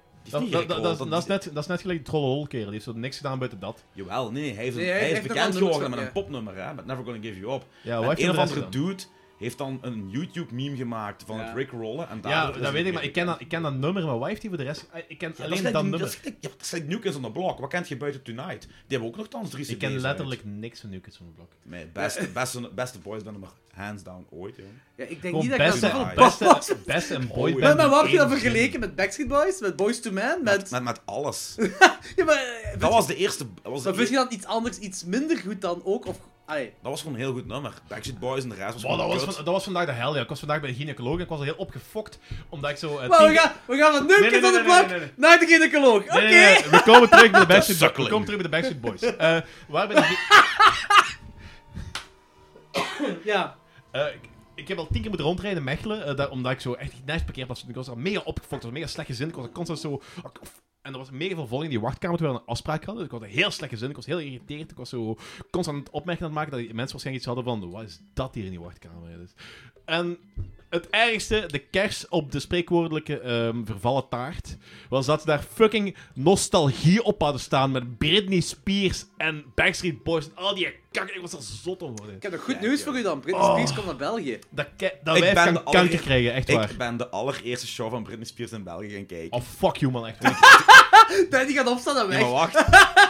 Speaker 2: is niet
Speaker 4: dat, dat, dat,
Speaker 2: gericrolled,
Speaker 4: dat, dat is net, dat is net gelijk die trolle holkerel. Die heeft zo niks gedaan buiten dat.
Speaker 2: Jawel, nee, hij is,
Speaker 1: Nee,
Speaker 2: hij
Speaker 1: hij
Speaker 2: is
Speaker 1: heeft nog wel
Speaker 2: bekend
Speaker 1: nummers
Speaker 2: geworden met
Speaker 1: op,
Speaker 2: een popnummer, hè, met Never Gonna Give You Up.
Speaker 4: Ja,
Speaker 2: En
Speaker 4: wat heeft
Speaker 2: een
Speaker 4: hij
Speaker 2: of
Speaker 4: de rest
Speaker 2: andere
Speaker 4: gedaan?
Speaker 2: dude heeft dan een YouTube-meme gemaakt van
Speaker 1: Ja.
Speaker 2: het Rick Rollen. En
Speaker 4: Ja,
Speaker 2: daardoor is
Speaker 4: dat
Speaker 2: het
Speaker 4: weet ik,
Speaker 2: weer
Speaker 4: maar ik ken, dat,
Speaker 2: bekend.
Speaker 4: ik ken dat nummer, maar wat heeft hij voor de rest... eh, Ik ken
Speaker 2: Ja,
Speaker 4: alleen
Speaker 2: dat
Speaker 4: dat,
Speaker 2: is gelijk-
Speaker 4: nummer.
Speaker 2: Dat is gelijk- ja, dat zijn New Kids on the Block. Wat kent je buiten Tonight? Die hebben ook nogthans drie CD's
Speaker 4: ik ken
Speaker 2: uit.
Speaker 4: letterlijk niks van New Kids on the Block.
Speaker 2: Mijn beste, beste, beste boysband maar hands down ooit, jongen.
Speaker 1: Ja, ik denk
Speaker 4: Gewoon
Speaker 1: niet dat ik
Speaker 4: best,
Speaker 1: dat
Speaker 2: beste-
Speaker 1: zoveel
Speaker 2: beste-
Speaker 1: was.
Speaker 4: beste, beste en
Speaker 2: Oh, ja.
Speaker 4: boyband.
Speaker 1: Maar, maar wat heb je dat
Speaker 4: in één zin.
Speaker 1: vergeleken met Backstreet Boys? Met Boys to Men?
Speaker 2: Met,
Speaker 1: Met...
Speaker 2: met, met alles.
Speaker 1: Ja, maar... eh,
Speaker 2: Dat was de eerste... Dat was, de
Speaker 1: Maar vind je
Speaker 2: eerste-
Speaker 1: dan iets anders, iets minder goed dan ook? Of... Allee.
Speaker 2: dat was gewoon een heel goed nummer. Backstreet Boys en de rest was
Speaker 4: Wow,
Speaker 2: gewoon
Speaker 4: dat, was
Speaker 2: kut.
Speaker 4: van- dat was vandaag de hel, ja. Ik was vandaag bij de gynaecoloog en ik was al heel opgefokt, omdat ik zo... eh,
Speaker 1: Maar
Speaker 4: tien-
Speaker 1: we gaan, we gaan van nu
Speaker 4: Nee, nee,
Speaker 1: van de
Speaker 4: nee, nee,
Speaker 1: blok
Speaker 4: nee, nee.
Speaker 1: naar de gynaecoloog. Oké.
Speaker 4: Nee, nee, nee, we komen terug bij de Backstreet Boys. We
Speaker 2: suckeling.
Speaker 4: komen terug bij de Backstreet Boys. Eh, waar ben ik...
Speaker 1: Ja.
Speaker 4: eh, ik- ik heb al tien keer moeten rondrijden in Mechelen, eh, daar- omdat ik zo echt naast parkeerplaats zat. Ik was al mega opgefokt, ik was mega slecht gezind. Ik was constant zo... ah, En er was mega veel volk in die wachtkamer terwijl we een afspraak hadden. Dus ik was heel slecht gezind, ik was heel geïrriteerd. Ik was zo constant aan het opmerken aan het maken dat die mensen waarschijnlijk iets hadden van... Wat is dat hier in die wachtkamer? Dus- En het ergste, de kers op de spreekwoordelijke ehm, vervallen taart, was dat ze daar fucking nostalgie op hadden staan met Britney Spears en Backstreet Boys en al die kak. Ik was er zot om worden.
Speaker 1: Ik heb nog goed nieuws voor u dan. Britney
Speaker 4: Oh.
Speaker 1: Spears komt naar België.
Speaker 4: Dat, ke- dat
Speaker 2: Ik
Speaker 4: wijf
Speaker 2: ben
Speaker 4: kan
Speaker 2: de
Speaker 4: kanker
Speaker 2: allereer-
Speaker 4: krijgen, echt waar.
Speaker 2: Ik ben de allereerste show van Britney Spears in België gaan kijken.
Speaker 4: Oh, fuck you, man, echt waar.
Speaker 1: Nee, die gaat opstaan en
Speaker 2: Ja,
Speaker 1: weg.
Speaker 2: maar wacht.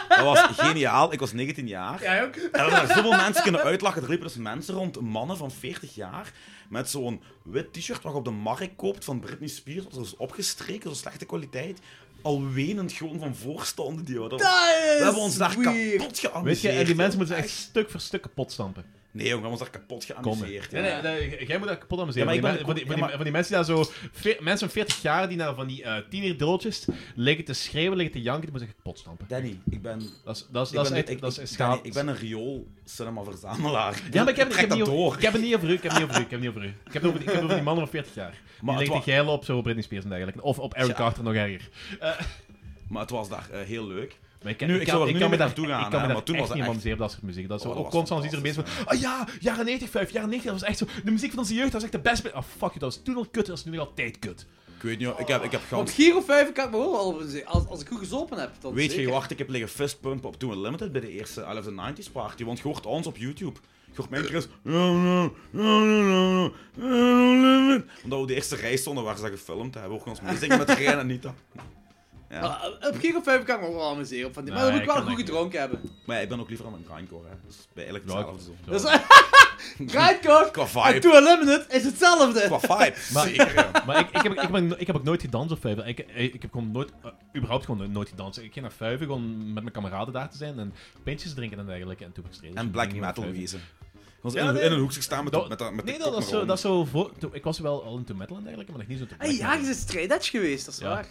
Speaker 2: Dat was geniaal. Ik was 19 jaar.
Speaker 1: Ja, ook.
Speaker 2: En er waren zoveel mensen kunnen uitlachen. Er liepen dus mensen rond, mannen van 40 jaar, met zo'n wit t-shirt wat je op de markt koopt van Britney Spears. Dat was opgestreken, zo'n slechte kwaliteit. Al wenend gewoon van voorstanden die we hadden.
Speaker 1: Dat is
Speaker 2: We hebben ons daar
Speaker 1: weird.
Speaker 2: kapot geamuseerd.
Speaker 4: Weet je, en die mensen
Speaker 2: joh.
Speaker 4: moeten ze echt stuk voor stuk kapot stampen.
Speaker 2: Nee, jongen, we hebben ons daar kapot geamuseerd.
Speaker 4: Nee,
Speaker 2: ja.
Speaker 4: nee, nee, jij moet dat kapot aan museum.
Speaker 2: Ja,
Speaker 4: van,
Speaker 2: maar
Speaker 4: die
Speaker 2: ik ben
Speaker 4: men- van,
Speaker 2: de
Speaker 4: die,
Speaker 2: ko-
Speaker 4: van,
Speaker 2: ja,
Speaker 4: die,
Speaker 2: maar-
Speaker 4: van die mensen die daar zo... veer- mensen van 40 jaar die naar van die eh tienerdrilltjes liggen te schreeuwen, liggen te janken, die moeten ze kapot stampen.
Speaker 2: Danny, ik ben...
Speaker 4: Dat is, dat is,
Speaker 2: Ik
Speaker 4: dat is,
Speaker 2: ben,
Speaker 4: echt-
Speaker 2: ik,
Speaker 4: dat is
Speaker 2: ik-
Speaker 4: echt
Speaker 2: Danny,
Speaker 4: schaam.
Speaker 2: ik ben een riool cinema-verzamelaar.
Speaker 4: Ja, maar ik heb, ik,
Speaker 2: Trek
Speaker 4: heb
Speaker 2: dat
Speaker 4: niet,
Speaker 2: door.
Speaker 4: over- ik heb het niet over u, ik heb het niet over u, ik heb het niet over u. Ik heb het over, die- ik heb het over die man van 40 jaar.
Speaker 2: Maar
Speaker 4: Maar
Speaker 2: het
Speaker 4: die ligt
Speaker 2: wa-
Speaker 4: te geilen op zo Britney Spears en dergelijke. Of op Eric
Speaker 2: Ja.
Speaker 4: Carter nog erger.
Speaker 2: Maar het was daar eh, heel leuk.
Speaker 4: Maar ik,
Speaker 2: Nu, ik zou er nu
Speaker 4: kan
Speaker 2: niet
Speaker 4: me
Speaker 2: meer
Speaker 4: daar-
Speaker 2: naartoe gaan,
Speaker 4: Ik kan
Speaker 2: hè,
Speaker 4: me
Speaker 2: maar
Speaker 4: daar
Speaker 2: toen was dat
Speaker 4: echt niet meer
Speaker 2: echt-
Speaker 4: amuseren dat soort muziek. Dat is
Speaker 2: Oh, dat
Speaker 4: ook
Speaker 2: was
Speaker 4: constant als iedereen bezig
Speaker 2: fantastisch,
Speaker 4: van... Ah ja, jaren 90, 5, jaren 90, dat was echt zo... De muziek van onze jeugd, dat was echt de beste... Ah, fuck you, dat was toen al kut, dat is nu nog altijd kut.
Speaker 2: Ik weet niet, ik heb, ik heb
Speaker 1: Want
Speaker 2: gans...
Speaker 1: Giro 5 kan ik me wel al zeggen. Als, als ik goed gezopen heb, dan
Speaker 2: Weet je,
Speaker 1: zeker.
Speaker 2: wacht, ik heb liggen fistpumpen op Toen Limited bij de eerste I Love the 90s party. Want je hoort ons op YouTube. Je hoort mijn Chris... Omdat we de eerste rij stonden waar ze dat gefilmd hebben. Hoor je ons meezingen met Rijn en Nita. Ja.
Speaker 4: Ah.
Speaker 1: Maar, eh, op Giro 5 kan ik me wel al amuseren. op Van die, maar
Speaker 4: Nee,
Speaker 1: dan moet ik
Speaker 4: ik
Speaker 1: wel
Speaker 4: kan
Speaker 1: goed
Speaker 4: dat
Speaker 1: gedronken hebben.
Speaker 2: Maar ja, ik ben ook liever aan mijn grindcore, hè. Dus bij eigenlijk hetzelfde. zo.
Speaker 1: Dus, Grindcore
Speaker 2: Qua
Speaker 1: en
Speaker 2: vibe.
Speaker 1: To Unlimited is hetzelfde.
Speaker 2: Qua vibe.
Speaker 4: Maar-
Speaker 2: Zeker, ja.
Speaker 4: Maar ik, ik, heb, ik, heb, ik heb ook nooit gedanst op vijven. Ik, ik heb gewoon nooit, eh, überhaupt gewoon nooit gedanst. Ik ging naar vijven gewoon met mijn kameraden daar te zijn en pintjes drinken en dergelijke. En toen heb ik gestreden.
Speaker 2: En
Speaker 4: Dus
Speaker 2: black
Speaker 4: ik ging naar
Speaker 2: metal
Speaker 4: Vijven.
Speaker 2: wezen. Gewoon
Speaker 4: Ja,
Speaker 2: in,
Speaker 4: nee.
Speaker 2: in een hoekje staan met, de-
Speaker 4: Dat-
Speaker 2: met, dat- met de
Speaker 4: nee, dat
Speaker 2: kop
Speaker 4: was
Speaker 2: naar
Speaker 4: zo,
Speaker 2: onder. Ah,
Speaker 4: dat is zo voor, toen- ik was wel al into metal en dergelijke, maar nog niet zo te
Speaker 1: Hey, ja, je bent straight edge geweest, dat is
Speaker 4: Ja.
Speaker 1: waar.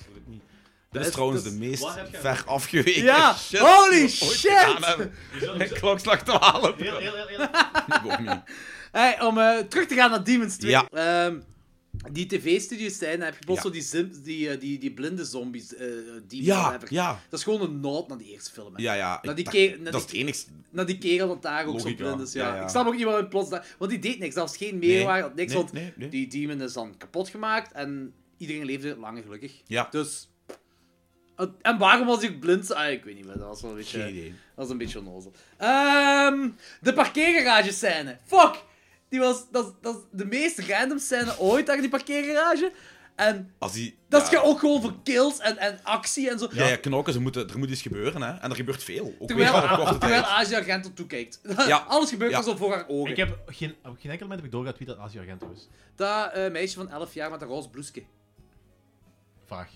Speaker 2: Dit
Speaker 1: Dat-
Speaker 2: is trouwens
Speaker 1: dat-
Speaker 2: de meest
Speaker 4: Wat heb jij-
Speaker 2: ver afgeweken
Speaker 1: Ja,
Speaker 2: shit
Speaker 1: holy
Speaker 2: die we ooit
Speaker 1: shit!
Speaker 2: gedaan hebben. Klokslag 12.
Speaker 4: Heel, heel, heel, heel.
Speaker 2: Ik ook niet.
Speaker 1: Hey, om eh, terug te gaan naar Demon's 2.
Speaker 2: Ja.
Speaker 1: Ehm, die tv-studio's zijn, dan heb je plots
Speaker 2: Ja.
Speaker 1: zo die, zim- die, eh, die, die blinde zombies. eh demons,
Speaker 2: Ja,
Speaker 1: whatever.
Speaker 2: ja.
Speaker 1: Dat is gewoon een nood naar die eerste film. hè.
Speaker 2: Ja, ja.
Speaker 1: Dat
Speaker 2: ik
Speaker 1: die
Speaker 2: dacht-
Speaker 1: keer- dat
Speaker 2: dat is het enigste.
Speaker 1: Naar die kerel dat daar ook
Speaker 2: Logica,
Speaker 1: zo blind is. Ja.
Speaker 2: ja, ja.
Speaker 1: Ik snap ook niet waarom plots dat... Want die deed niks, dat was geen meerwaarde, dat niks.
Speaker 2: nee,
Speaker 1: want
Speaker 2: nee, nee.
Speaker 1: die demon is dan kapot gemaakt en iedereen leefde langer gelukkig.
Speaker 2: Ja.
Speaker 1: Dus... En waarom was hij ook blind? Ah, ik weet niet, maar dat was wel een beetje...
Speaker 2: Geen idee.
Speaker 1: Dat is een beetje onnozel. Ehm, de parkeergarage scène. Fuck! Die was, dat, is- dat is de meest random scène ooit daar in die parkeergarage. En
Speaker 2: Als die,
Speaker 1: dat is
Speaker 2: ja,
Speaker 1: ge- ook gewoon voor kills en, en actie en zo.
Speaker 2: Ja, ja, knokken, ze moeten, er moet iets gebeuren, hè. En er gebeurt veel. Ook
Speaker 1: Terwijl,
Speaker 2: weer op korte
Speaker 1: terwijl
Speaker 2: tijd.
Speaker 1: Asia Argento toekijkt.
Speaker 2: Ja.
Speaker 1: Alles gebeurt
Speaker 2: Ja.
Speaker 1: er zo voor haar ogen.
Speaker 4: Ik heb geen, op geen enkel moment heb ik doorgehad wie dat Azië Argento is.
Speaker 1: Dat eh, meisje van 11 jaar met een roze bloesje.
Speaker 4: Vaag.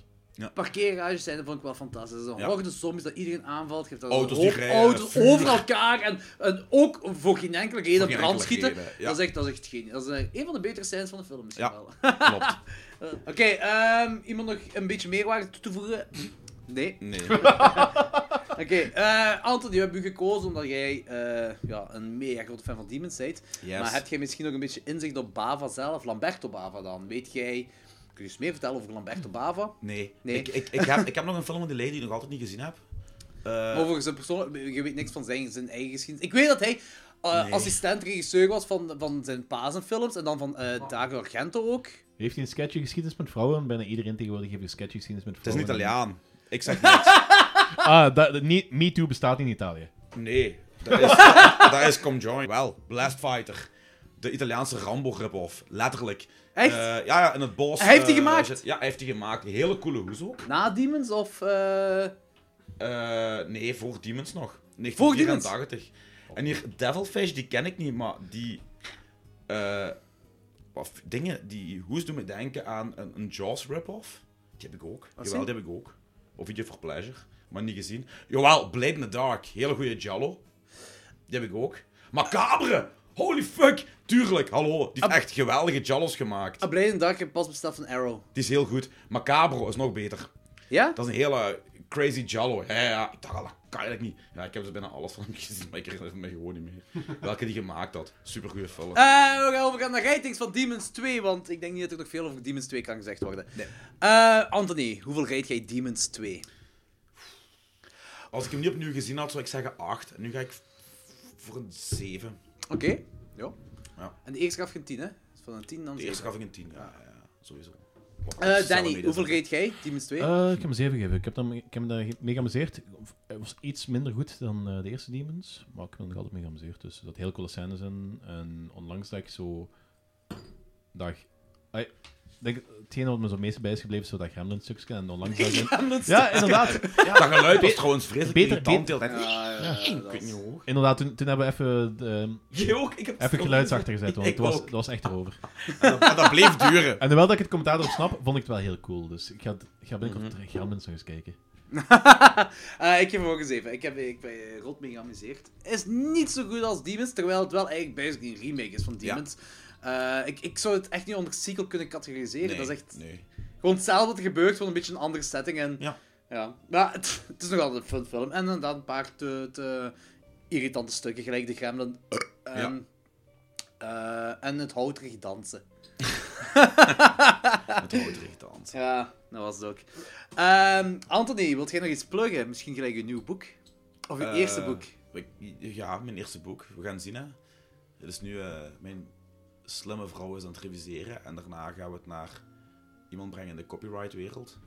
Speaker 1: Parkeergarages zijn, dat vond ik wel fantastisch. Dat is een
Speaker 2: Ja.
Speaker 1: horde zombies dat iedereen aanvalt. Je hebt daar
Speaker 2: Auto's
Speaker 1: een hoop
Speaker 2: die rijden,
Speaker 1: auto's
Speaker 2: vuur.
Speaker 1: over elkaar en, en ook voor geen enkele reden
Speaker 2: geen
Speaker 1: brand
Speaker 2: enkele
Speaker 1: schieten.
Speaker 2: reden, ja.
Speaker 1: Dat, is echt, dat is echt geniaal. Dat is eh, een van de betere scènes van de film misschien
Speaker 2: Ja.
Speaker 1: wel.
Speaker 2: Klopt.
Speaker 1: Eh, Oké, ehm, iemand nog een beetje meerwaarde toe te voegen? Nee.
Speaker 2: Nee.
Speaker 1: Oké, eh, Anton, die hebben u gekozen omdat jij eh, ja, een mega grote fan van Demons bent.
Speaker 2: Yes.
Speaker 1: Maar heb jij misschien nog een beetje inzicht op Bava zelf, Lamberto Bava dan? Weet jij, kun je eens meer vertellen over Lamberto Bava?
Speaker 2: Nee.
Speaker 1: Nee.
Speaker 2: Ik, ik, ik, heb, ik heb nog een film van die lady die ik nog altijd niet gezien heb. Eh,
Speaker 1: Maar over zijn persoon, je weet niks van zijn, zijn eigen geschiedenis. Ik weet dat hij eh,
Speaker 2: Nee.
Speaker 1: assistent-regisseur was van, van zijn pazenfilms en dan van eh Dario Argento ook.
Speaker 4: Heeft hij een sketchy geschiedenis met vrouwen? Bijna iedereen tegenwoordig heeft een sketchy geschiedenis met
Speaker 2: het is
Speaker 4: vrouwen.
Speaker 2: een Italiaan. Ik zeg niks.
Speaker 4: Ah, dat, dat- niet- Me Too bestaat in Italië.
Speaker 2: Nee. Dat is, dat is Come Join. Wel, Blast Fighter. De Italiaanse Rambo rip-off. Letterlijk.
Speaker 1: Echt?
Speaker 2: Eh, ja, ja, in het bos.
Speaker 1: Hij heeft die
Speaker 2: eh,
Speaker 1: gemaakt?
Speaker 2: zit- Ja, hij heeft die gemaakt. Een hele coole hoes ook.
Speaker 1: Na Demons of... eh,
Speaker 2: Eh, nee, voor Demons nog.
Speaker 1: Voor
Speaker 2: 1984. En hier Devilfish, die ken ik niet, maar die. eh, wat f- dingen, die hoes doen me denken aan een, een Jaws rip-off. Die heb ik ook. Jawel,
Speaker 1: zie.
Speaker 2: die heb ik ook. Of Video for Pleasure, maar niet gezien. Jawel, Blade in the Dark. Hele goede Jallo. Die heb ik ook. Macabre! Holy fuck! Tuurlijk, hallo. Die heeft echt geweldige Jallos gemaakt.
Speaker 1: A Blade in the Dark heb pas besteld van Arrow.
Speaker 2: Die is heel goed. Macabro is nog beter.
Speaker 1: Ja?
Speaker 2: Dat is een hele crazy Jallo. Ja, ja, ja, ik dacht al, dat kan eigenlijk niet. Ja, ik heb dus bijna alles van hem gezien, maar ik herinner me gewoon niet meer. Welke die gemaakt had. Supergoeie film.
Speaker 1: Eh, we gaan overgaan naar ratings van Demons 2, want ik denk niet dat er nog veel over Demons 2 kan gezegd worden.
Speaker 2: Nee.
Speaker 1: Eh, Anthony, hoeveel rate jij Demons 2?
Speaker 2: Als ik hem niet opnieuw gezien had, zou ik zeggen 8. En nu ga ik v- voor een 7.
Speaker 1: Oké. Ja.
Speaker 2: Ja.
Speaker 1: En de eerste gaf je een 10, hè? Dus van een 10 dan
Speaker 2: De eerste
Speaker 1: zeven.
Speaker 2: gaf ik een 10. Ja, ja, ja, sowieso.
Speaker 1: Eh, Danny,
Speaker 2: Celebrate
Speaker 1: hoeveel
Speaker 2: is het.
Speaker 1: rate jij Demons 2?
Speaker 4: Eh, ik heb hem 7 gegeven. Ik heb, hem, ik heb hem daar mee geamuseerd. Het was iets minder goed dan eh, de eerste Demons, maar ik heb hem nog altijd mee geamuseerd. Dus dat heel coole scènes in. En onlangs dat ik zo... Dag... Ik denk, hetgene wat me zo het meeste bij is gebleven is zo dat gremlin stukje. En onlangs dat ik...
Speaker 1: Gremlins.
Speaker 4: Ja, inderdaad.
Speaker 2: Dat geluid was trouwens vreselijk
Speaker 4: beter-
Speaker 2: irritant. de hele tijd.
Speaker 1: ja,
Speaker 2: Ik weet niet hoe.
Speaker 4: Inderdaad, toen, toen hebben we even, de,
Speaker 2: Jij ook? Ik heb
Speaker 4: even geluidsachter gezet, want
Speaker 2: Ik
Speaker 4: het was,
Speaker 2: ook.
Speaker 4: het was echt erover.
Speaker 2: En dat, en dat bleef duren.
Speaker 4: En hoewel dat ik het commentaar erop snap, vond ik het wel heel cool. Dus ik ga, ik ga binnenkort mm Gremlins nog eens kijken.
Speaker 1: Eh, ik geef hem ook eens even. Ik heb ik ben eh, rot mee geamuseerd. Is niet zo goed als Demons, terwijl het wel eigenlijk basically een remake is van
Speaker 2: Ja.
Speaker 1: Demons. Eh, ik, ik zou het echt niet onder sequel kunnen categoriseren.
Speaker 2: Nee,
Speaker 1: dat is echt
Speaker 2: nee.
Speaker 1: gewoon hetzelfde wat er gebeurt, van een beetje een andere setting. En,
Speaker 2: Ja.
Speaker 1: Ja. Maar het, het is nog altijd een fun film. En inderdaad een paar te, te irritante stukken, gelijk de gremlin. Ehm,
Speaker 2: oh,
Speaker 1: eh, en het houterig dansen.
Speaker 2: Met rood irritant.
Speaker 1: Ja, dat was het ook. Ehm, Anthony, wilt jij nog iets pluggen? Misschien gelijk je nieuw boek? Of je
Speaker 2: Eh,
Speaker 1: eerste boek?
Speaker 2: ik- Ja, mijn eerste boek. We gaan zien, hè. Het is nu... eh, mijn slimme vrouw is aan het reviseren. En daarna gaan we het naar iemand brengen in de copyright-wereld.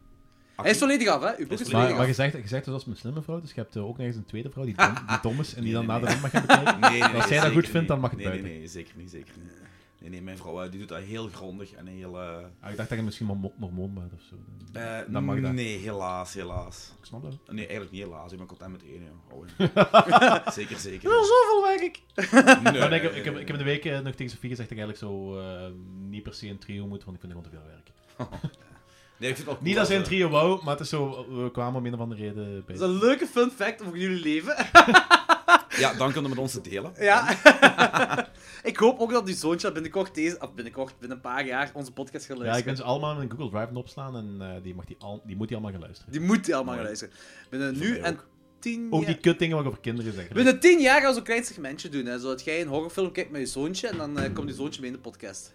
Speaker 1: Hij is volledig af, hè? Uw boek is
Speaker 2: Is
Speaker 4: Maar,
Speaker 1: volledig
Speaker 4: maar
Speaker 1: af.
Speaker 4: je zegt, je zegt dus als mijn slimme vrouw, dus je hebt eh, ook nog eens een tweede vrouw die dom, die dom is en die dan
Speaker 2: Nee, nee,
Speaker 4: nader mag gaan bekijken.
Speaker 2: Nee, nee, nee,
Speaker 4: Als jij dat
Speaker 2: zeker
Speaker 4: goed vindt,
Speaker 2: niet.
Speaker 4: dan mag het
Speaker 2: nee, nee,
Speaker 4: buiten.
Speaker 2: nee, zeker niet, zeker niet. Nee, nee, mijn vrouw eh, die doet dat heel grondig en heel... eh,
Speaker 4: Ah, ik dacht dat je misschien wel mo- mormoon bent of zo.
Speaker 2: eh,
Speaker 4: Dan mag dat.
Speaker 2: Nee, helaas, helaas.
Speaker 4: Ik snap dat.
Speaker 2: Nee, eigenlijk niet helaas. Ik ben content met één, joh. Oh, ja. zeker, zeker.
Speaker 1: Zoveel werk ik.
Speaker 2: Nee,
Speaker 4: Maar ik, heb,
Speaker 2: nee,
Speaker 4: ik, heb,
Speaker 2: nee,
Speaker 4: ik heb in de week eh, nog tegen Sofie gezegd dat ik eigenlijk zo eh, niet per se een trio moet, want ik vind het gewoon te veel werk.
Speaker 2: Nee, ik vind het wel cool
Speaker 4: Niet dat ze een
Speaker 2: als, eh,
Speaker 4: trio wou, maar het is zo, we kwamen om een of andere reden bij.
Speaker 1: Dat is een leuke fun fact over jullie leven.
Speaker 2: Ja, dan kunnen we met ons te delen.
Speaker 1: Ja. ik hoop ook dat uw zoontje binnenkort deze... Of binnenkort, binnen een paar jaar, onze podcast gaat
Speaker 4: Ja, ik
Speaker 1: luisteren.
Speaker 4: ben ze allemaal in een Google Drive opslaan en eh, die, mag die, al, die moet die allemaal gaan luisteren.
Speaker 1: Die moet die allemaal gaan
Speaker 2: Mooi.
Speaker 1: luisteren. Binnen
Speaker 2: Voor
Speaker 1: nu
Speaker 2: mij
Speaker 1: en tien
Speaker 4: Ook
Speaker 1: jaar...
Speaker 4: die kutdingen wat ik over kinderen zeg.
Speaker 1: Binnen tien jaar gaan we zo'n klein segmentje doen, hè. Zodat jij een horrorfilm kijkt met je zoontje, en dan eh, komt je zoontje mee in de podcast.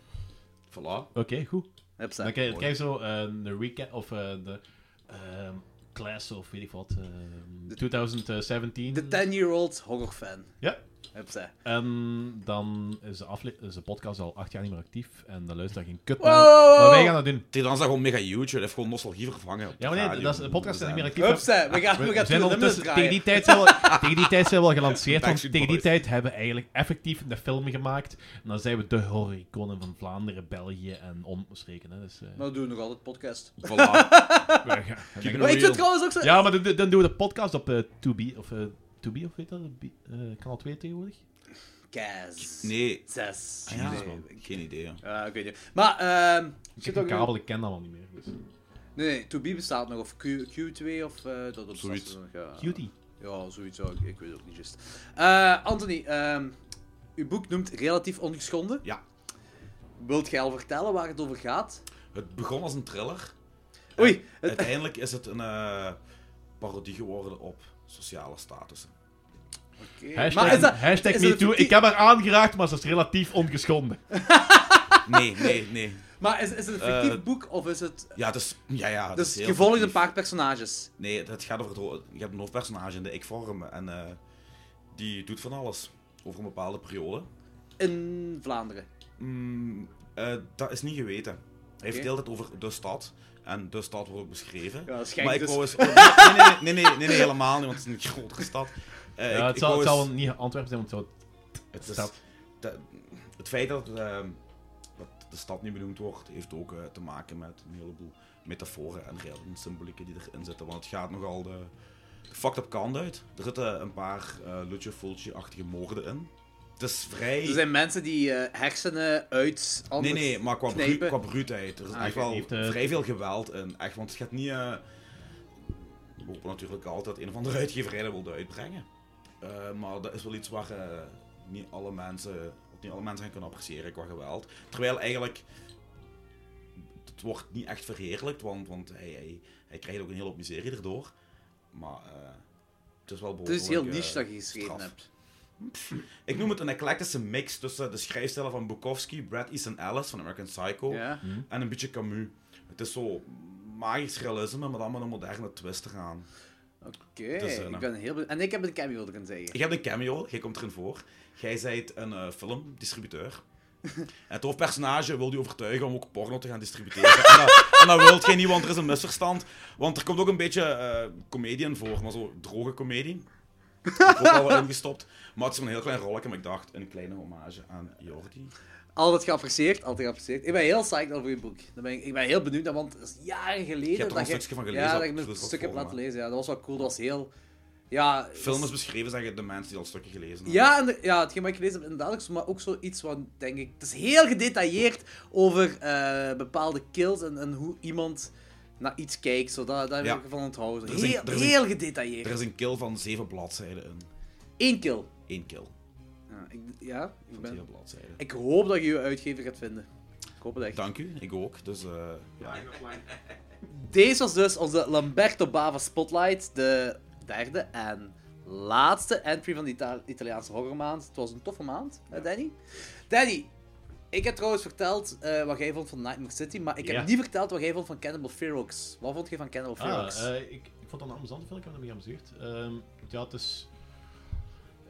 Speaker 2: Voilà.
Speaker 4: Oké, goed.
Speaker 1: Hup,
Speaker 4: Dan
Speaker 1: zeg.
Speaker 4: krijg, dan krijg je zo eh, de recap of eh, de ehm, class of weet ik wat, ehm, 2017.
Speaker 1: De 10-year-old horrorfan.
Speaker 4: Ja.
Speaker 1: Hup, zeg.
Speaker 4: En dan is de, afle- is de podcast al acht jaar niet meer actief en dan luistert daar geen kut
Speaker 1: Wow,
Speaker 4: naar.
Speaker 1: wow, wow.
Speaker 4: Maar wij gaan dat doen.
Speaker 2: Die dan is dat gewoon mega huge. Dat heeft gewoon nostalgie vervangen. op
Speaker 4: Ja, maar
Speaker 1: Ah,
Speaker 4: nee,
Speaker 2: radio.
Speaker 4: dat is, de podcast is niet meer actief.
Speaker 1: Hup, zeg. We gaan, we
Speaker 4: We,
Speaker 1: gaan Till
Speaker 4: we zijn
Speaker 1: the Limit
Speaker 4: ondertussen, tegen die,
Speaker 1: draaien.
Speaker 4: tijd zijn we, tegen die tijd zijn we al gelanceerd, want
Speaker 2: Backstreet
Speaker 4: tegen die
Speaker 2: Boys.
Speaker 4: tijd hebben we eigenlijk effectief de film gemaakt. En dan zijn we de horror-iconen van Vlaanderen, België en omstreken. Hè. Dus, eh,
Speaker 1: Maar we doen nog altijd podcast.
Speaker 2: Voilà.
Speaker 4: we gaan- we gaan-
Speaker 1: Maar ik vind trouwens ook zo...
Speaker 4: Ja, maar dan, dan doen we de podcast op eh 2B, of eh 2B, of weet dat? B- eh, kanaal 2 tegenwoordig.
Speaker 1: Kaz.
Speaker 2: Nee. Ah
Speaker 1: Zes.
Speaker 4: Ah,
Speaker 2: Ja,
Speaker 1: Nee,
Speaker 2: man.
Speaker 1: ik-
Speaker 2: Geen idee, joh.
Speaker 1: Ja, ik weet niet. Maar, ehm...
Speaker 4: Ik
Speaker 1: zit
Speaker 4: heb een
Speaker 1: ook-
Speaker 4: kabel, ik ken dat al niet meer. Dus.
Speaker 1: Nee, nee, To Be bestaat nog, of Q, Q2, of... eh, dat dat
Speaker 2: Zoiets.
Speaker 1: bestaat nog, ja.
Speaker 4: Cutie.
Speaker 1: Ja, zoiets, ja, ik, ik weet het ook niet juist. Eh, Anthony, ehm, uw boek noemt Relatief Ongeschonden.
Speaker 2: Ja.
Speaker 1: Wilt jij al vertellen waar het over gaat?
Speaker 2: Het begon als een thriller.
Speaker 1: Oei,
Speaker 2: En Uiteindelijk is het een eh, parodie geworden op sociale statussen.
Speaker 1: Oké, maar is dat-
Speaker 4: Hashtag, hashtag
Speaker 1: is dat een
Speaker 4: MeToo.
Speaker 1: fictie-
Speaker 4: Ik heb haar aangeraakt, maar ze is relatief ongeschonden.
Speaker 2: Nee, nee, nee.
Speaker 1: Maar is, is het een fictief
Speaker 2: Eh,
Speaker 1: boek, of is het...
Speaker 2: Ja, het is... Ja, ja. Het
Speaker 1: Dus
Speaker 2: is heel
Speaker 1: je volgt een
Speaker 2: fictief.
Speaker 1: paar personages.
Speaker 2: Nee, het- het gaat over het... ho- Je hebt een hoofdpersonage in de ik-vorm. En eh, die doet van alles. Over een bepaalde periode.
Speaker 1: In Vlaanderen.
Speaker 2: Mm, eh, dat is niet geweten. Hij heeft
Speaker 1: Oké.
Speaker 2: de hele tijd over de stad. En de stad wordt ook beschreven.
Speaker 1: Ja, dat is gek,
Speaker 2: maar ik
Speaker 1: dus-
Speaker 2: wou eens... oh, nee, nee, nee, nee, nee, nee, nee, helemaal niet, want het is een grotere stad. Eh,
Speaker 4: ja,
Speaker 2: ik-
Speaker 4: het
Speaker 2: ik
Speaker 4: zal,
Speaker 2: wou
Speaker 4: het zal
Speaker 2: eens-
Speaker 4: wel niet Antwerpen zijn, want het zou-
Speaker 2: Het, is-
Speaker 4: Stad.
Speaker 2: de- het feit dat, ehm, dat de stad niet benoemd wordt, heeft ook eh, te maken met een heleboel metaforen en reële symbolieken die erin zitten. Want het gaat nogal de, de fucked up kant uit. Er zitten een paar eh Lucio Fulci-achtige moorden in. Het is vrij...
Speaker 1: Dus Er zijn mensen die eh, hersenen uit
Speaker 2: Nee,
Speaker 1: andere
Speaker 2: nee, maar qua, bru
Speaker 1: knijpen.
Speaker 2: qua bruutheid. Er is
Speaker 4: Ah,
Speaker 2: echt
Speaker 4: oké,
Speaker 2: wel
Speaker 4: die heeft, eh,
Speaker 2: vrij veel geweld in. Echt, want het gaat niet... eh, we hopen natuurlijk altijd een of andere uitgeverij dat wil uitbrengen. Eh, maar dat is wel iets waar eh, niet, alle mensen, wat niet alle mensen gaan kunnen appreciëren qua geweld. Terwijl eigenlijk... Het wordt niet echt verheerlijkt, want, want hij, hij, hij krijgt ook een hele hoop miserie erdoor. Maar eh, het is wel
Speaker 1: Het
Speaker 2: behoorlijk...
Speaker 1: is heel
Speaker 2: eh,
Speaker 1: niche dat je geschreven
Speaker 2: straf.
Speaker 1: hebt.
Speaker 2: Ik noem het een eclectische mix tussen de schrijfstijlen van Bukowski, Brad Easton Ellis van American Psycho
Speaker 1: Ja.
Speaker 2: en een beetje Camus. Het is zo magisch realisme, maar dan met een moderne twist eraan.
Speaker 1: Oké,
Speaker 2: Dus,
Speaker 1: ik
Speaker 2: eh, nou.
Speaker 1: ben heel benieuwd. En ik heb een cameo erin zeggen.
Speaker 2: Ik heb een cameo, jij komt erin voor. Jij zijt een eh, filmdistributeur. En het hoofdpersonage wil je overtuigen om ook porno te gaan distributeren. En dat, en dat wilt jij niet, want er is een misverstand. Want er komt ook een beetje eh comedie in voor, maar zo droge comedie. Ik heb ook al wat ingestopt. Maar het is een heel klein rolletje, maar ik dacht een kleine hommage aan Jordi.
Speaker 1: Altijd geapprecieerd, altijd geapprecieerd. Ik ben heel psyched over je boek. Dan ben ik, ik ben heel benieuwd naar, want het is jaren geleden.
Speaker 2: Je hebt er
Speaker 1: dat
Speaker 2: al een stukje van gelezen,
Speaker 1: Ja,
Speaker 2: dat
Speaker 1: dat ik me
Speaker 2: absoluut
Speaker 1: een
Speaker 2: wel
Speaker 1: stuk heb
Speaker 2: voor,
Speaker 1: laten
Speaker 2: maar-
Speaker 1: lezen. Ja, dat was wel cool. Dat was heel. Ja,
Speaker 2: Film
Speaker 1: dat
Speaker 2: is
Speaker 1: is-
Speaker 2: beschreven, zeggen de mensen die al stukken gelezen hebben.
Speaker 1: Ja, en de- ja, hetgeen wat ik gelezen heb, inderdaad, ook zo, maar ook zoiets wat, denk ik... Het is heel gedetailleerd over eh, bepaalde kills en, en hoe iemand naar iets kijkt. Zo, dat, dat
Speaker 2: Ja.
Speaker 1: heb ik van onthouden.
Speaker 2: Er is een-
Speaker 1: Heel,
Speaker 2: er is een-
Speaker 1: heel
Speaker 2: Er
Speaker 1: gedetailleerd.
Speaker 2: is een kill van zeven bladzijden in.
Speaker 1: Eén kill.
Speaker 2: Eén kill
Speaker 1: Ja, ik, ja, ik,
Speaker 2: van
Speaker 1: ben,
Speaker 2: zeven bladzijden.
Speaker 1: ik hoop dat je je uitgever gaat vinden. Ik hoop het echt.
Speaker 2: Dank u, ik ook. Dus eh, ja.
Speaker 1: Deze was dus onze Lamberto Bava Spotlight, de derde en laatste entry van de Ita- Italiaanse horrormaand. Het was een toffe maand, hè, Danny? Danny, ik heb trouwens verteld eh, wat jij vond van Nightmare City, maar ik heb
Speaker 4: Ja.
Speaker 1: niet verteld wat jij vond van Cannibal Ferox. Wat vond je van Cannibal
Speaker 4: Ah,
Speaker 1: Ferox?
Speaker 4: eh, ik, ik vond dat een amusante film, ik heb hem geamuseerd. Ehm ja, het is,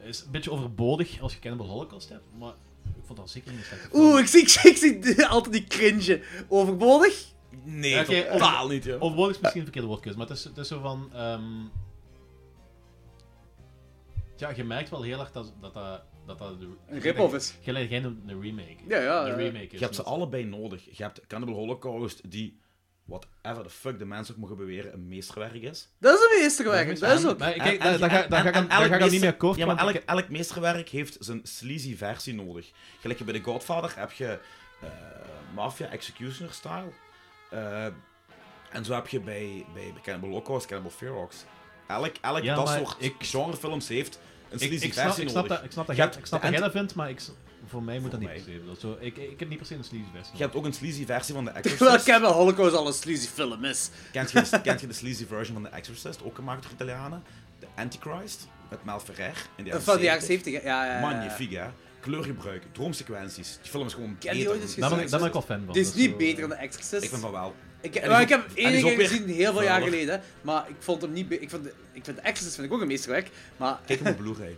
Speaker 4: is een beetje overbodig als je Cannibal Holocaust hebt, maar ik vond dat zeker niet slecht.
Speaker 1: Oeh, ik zie, ik zie altijd die cringe. Overbodig?
Speaker 2: Nee,
Speaker 4: Ja, oké,
Speaker 2: totaal niet, joh.
Speaker 4: Overbodig is misschien een verkeerde woordkeus, maar het is, het is zo van... ehm, ja, je merkt wel heel erg dat dat... dat, dat, dat de-
Speaker 1: Een rip-off is.
Speaker 4: Gelijk geen een remake.
Speaker 1: Ja, ja,
Speaker 4: Een
Speaker 1: ja.
Speaker 4: remake is
Speaker 2: Je hebt ze
Speaker 4: met-
Speaker 2: allebei nodig. Je hebt Cannibal Holocaust, die, whatever the fuck de mensen ook mogen beweren, een meesterwerk is.
Speaker 1: Dat is een meesterwerk, dat is ook.
Speaker 4: Maar
Speaker 2: En- en-
Speaker 4: kijk, daar daar ga
Speaker 2: en-
Speaker 4: daar ga
Speaker 2: en-
Speaker 4: ik aan-
Speaker 2: en
Speaker 4: daar
Speaker 2: elk
Speaker 4: ga ik aan niet
Speaker 2: meester-
Speaker 4: meer akkoord.
Speaker 2: Ja, maar
Speaker 4: want
Speaker 2: elk,
Speaker 4: ik-
Speaker 2: elk meesterwerk heeft zijn sleazy versie nodig. Gelijk je bij de Godfather heb je eh Mafia Executioner Style. Eh, en zo heb je bij, bij, bij Cannibal Holocaust, Cannibal Ferox. Elk, elk
Speaker 4: Ja,
Speaker 2: dat
Speaker 4: maar
Speaker 2: soort
Speaker 4: ik-
Speaker 2: genrefilms heeft een
Speaker 4: Ik,
Speaker 2: sleazy
Speaker 4: ik, snap,
Speaker 2: versie
Speaker 4: ik, snap
Speaker 2: nodig.
Speaker 4: dat, ik snap dat,
Speaker 2: Je
Speaker 4: jij,
Speaker 2: hebt
Speaker 4: ik snap
Speaker 2: de
Speaker 4: dat jij
Speaker 2: ent-
Speaker 4: dat vindt, maar ik, s- voor mij moet dat niet
Speaker 2: mij.
Speaker 4: per se. Dat is zo, ik, ik heb niet per se een sleazy vest.
Speaker 2: Je hebt ook een sleazy versie van The
Speaker 1: Terwijl
Speaker 2: Exorcist.
Speaker 1: Cannibal Holocaust al een sleazy film is.
Speaker 2: Kent je, de, kent je de sleazy version van The Exorcist, ook gemaakt door Italianen? The Antichrist, met Mel Ferrer. In de jaren
Speaker 1: Van de jaren
Speaker 2: 70.
Speaker 1: 70, hè? ja, ja, ja.
Speaker 2: Magnifiek, hè? Kleurgebruik, droomsequenties. Die film is gewoon
Speaker 1: Ken die
Speaker 2: beter.
Speaker 1: ooit eens
Speaker 4: Daar ben ik,
Speaker 1: gezien?
Speaker 4: daar ben ik wel fan van.
Speaker 1: Dit is
Speaker 4: dus
Speaker 1: niet
Speaker 4: zo,
Speaker 1: beter dan
Speaker 4: eh,
Speaker 1: de Exorcist.
Speaker 2: Ik vind van wel.
Speaker 1: Ik,
Speaker 2: En
Speaker 1: maar
Speaker 2: is
Speaker 1: ik
Speaker 2: ook-
Speaker 1: heb hem
Speaker 2: en
Speaker 1: één
Speaker 2: is ook
Speaker 1: keer
Speaker 2: weer
Speaker 1: gezien, heel veel jaar
Speaker 2: vuiler.
Speaker 1: geleden. hè. Maar ik vond hem niet... be- Ik vind, ik vind The Exorcist vind ik ook een meesterwerk. Maar...
Speaker 2: Kijk hem op Blu-ray.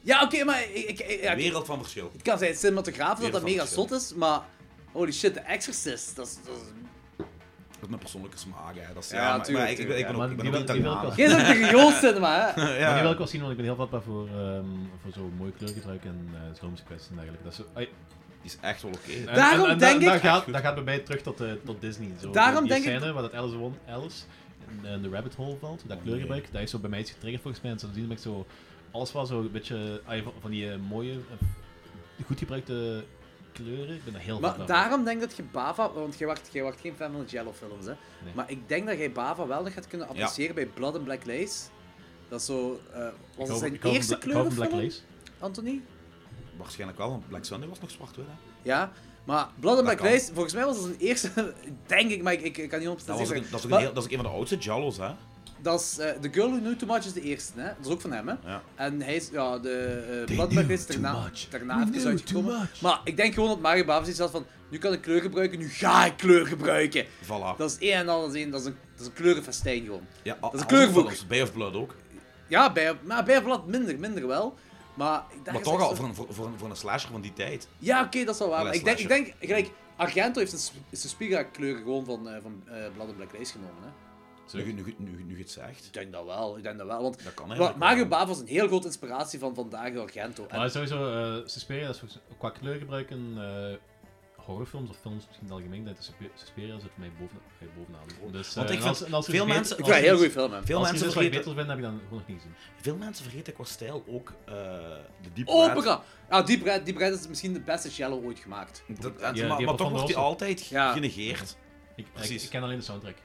Speaker 1: Ja, oké, maar ik, ik, ik- ja, oké.
Speaker 2: Wereld van verschil.
Speaker 1: het kan zijn cinematograaf dat
Speaker 2: Wereld
Speaker 1: dat
Speaker 2: van
Speaker 1: mega
Speaker 2: verschil.
Speaker 1: zot is, maar... Holy shit, The Exorcist, dat is... Dat is...
Speaker 2: Dat is mijn persoonlijke smaak, hè. Dat is,
Speaker 1: Ja,
Speaker 2: ja, maar- maar,
Speaker 1: tuurlijk,
Speaker 2: ik, ik,
Speaker 1: tuurlijk, ja.
Speaker 2: ben ook,
Speaker 4: Maar
Speaker 2: ik ben
Speaker 4: die
Speaker 2: ook niet
Speaker 4: wil- die wil ik
Speaker 2: daarna.
Speaker 4: wel-
Speaker 1: Jij bent tegen Joost cinema, hè?
Speaker 2: Ja.
Speaker 4: Maar die wil ik wel zien, want ik ben heel vatbaar voor, ehm, voor zo'n mooi kleurgebruik en uh, droomsequenties en dergelijke. Dat is zo, ai,
Speaker 2: Die is echt wel oké.
Speaker 4: en-
Speaker 1: Daarom
Speaker 4: en- en
Speaker 1: denk
Speaker 4: da-
Speaker 1: ik-
Speaker 4: Dat gaat, dat gaat bij mij terug tot, eh, tot Disney. Zo.
Speaker 1: Daarom
Speaker 4: die
Speaker 1: denk ik-
Speaker 4: scène waar dat Alice, won, Alice in, eh, de rabbit hole valt, dat kleurgebruik, dat is zo bij mij iets getriggerd volgens mij. En sindsdien ben ik zo... Alles was zo een beetje ai, van- van die eh, mooie, eh, goed gebruikte kleuren. Ik ben daar heel vatbaar
Speaker 1: Maar
Speaker 4: voor.
Speaker 1: daarom denk ik dat je Bava... Want jij wordt, jij wordt geen fan van de Jello-films, hè?
Speaker 4: Nee.
Speaker 1: Maar ik denk dat jij Bava wel nog gaat kunnen appreciëren bij Blood and Black Lace. Dat is zo... eh was
Speaker 4: Ik
Speaker 1: het
Speaker 4: hou-
Speaker 1: zijn
Speaker 4: ik hou van
Speaker 1: eerste
Speaker 4: Bla- ik hou van Black
Speaker 1: kleurenfilm,
Speaker 4: Lace.
Speaker 1: Anthony?
Speaker 2: Waarschijnlijk wel, want Black Sunday was nog zwart-wit, hè.
Speaker 1: Ja, maar Blood and
Speaker 2: Dat
Speaker 1: Black
Speaker 2: kan.
Speaker 1: Lace, volgens mij was het zijn eerste, denk ik, maar ik, ik, ik kan niet op
Speaker 2: Dat was ook
Speaker 1: zeggen.
Speaker 2: een, dat is ook een,
Speaker 1: Maar
Speaker 2: heel- dat is ook een van de oudste Jallos, hè.
Speaker 1: dat is, eh, The Girl Who Knew Too Much is de eerste, hè? Dat is ook van hem, hè?
Speaker 2: Ja.
Speaker 1: En hij is, ja, de eh, Blood and
Speaker 8: knew
Speaker 1: Black Lace is
Speaker 8: too
Speaker 1: daarna,
Speaker 8: much.
Speaker 1: daarna
Speaker 8: We
Speaker 1: even
Speaker 8: knew
Speaker 1: uitgekomen.
Speaker 8: too much.
Speaker 1: Maar ik denk gewoon dat Mario Bava zoiets had van, nu kan ik kleur gebruiken, nu ga ik kleur gebruiken.
Speaker 2: Voilà.
Speaker 1: Dat is één en al, dat is één, dat is een, dat is een kleurenfestijn gewoon.
Speaker 2: ja,
Speaker 1: is een kleurboek.
Speaker 2: kleur Bay of Blood ook.
Speaker 1: Ja, bij, maar bij Blood minder, minder wel. Maar, ik denk
Speaker 2: Maar
Speaker 1: dat
Speaker 2: toch
Speaker 1: ze-
Speaker 2: al, voor een, voor, voor een, voor een slasher van die tijd.
Speaker 1: Ja, oké, dat is wel waar. Maar
Speaker 2: Wel een
Speaker 1: ik denk, ik denk, gelijk, Argento heeft zijn, sp- zijn Spiga-kleuren gewoon van, eh, van eh, Blood and Black Lace genomen, hè?
Speaker 2: Nu, nu, nu, nu je het zegt.
Speaker 1: Ik denk dat wel, ik denk dat wel. Want
Speaker 2: Dat kan
Speaker 1: Wa-
Speaker 2: eigenlijk
Speaker 1: Mario
Speaker 2: wel.
Speaker 1: Bava is een heel grote inspiratie van vandaag door Argento. En
Speaker 4: Maar sowieso, eh Suspiria is volgens- qua kleurgebruik in eh, horrorfilms of films misschien in het algemeen, dat is Suspi- Suspiria zit voor mij boven, eh, bovenaan. Dus, eh,
Speaker 2: Want ik
Speaker 4: en
Speaker 2: vind
Speaker 4: als- en als er
Speaker 2: veel
Speaker 4: iets
Speaker 1: ik
Speaker 2: mensen-
Speaker 4: beter- als
Speaker 1: vind het
Speaker 4: er
Speaker 1: een heel
Speaker 4: iets-
Speaker 1: goede film, hè.
Speaker 2: Veel
Speaker 4: Als
Speaker 2: mensen,
Speaker 4: mensen wat ik
Speaker 2: vergeten,
Speaker 4: beter vind, heb ik dan gewoon nog niet gezien.
Speaker 2: veel mensen vergeten qua stijl ook eh, de Deep Red.
Speaker 1: Opera! Ja, Oh, ah, Deep Red, Deep Red is misschien de beste cello ooit gemaakt.
Speaker 2: Dat, en-
Speaker 4: die
Speaker 2: maar,
Speaker 4: hebben
Speaker 2: maar toch
Speaker 4: Van
Speaker 2: wordt die
Speaker 4: Rossum.
Speaker 2: altijd
Speaker 1: Ja.
Speaker 2: genegeerd.
Speaker 4: Ik, ik,
Speaker 2: Precies.
Speaker 4: ik ken alleen de soundtrack.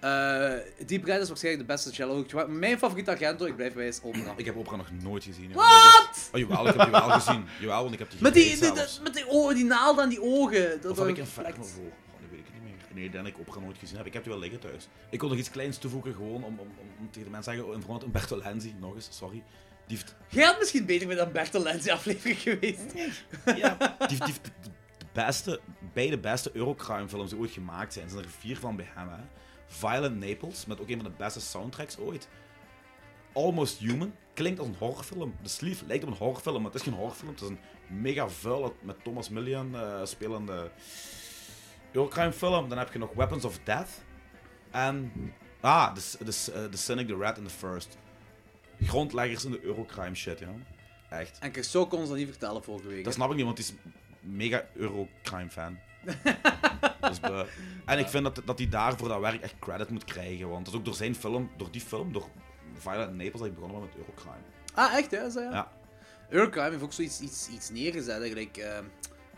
Speaker 1: Eh, Deep Red is waarschijnlijk de beste cello ooit gemaakt. Mijn favoriete Argento, ik blijf bij, is Opera.
Speaker 2: Ik heb opera nog nooit gezien. joh.
Speaker 1: Wat?
Speaker 2: Oh, jawel, ik heb die wel gezien. Jawel, want ik heb die
Speaker 1: Met die,
Speaker 2: gereed
Speaker 1: die- die-
Speaker 2: zelfs.
Speaker 1: met die, ogen, die naalden aan die ogen. Dat
Speaker 2: Of had
Speaker 1: was
Speaker 2: ik een
Speaker 1: reflect.
Speaker 2: Inferno voor? Oh, dat weet ik niet meer. Nee, dan ik opera nooit gezien heb. Ik heb die wel liggen thuis. Ik wil nog iets kleins toevoegen, gewoon om, om, om, om tegen de mensen te zeggen, in verband met Umberto Lenzi, nog eens, sorry. Die heeft,
Speaker 1: Jij had misschien beter met een Bertel Lenzi aflevering geweest.
Speaker 2: ja, die heeft, die heeft de- de beste, beide beste Eurocrime films die ooit gemaakt zijn. Er zijn er vier van bij hem, hè. Violent Naples, met ook een van de beste soundtracks ooit. Almost Human, klinkt als een horrorfilm. De Sleeve lijkt op een horrorfilm, maar het is geen horrorfilm. Het is een mega vuil, met Thomas Millian eh, spelende Eurocrime film. Dan heb je nog Weapons of Death. En, ah, The, the, eh, the Cynic, The Rat and The First. Grondleggers in de Eurocrime shit, ja. Echt.
Speaker 1: En Christo kon ons dat niet vertellen vorige week.
Speaker 2: Dat snap ik niet, want die is mega Eurocrime-fan. dus, eh, en ik vind dat, dat hij daar voor dat werk echt credit moet krijgen. Want dat is ook door zijn film, door die film, door Violent Naples, dat ik begonnen ben met Eurocrime.
Speaker 1: Ah, echt, hè? Is dat ja?
Speaker 2: Ja.
Speaker 1: Eurocrime heeft ook zoiets iets, iets neergezet, hè, gelijk eh,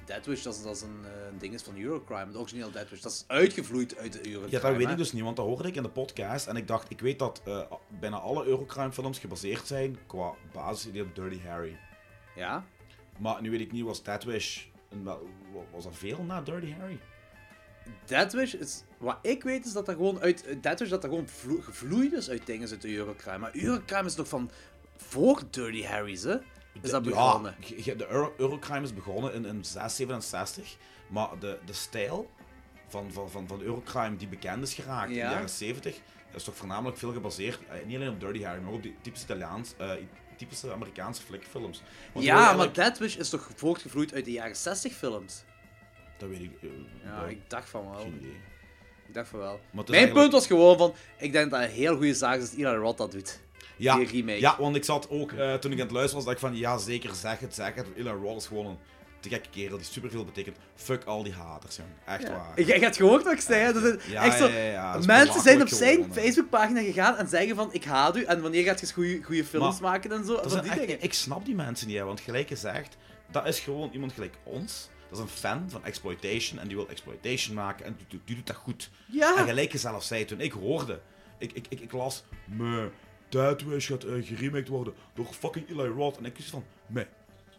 Speaker 1: Deadwish, dat is, dat is een, eh, een ding is van Eurocrime. Het origineel Deadwish, dat is uitgevloeid uit de Eurocrime.
Speaker 2: Ja, dat weet
Speaker 1: hè.
Speaker 2: ik dus niet, want dat hoorde ik in de podcast. En ik dacht, ik weet dat eh, bijna alle Eurocrime-films gebaseerd zijn qua basisidee op Dirty Harry.
Speaker 1: Ja?
Speaker 2: Maar nu weet ik niet, was Deadwish... een wel- wa- Was dat veel na Dirty Harry?
Speaker 1: Deadwish is... Wat ik weet is dat dat gewoon uit... eh, Deadwish dat dat gewoon vlo- gevloeid is uit dingen uit de Eurocrime. Maar Eurocrime is nog van... Voor Dirty Harry's, hè? Is dat begonnen?
Speaker 2: Ja, ge- ge- de Euro- Eurocrime is begonnen in, in 6, 67. Maar de, de stijl van, van, van, van Eurocrime die bekend is geraakt in
Speaker 1: Ja.
Speaker 2: de jaren 70, is toch voornamelijk veel gebaseerd, eh, niet alleen op Dirty Harry, maar ook op die typische Italiaans... eh, Typische Amerikaanse flikfilms. Want heel
Speaker 1: ja, maar
Speaker 2: eerlijk-
Speaker 1: Deadwish is toch voortgevloeid uit de jaren 60 films?
Speaker 2: Dat weet ik. eh,
Speaker 1: Ja,
Speaker 2: dat-
Speaker 1: ik dacht van wel.
Speaker 2: Geen idee.
Speaker 1: Ik dacht van wel. Mijn
Speaker 2: het is
Speaker 1: punt
Speaker 2: eigenlijk-
Speaker 1: was gewoon van... Ik denk dat een heel goede zaak is dat Eli Roth dat doet.
Speaker 2: Ja,
Speaker 1: Die remake.
Speaker 2: ja, want ik zat ook, eh, toen ik aan het luisteren was, dacht ik van, ja zeker, zeg het, zeg het. Ilan Roth is gewoon een te gekke kerel die superveel betekent. Fuck al die haters, jong. Echt waar.
Speaker 1: Ik, ik had gehoord wat ik zei. hè. Dat is
Speaker 2: Ja,
Speaker 1: echt zo,
Speaker 2: ja, ja, ja, dat is
Speaker 1: mensen zijn op
Speaker 2: belachelijk
Speaker 1: zijn
Speaker 2: gewoon, hè.
Speaker 1: Facebookpagina gegaan en zeggen van ik haat u en wanneer gaat je goede films
Speaker 2: Maar
Speaker 1: maken en zo.
Speaker 2: Dat
Speaker 1: van
Speaker 2: zijn
Speaker 1: die
Speaker 2: echt-
Speaker 1: dingen.
Speaker 2: ik snap die mensen niet, hè, want gelijk gezegd, dat is gewoon iemand gelijk ons. Dat is een fan van exploitation en die wil exploitation maken en die, doet- die doet dat goed.
Speaker 1: Ja.
Speaker 2: En gelijk je zelf zei toen, ik hoorde, ik, ik, ik, ik las, meh, Deadwish gaat eh, geremaked worden door fucking Eli Roth. En ik wist van, meh,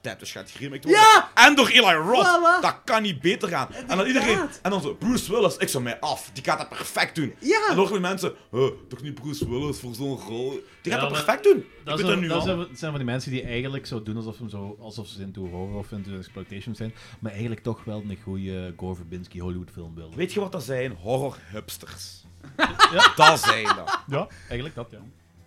Speaker 2: Deadwish gaat geremaked worden.
Speaker 1: Ja!
Speaker 2: En door Eli Roth!
Speaker 1: Voilà.
Speaker 2: Dat kan niet beter gaan. En dan iedereen,
Speaker 1: Inderdaad.
Speaker 2: en dan zo, Bruce Willis, ik zou mij af, die gaat dat perfect doen.
Speaker 1: Ja.
Speaker 2: En dan horen we mensen, huh, toch niet Bruce Willis voor zo'n rol. Die gaat
Speaker 4: Ja,
Speaker 2: dat
Speaker 4: maar-
Speaker 2: perfect doen.
Speaker 4: Dat,
Speaker 2: ik
Speaker 4: is
Speaker 2: weet dat
Speaker 4: een-
Speaker 2: nu
Speaker 4: dat
Speaker 2: al.
Speaker 4: zijn, van- zijn van die mensen die eigenlijk zo doen alsof, ze zo, alsof ze into horror of into exploitation zijn, maar eigenlijk toch wel een goede Gore Verbinski Hollywood film wilden.
Speaker 2: Weet je wat dat zijn? Horror-hipsters. Dat zijn dat.
Speaker 4: Ja, eigenlijk dat, ja.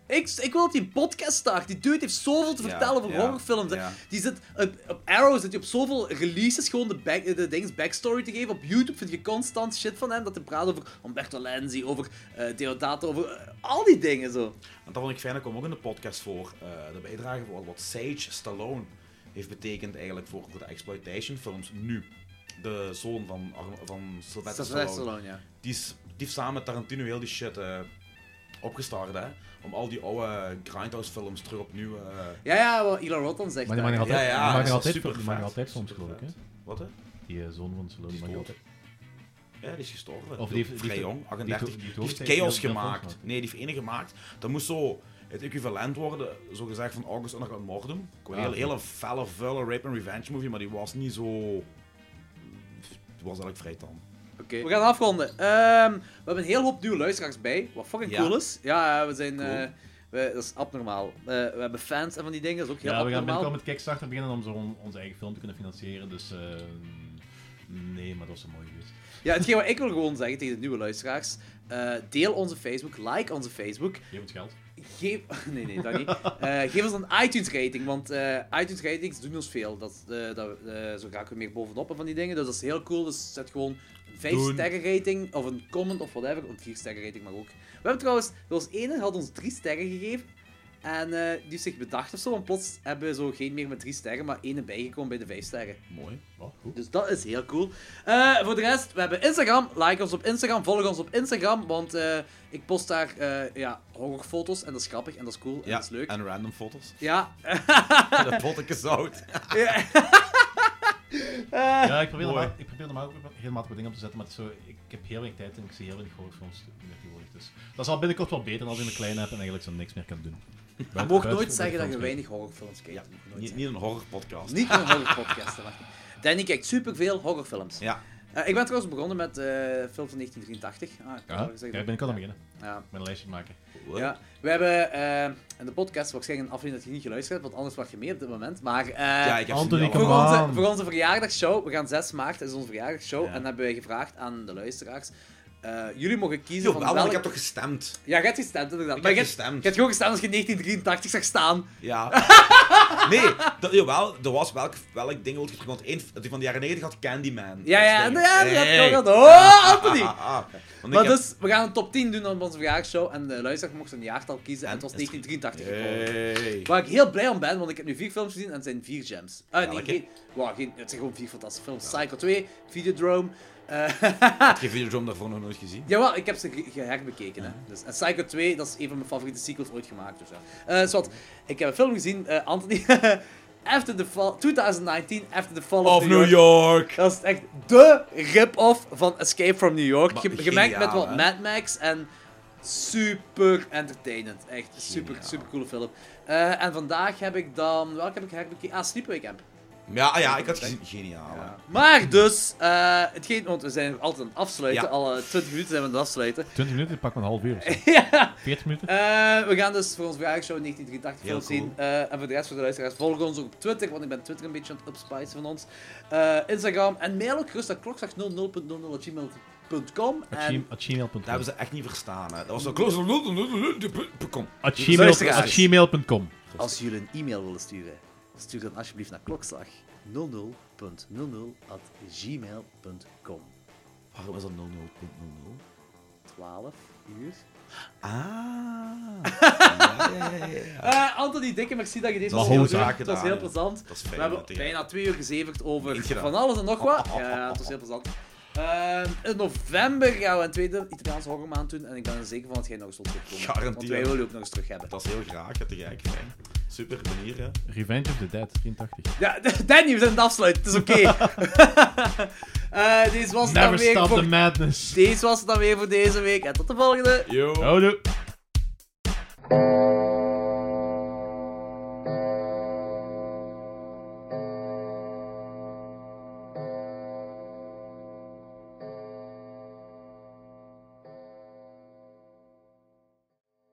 Speaker 1: Ik, ik wil dat hij een podcast start. Die dude heeft zoveel te
Speaker 2: Ja,
Speaker 1: vertellen over
Speaker 2: ja,
Speaker 1: horrorfilms. hè.
Speaker 2: ja.
Speaker 1: Die zit op, op Arrow zit hij op zoveel releases gewoon de, back, de dings backstory te geven. Op YouTube vind je constant shit van hem. Dat hij praat over Umberto Lenzi, over eh Deodato, over eh, al die dingen zo.
Speaker 2: En dat vond ik fijn, dat kwam ook in de podcast voor. eh, de bijdrage voor wat Sage Stallone heeft betekend eigenlijk voor, voor de exploitation films nu. De zoon van, Ar- van
Speaker 1: Sylvester
Speaker 2: Sylvester Stallone.
Speaker 1: Stallone, ja.
Speaker 2: Die, is, die heeft samen met Tarantino heel die shit eh, opgestart, hè. Om al die oude Grindhouse films terug opnieuw... eh,
Speaker 1: Ja, ja, wat Eli Roth dan zegt.
Speaker 4: Maar die mag nog
Speaker 1: eigenlijk.
Speaker 4: altijd,
Speaker 2: ja, dat
Speaker 4: die mag
Speaker 2: is
Speaker 4: nog altijd,
Speaker 2: supervet.
Speaker 4: die mag nog altijd soms, geloof ik.
Speaker 2: Supervet.
Speaker 4: Hè?
Speaker 2: Wat, hè?
Speaker 4: Die eh, zoon van Stallone
Speaker 2: Die
Speaker 4: mag nog
Speaker 2: is
Speaker 4: altijd.
Speaker 2: Ja, die is gestorven.
Speaker 4: Of
Speaker 2: Of
Speaker 4: die
Speaker 2: die
Speaker 4: heeft-
Speaker 2: vrij
Speaker 4: die heeft-
Speaker 2: jong,
Speaker 4: die
Speaker 2: 38. Die
Speaker 4: heeft- die
Speaker 2: heeft,
Speaker 4: heeft hoofdtijd
Speaker 2: chaos
Speaker 4: heel veel
Speaker 2: gemaakt.
Speaker 4: gemaakt.
Speaker 2: Nee, die heeft ene gemaakt. Dat moest zo het equivalent worden, zo gezegd, van August Under Mordum. Een
Speaker 4: Ja.
Speaker 2: hele, hele felle, vuile rape and revenge movie, maar die was niet zo... Die was eigenlijk vrij tam.
Speaker 1: Oké, We gaan afronden. Ehm, we hebben een heel hoop nieuwe luisteraars bij, wat fucking
Speaker 2: Ja.
Speaker 1: cool is. Ja, ja, we zijn...
Speaker 2: Cool.
Speaker 1: eh, we, dat is abnormaal. Eh, we hebben fans en van die dingen, dat is ook heel
Speaker 4: Ja, we gaan
Speaker 1: abnormaal.
Speaker 4: binnenkort met Kickstarter beginnen om zo on- onze eigen film te kunnen financieren, dus... eh, nee, maar dat is een mooie geweest.
Speaker 1: Ja, hetgeen wat ik wil gewoon zeggen tegen de nieuwe luisteraars. eh, deel onze Facebook, like onze Facebook.
Speaker 4: Geef ons geld.
Speaker 1: Geef... Nee, nee, dat niet. Eh, geef ons een iTunes rating, want eh, iTunes ratings doen ons veel. Dat, eh, dat, eh, zo raken we meer bovenop en van die dingen. Dus dat is heel cool. Dus zet gewoon een 5
Speaker 2: Doen.
Speaker 1: sterren rating, of een comment, of whatever. Een 4 sterren rating mag ook. We hebben trouwens, bij ons ene had ons 3 sterren gegeven. En eh, die heeft zich bedacht of zo, want plots hebben we zo geen meer met 3 sterren, maar ene bijgekomen bij de 5 sterren.
Speaker 2: Mooi.
Speaker 4: Oh, goed.
Speaker 1: Dus dat is heel cool. Eh, voor de rest, we hebben Instagram. Like ons op Instagram, volg ons op Instagram. Want eh, ik post daar eh, ja, horrorfoto's. En dat is grappig en dat is cool en
Speaker 2: Ja,
Speaker 1: dat is leuk.
Speaker 2: en random foto's.
Speaker 1: Ja,
Speaker 2: dat vond ik zout.
Speaker 4: Ja, ik probeer,
Speaker 2: mooi.
Speaker 4: normaal, ik probeer normaal ook helemaal wat dingen op te zetten, maar het is zo, ik heb heel weinig tijd en ik zie heel weinig groot films meer tegenwoordig. Dus dat zal binnenkort wel beter dan als ik een kleine heb en eigenlijk zo niks meer kan doen.
Speaker 1: je
Speaker 4: Buiten-
Speaker 1: mag nooit
Speaker 4: buiten-
Speaker 1: zeggen dat je
Speaker 4: buiten-
Speaker 1: weinig horrorfilms kijkt.
Speaker 2: Ja,
Speaker 1: Dat mag je nooit
Speaker 2: niet,
Speaker 1: zeggen.
Speaker 2: niet een horrorpodcast.
Speaker 1: Niet meer horrorpodcasten, wacht. Danny kijkt superveel horrorfilms.
Speaker 2: Ja.
Speaker 1: Eh, ik ben trouwens begonnen met eh film van 1983. Ah, ik had al
Speaker 4: Ja,
Speaker 1: gezegd
Speaker 4: kijk,
Speaker 1: dat-
Speaker 4: binnenkort aan beginnen.
Speaker 1: ja.
Speaker 4: Met een lijstje maken.
Speaker 1: Ja, we hebben eh, in de podcast waarschijnlijk een aflevering dat je niet geluisterd hebt, want anders was je mee op dit moment. Maar eh,
Speaker 2: Ja, ik heb
Speaker 4: Anthony,
Speaker 2: ze niet
Speaker 4: kom
Speaker 1: Voor
Speaker 2: allemaal.
Speaker 4: on.
Speaker 1: onze,
Speaker 4: Come
Speaker 1: voor onze verjaardagsshow, we gaan 6 maart, is onze verjaardagsshow,
Speaker 2: Ja.
Speaker 1: en hebben wij gevraagd aan de luisteraars, eh, jullie mogen kiezen
Speaker 2: Jawel,
Speaker 1: van
Speaker 2: want
Speaker 1: welk...
Speaker 2: ik heb toch gestemd?
Speaker 1: Ja, je hebt gestemd, inderdaad.
Speaker 2: Ik
Speaker 1: maar
Speaker 2: heb
Speaker 1: je hebt-
Speaker 2: gestemd.
Speaker 1: Je hebt gewoon gestemd als je 1983 zag staan.
Speaker 2: Ja. nee, dat, jawel, er was welk, welk ding wil je terug? Want één die van de jaren 90 had Candyman.
Speaker 1: Ja, ja,
Speaker 2: Dat
Speaker 1: en
Speaker 2: is
Speaker 1: ja,
Speaker 2: ding.
Speaker 1: dat
Speaker 2: Hey.
Speaker 1: had ik ook al. Oh, Anthony!
Speaker 2: Ah, ah, ah. Want
Speaker 1: Maar
Speaker 2: ik heb-
Speaker 1: dus, we gaan een top 10 doen op onze verjaardagshow, en de luisteraar mocht een jaartal kiezen, en het was
Speaker 2: En is het-
Speaker 1: 1983 geworden.
Speaker 2: Hey.
Speaker 1: Waar ik heel blij om ben, want ik heb nu vier films gezien en het zijn vier gems. Ah, nee,
Speaker 2: Welke?
Speaker 1: geen, wow, geen, het zijn gewoon vier fantastische films. Psycho 2, Videodrome, eh,
Speaker 2: Heb je Videodrome daarvoor nog nooit gezien?
Speaker 1: Jawel, ik heb ze ge- geherbekeken. Hè. Dus, en Psycho 2, dat is een van mijn favoriete sequels ooit gemaakt. Dus, ja. Eh, zwart, ik heb een film gezien, eh, Anthony. After the Fall, 2019, After the Fall of,
Speaker 2: Of New York.
Speaker 1: Dat is echt de rip-off van Escape from New York.
Speaker 2: Maar
Speaker 1: Ge- Gemengd met
Speaker 2: geniaal,
Speaker 1: wat
Speaker 2: hè?
Speaker 1: Mad Max en super entertainend. Echt super,
Speaker 2: Geniaal.
Speaker 1: super coole film. Eh, en vandaag heb ik dan, welke heb ik herbekeken? Ah, Sleep Camp.
Speaker 2: Ja, ah ja, ik had gezien. Geniaal. hè.
Speaker 1: Maar dus, eh, hetgeen, want we zijn nog altijd aan het afsluiten.
Speaker 2: Ja.
Speaker 1: Alle 20 minuten zijn we aan het afsluiten.
Speaker 4: 20 minuten, pak maar een half uur. of zo.
Speaker 1: ja.
Speaker 4: 40 minuten.
Speaker 1: Eh, we gaan dus voor ons vraagenshow 1983
Speaker 2: Heel
Speaker 1: film zien. Eh, en voor de rest van de luisteraars, volg ons ook op Twitter, want ik ben Twitter een beetje aan het upspicen van ons. Eh, Instagram en mail ook gerust naar klokslag00.00.gmail.com. En
Speaker 4: At gmail- at
Speaker 2: Dat hebben
Speaker 4: gmail.com.
Speaker 2: ze echt niet verstaan. Hè. Dat was zo close. Kom.
Speaker 4: At gmail-
Speaker 1: Luisteraars.
Speaker 4: At gmail.com.
Speaker 1: als jullie een e-mail willen sturen, stuur dan alsjeblieft naar klokslag00.00.gmail.com.
Speaker 2: Waarom is dat 00.00?
Speaker 1: 12 uur.
Speaker 2: Ah.
Speaker 1: Eh Anthony, dikke merci dat je deze
Speaker 4: Dat
Speaker 1: was heel
Speaker 4: was
Speaker 1: leuk.
Speaker 2: graag
Speaker 1: Het was
Speaker 2: gedaan,
Speaker 1: heel
Speaker 2: ja.
Speaker 1: plezant.
Speaker 2: Dat is
Speaker 1: We
Speaker 2: fijn.
Speaker 1: hebben
Speaker 2: dat je-
Speaker 1: bijna twee uur gezeverd over
Speaker 2: Eentje dan.
Speaker 1: van alles en nog wat. Ja, ja, het was heel plezant. Ehm, in november gaan we een tweede Italiaanse horrormaand doen. En ik ben er zeker van dat jij nog eens wilt terugkomen. Want
Speaker 2: Garantie,
Speaker 1: wij
Speaker 2: ja.
Speaker 1: willen je ook nog eens terug hebben.
Speaker 2: Dat is heel graag. Dat te gek. hè. Super manier. hè.
Speaker 4: Revenge of the Dead, 83.
Speaker 1: Ja, Danny, we zijn aan het afsluiten. Het is oké. Eh, deze was het dan
Speaker 4: Never
Speaker 1: weer
Speaker 4: stop the
Speaker 1: voor...
Speaker 4: madness.
Speaker 1: Deze was het dan weer voor deze week. En tot de volgende.
Speaker 2: Yo.
Speaker 4: Houdoe.
Speaker 10: Thank